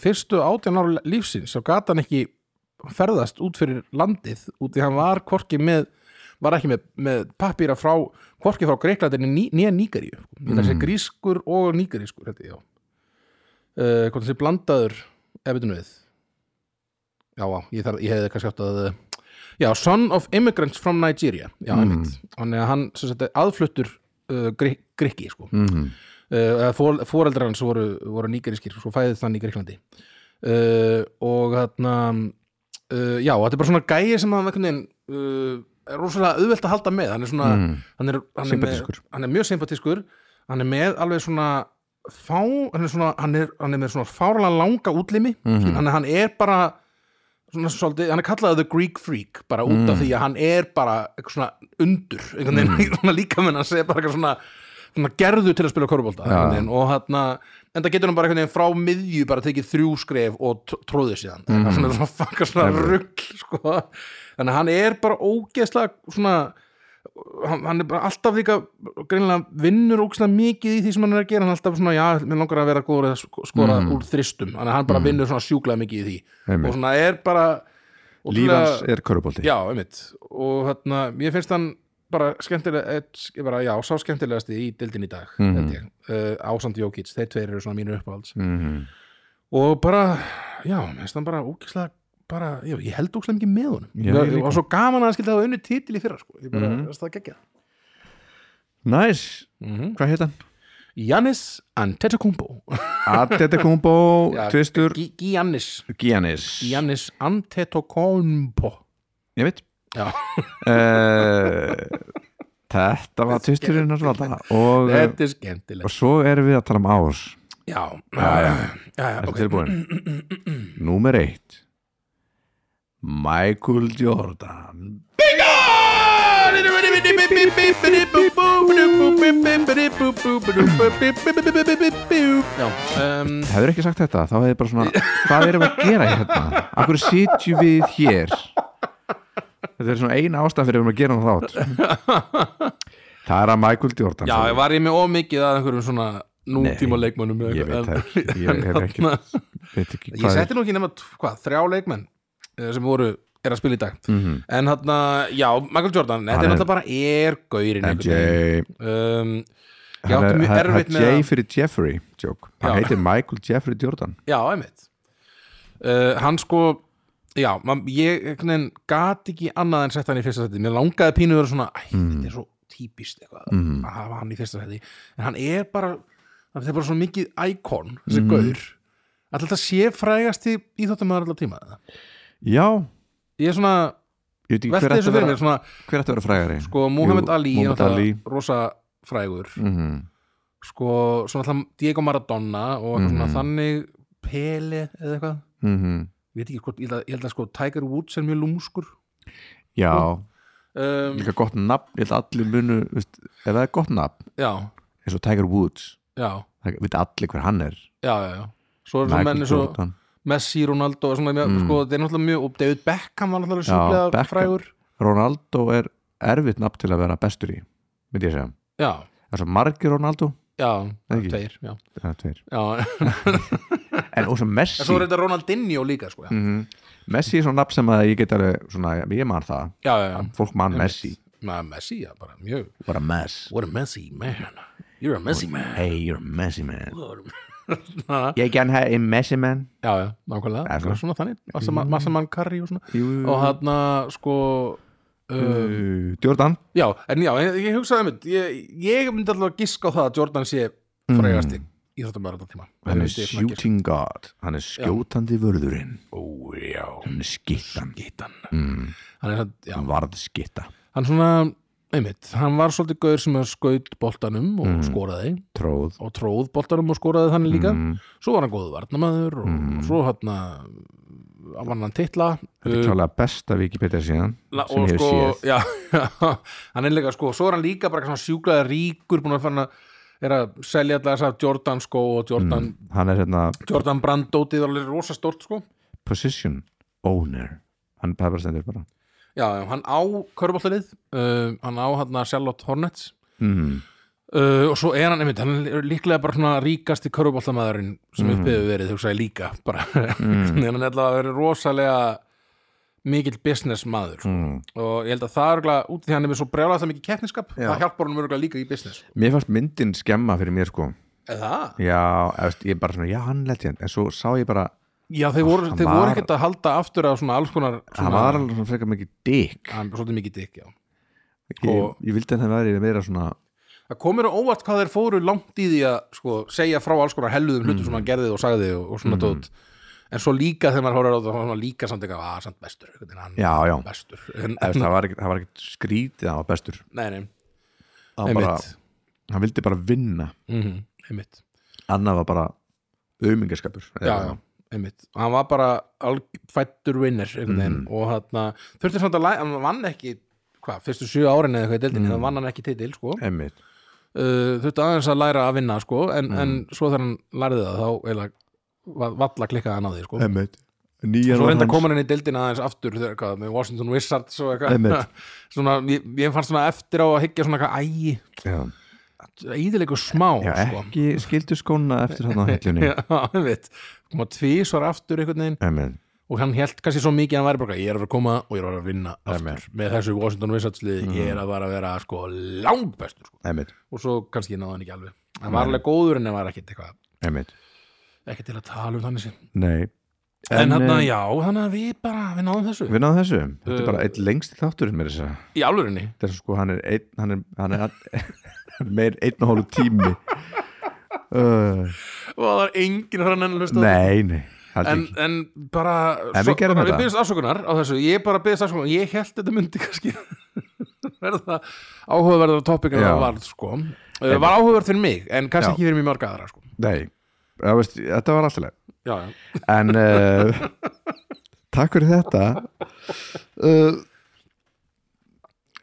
fyrstu átján ára lífsins þá gat hann ekki ferðast út fyrir landið, út því hann var hvorki með var ekki með, með pappýra frá hvorki frá Greiklandinni ný, nýja Nígeríu mm. þessi grískur og nígerískur þetta, já uh, hvort þessi blandaður efitinu við já, já, ég, þarf, ég hefði kannski átt að já, son of immigrants from Nigeria já,
Mm.
mm. einmitt, hann er hann sem sagt, er aðfluttur uh, gri, eh, grikki, sko
-hmm.
uh, fóreldrar hans voru, voru nýgeriskir svo fæðið það nýgeriklandi uh, og þarna uh, já, þetta er bara svona gæi sem að veginn, uh, er rosalega auðvelt að halda með hann er svona
Mm.
hann, er, hann, er með,
Sympatískur.
hann er mjög sympatískur hann er með alveg svona fá, hann er, svona, hann er, hann er með svona fárlega langa útlimi
Mhm.
hann, hann er bara svona svolítið, hann er kallaðið The Greek Freak bara út af
Mm.
því að hann er bara eitthvað svona undur, einhvern veginn
Mhm.
svona líka menn að segja bara eitthvað svona, svona gerðu til að spila korfbólta
Já.
ja. og hann en það getur hann bara einhvern veginn frá miðju bara tekið þrjú skref og t- tróðið síðan mm. svona,
Mhm.
svona, svona, svona rugg sko. þannig að hann er bara ógeðslega svona hann, hann er bara alltaf líka greinilega vinnur ógeðslega mikið í því sem hann er að gera hann er alltaf svona, já, mér langar að vera góður að sk- skora úr þristum, þannig að hann bara vinnur svona sjúklega mikið í því
Mhm. Einmitt.
og svona er bara
lífans
ótrúlega-
er körubólti
já, einmitt og hérna, ég finnst hann bara skemmtilega, eh, ég bara, já, sá skemmtilegasti í dildin í dag,
Mhm.
held ég uh, Ásand Jókits, þeir tveir eru svona mínir uppáhalds
Mhm.
og bara, já, mér finnst hann bara ógislega, bara, já, ég held ógislega mikið með honum
Já,
ég,
ég
og svo gaman að hann skildi hafa unni titil í fyrra, sko, ég bara,
Mhm.
veist það gekkja
Næs,
mm -hmm.
hvað heit hann?
Jannis Antetokounmpo
Adetokumbo,
Já,
Tvistur
Gi- Giannis,
Giannis
Giannis Antetokounmpo
Ég veit
Já.
Eh, Þetta var tvisturinn hans valda og, eh,
þetta er
og
skemmtilegt
svo erum við að tala um ás
já,
Já, já.
já, já,
Ertu
ok.
tilbúin? Númer eitt Michael Jordan
Já, um,
Hefur ekki sagt þetta, þá hefði bara svona Hvað erum við að gera hérna? Akkur sitjum við hér Þetta er svona eina ástæð fyrir við erum að gera hann þátt Það er að Michael Jordan
já,
sagði.
var ég með ómikið að einhverjum svona nútíma leikmönnum eða
ég veit
eitthvað,
það
en-
ekki Ég hef ekki, veit ekki
Ég
hvað
setti nú ekki nema, t- hvað, þrjá leikmenn eh, sem voru, er að spila í dag
Mhm.
En hann, já, Michael Jordan, þetta
Hann
er
er-
náttúrulega bara er gaurin
MJ
um, Ég
Hann
átti
er-
mjög
hann-
erfitt
hann
með
J
að-
fyrir Jeffrey joke.
Já.
Hann heitir Michael Jeffrey Jordan
Já, einmitt uh, Hann sko Já, man, ég gat ekki annað en sett hann í fyrsta seti Mér langaði pínu að vera svona Æ,
Mm.
þetta er svo típist eitthvað að hafa hann í fyrsta seti En hann er bara Það er bara svo mikið íkon Þessi
Mm.
gaur Alltaf þetta sé frægast í íþóttamæður allar tíma eða?
Já,
Ég er svona,
ég veit ekki hver
velti
ætti
þessu
að
fyrir
vera
mér svona,
Hver ætti að vera frægari?
Sko, Muhammad
Jú,
Ali er
Muhammad
náttúrulega
Ali.
rosa frægur
Mhm.
Sko, svona alltaf Diego Maradona Og mm svona
Mhm.
þannig Pele eða eitthvað
Mhm.
Ég veit ekki hvort, ég held að, ég held að sko Tiger Woods er mjög lúmskur
Já,
um,
líka gott nafn Ég held að allir munu, veist, ef það er gott nafn
já,
eins og Tiger Woods
já,
það veit allir hver hann er
já, já, já svo er það
Michael
menni svo
Jordan
Messi, Ronaldo og svona, mm. sko, þeir er náttúrulega mjög og David Beckham var náttúrulega
Mhm. Já,
sjúklega
Beckham.
frægur
Ronaldo er erfitt nafn til að vera bestur í myndi ég segja,
já,
það er svo margir Ronaldo
já,
Ekki.
tveir já,
það er tveir,
já, en
en og svo Messi
svo er þetta Ronaldinho líka, sko, já,
Mhm. Messi er svona nafn sem að ég get alveg svona, ég man það,
já, já, já.
fólk man Mm. Messi
Na, Messi, já, bara mjög
bara Mess
what a Messi man, you're a Messi man
Hey, you're a messy man
já,
Ég gæn hef ein messy man
já, nákvæmlega,
Það er
Eitthvað svona þannig Massaman- Massaman Curry og svona
Jú,
og hann, sko uh,
uh, Jordan
Já, en já, ég, ég hugsaði einmitt ég, ég myndi alltaf að giska á það að Jordan sé frægasti í þetta bara þetta tíma
Hann er shooting god Hann er skjótandi vörðurinn
Ó, já,
Hann er skittan
gítan
mm.
Hann er hann, já,
Hann varð skitta
hann svona einmitt, hann var svolítið gaur sem að skaut boltanum og skoraði
Tróð
og tróð boltanum og skoraði þannig líka
Mm.
svo var hann góðu varnamaður og svo hann var hann titla
Þetta er klálega besta Wikipedia síðan
Uh, La,
sem
og
ég hef
sko,
séð
já, hann er líka sko, svo er hann líka bara svona sjúklaða ríkur búin að fara að er að selja alltaf þess að Jordan sko og Jordan,
Hann er hérna
Jordan Brandótið var alveg rosa stort sko
position owner Hann það er bara stendur bara
já, já, hann á körbóltalið uh, hann á hann að Charlotte Hornets
mm.
uh, og svo er hann, einmitt, hann er líklega bara svona ríkasti körbóltamæðurinn sem mm. uppiðu verið, hugsaði líka bara, mm. hann er alltaf að vera rosalega mikill business maður sko.
Mm.
og ég held að það er örugglega- út af því að hann er með svo brjálað það mikið keppniskap,
Já.
það hjálpar hann mörgulega líka í business
Mér fannst myndin skemma fyrir mér sko
eða?
Já, eftir, ég bara svona, já hann leti hann En svo sá ég bara,
Já, þeir voru,
Hann
þeir
var-
voru ekkert að halda aftur af svona alls konar svona,
hann var alveg svona frekar mikið dick
hann var svolítið mikið dykk, já
ég,
Og-
ég vildi að það væri meira svona
Það það komur á óvart hvað þeir fóru langt í því að sko, segja frá alls konar helluðum hlutum
Mm.
sem hann gerði og sagði og, og svona tótt en svo líka þegar maður horfir á þetta þá er maður líka samt eitthvað að samt bestur, einhvern veginn, hann
já, já,
bestur en,
Eða, það var ekkert- það var ekkert skrítið hann var bestur
nei, nei,
hann, bara,
einmitt
hann vildi bara vinna
mm einmitt,
annað var bara aumingaskapur
já, já, einmitt og hann var bara alg- fæddur vinner einhvern veginn
Mm.
og þarna, þurfti samt að læ- hann vann ekki, hvað, fyrstu sjö árin eða eitthvað í
Mm.
deildinni, þá vann hann ekki titil, sko
einmitt
uh, þurfti aðeins að læra að vinna sko, en, en
Mm.
svo þegar hann lærði það þá eiginlega va- valla klikkaði hann á því sko.
einmitt nýjan
svo
var
reynda
hans-
komin hann í deildin aðeins aftur þegar, hvað, með Washington Wizards og
Einmitt.
eitthvað svona, ég, ég fannst svona eftir á að hyggja svona eitthvað ægi,
já,
íðilegu smá
já
sko.
ekki skildu skóna eftir hann á hellunni
já, einmitt koma tvísvar aftur einhvern veginn
einmitt
og hann held kannski svo mikið að hann væri bara eitthvað, ég er að fara að koma og ég er að fara að vinna aftur
Einmitt. Mm.
með þessu Washington Wizards liði, ég er að fara að vera sko langbestur sko.
einmitt
og svo kannski náði hann ekki alveg hann var alveg góður en hann var ekkit eitthvað
einmitt
ekki til að tala um þannig sér
nei
en hann
eh,
já, þannig að við bara, við náðum þessu
við náðum þessu þetta er
Uh,
bara eitt lengst þátturinn með þess að
í alvörinni
þetta er sko hann er einn hann er, hann er, hann er meir einn og hólu tími uh,
og það er enginn frá henni hlusta
nei, nei haldi
en,
ekki
en bara
En við gerðum
við
þetta.
byrjumst afsökunar á þessu ég bara byrjumst afsökunar, ég held þetta myndi kannski verða áhugaverðar topic en
Já.
það var sko Uh, var áhugaverð fyrir mig, en kannski
Já.
ekki fyrir mjög marga aðra sko.
nei, það veist, þetta var alltaf leið
já, já.
en uh, takk fyrir þetta uh,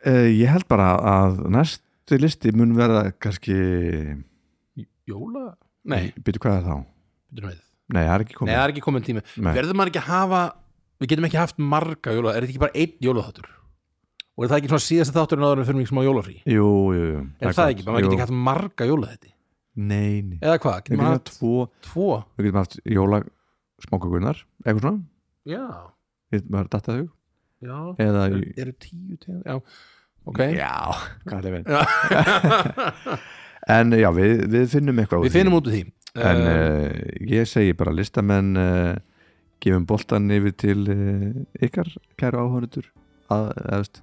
uh, ég held bara að næstu listi mun verða kannski
Jóla? Nei,
byrju hvað er þá?
byrjum við
Nei, það er ekki
Nei,
komið
það er ekki komin tími
Nei.
Verður maður ekki að hafa, við getum ekki haft marga jóla Er þetta ekki bara einn jólaþáttur? Og er það ekki svona síðasta þátturinn áður en við fyrir mig smá jólafrí?
Jú, jú, jú
Er það
gott.
ekki, bara maður getur
Jú.
ekki haft marga jóla þetta
Nei, nei
Eða hvað,
Við
getur
getum
maður
haft
haft
tvo
tvo
Við getum haft jóla smákagunar eitthvað svona
Já,
Við getum haft datta þau
já
eða
Eru tíu tegund, já Ok,
Já, hvað er
Já.
það En já, við, við finnum eitthvað
við finnum út úr því
En
Eh,
uh, ég segi bara listamenn uh, gefum boltan yfir til uh, ykkar kæru áhörnutur að, eða veist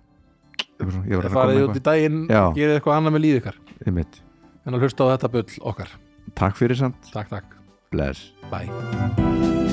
eitthvað svona, ég var að reyna að
Farið
koma
út
með
í daginn,
Já.
gerið eitthvað annað með líf ykkar
eitthvað Einmitt.
En að hlusta á þetta bull okkar
Takk fyrir samt,
Takk, takk,
bless
bye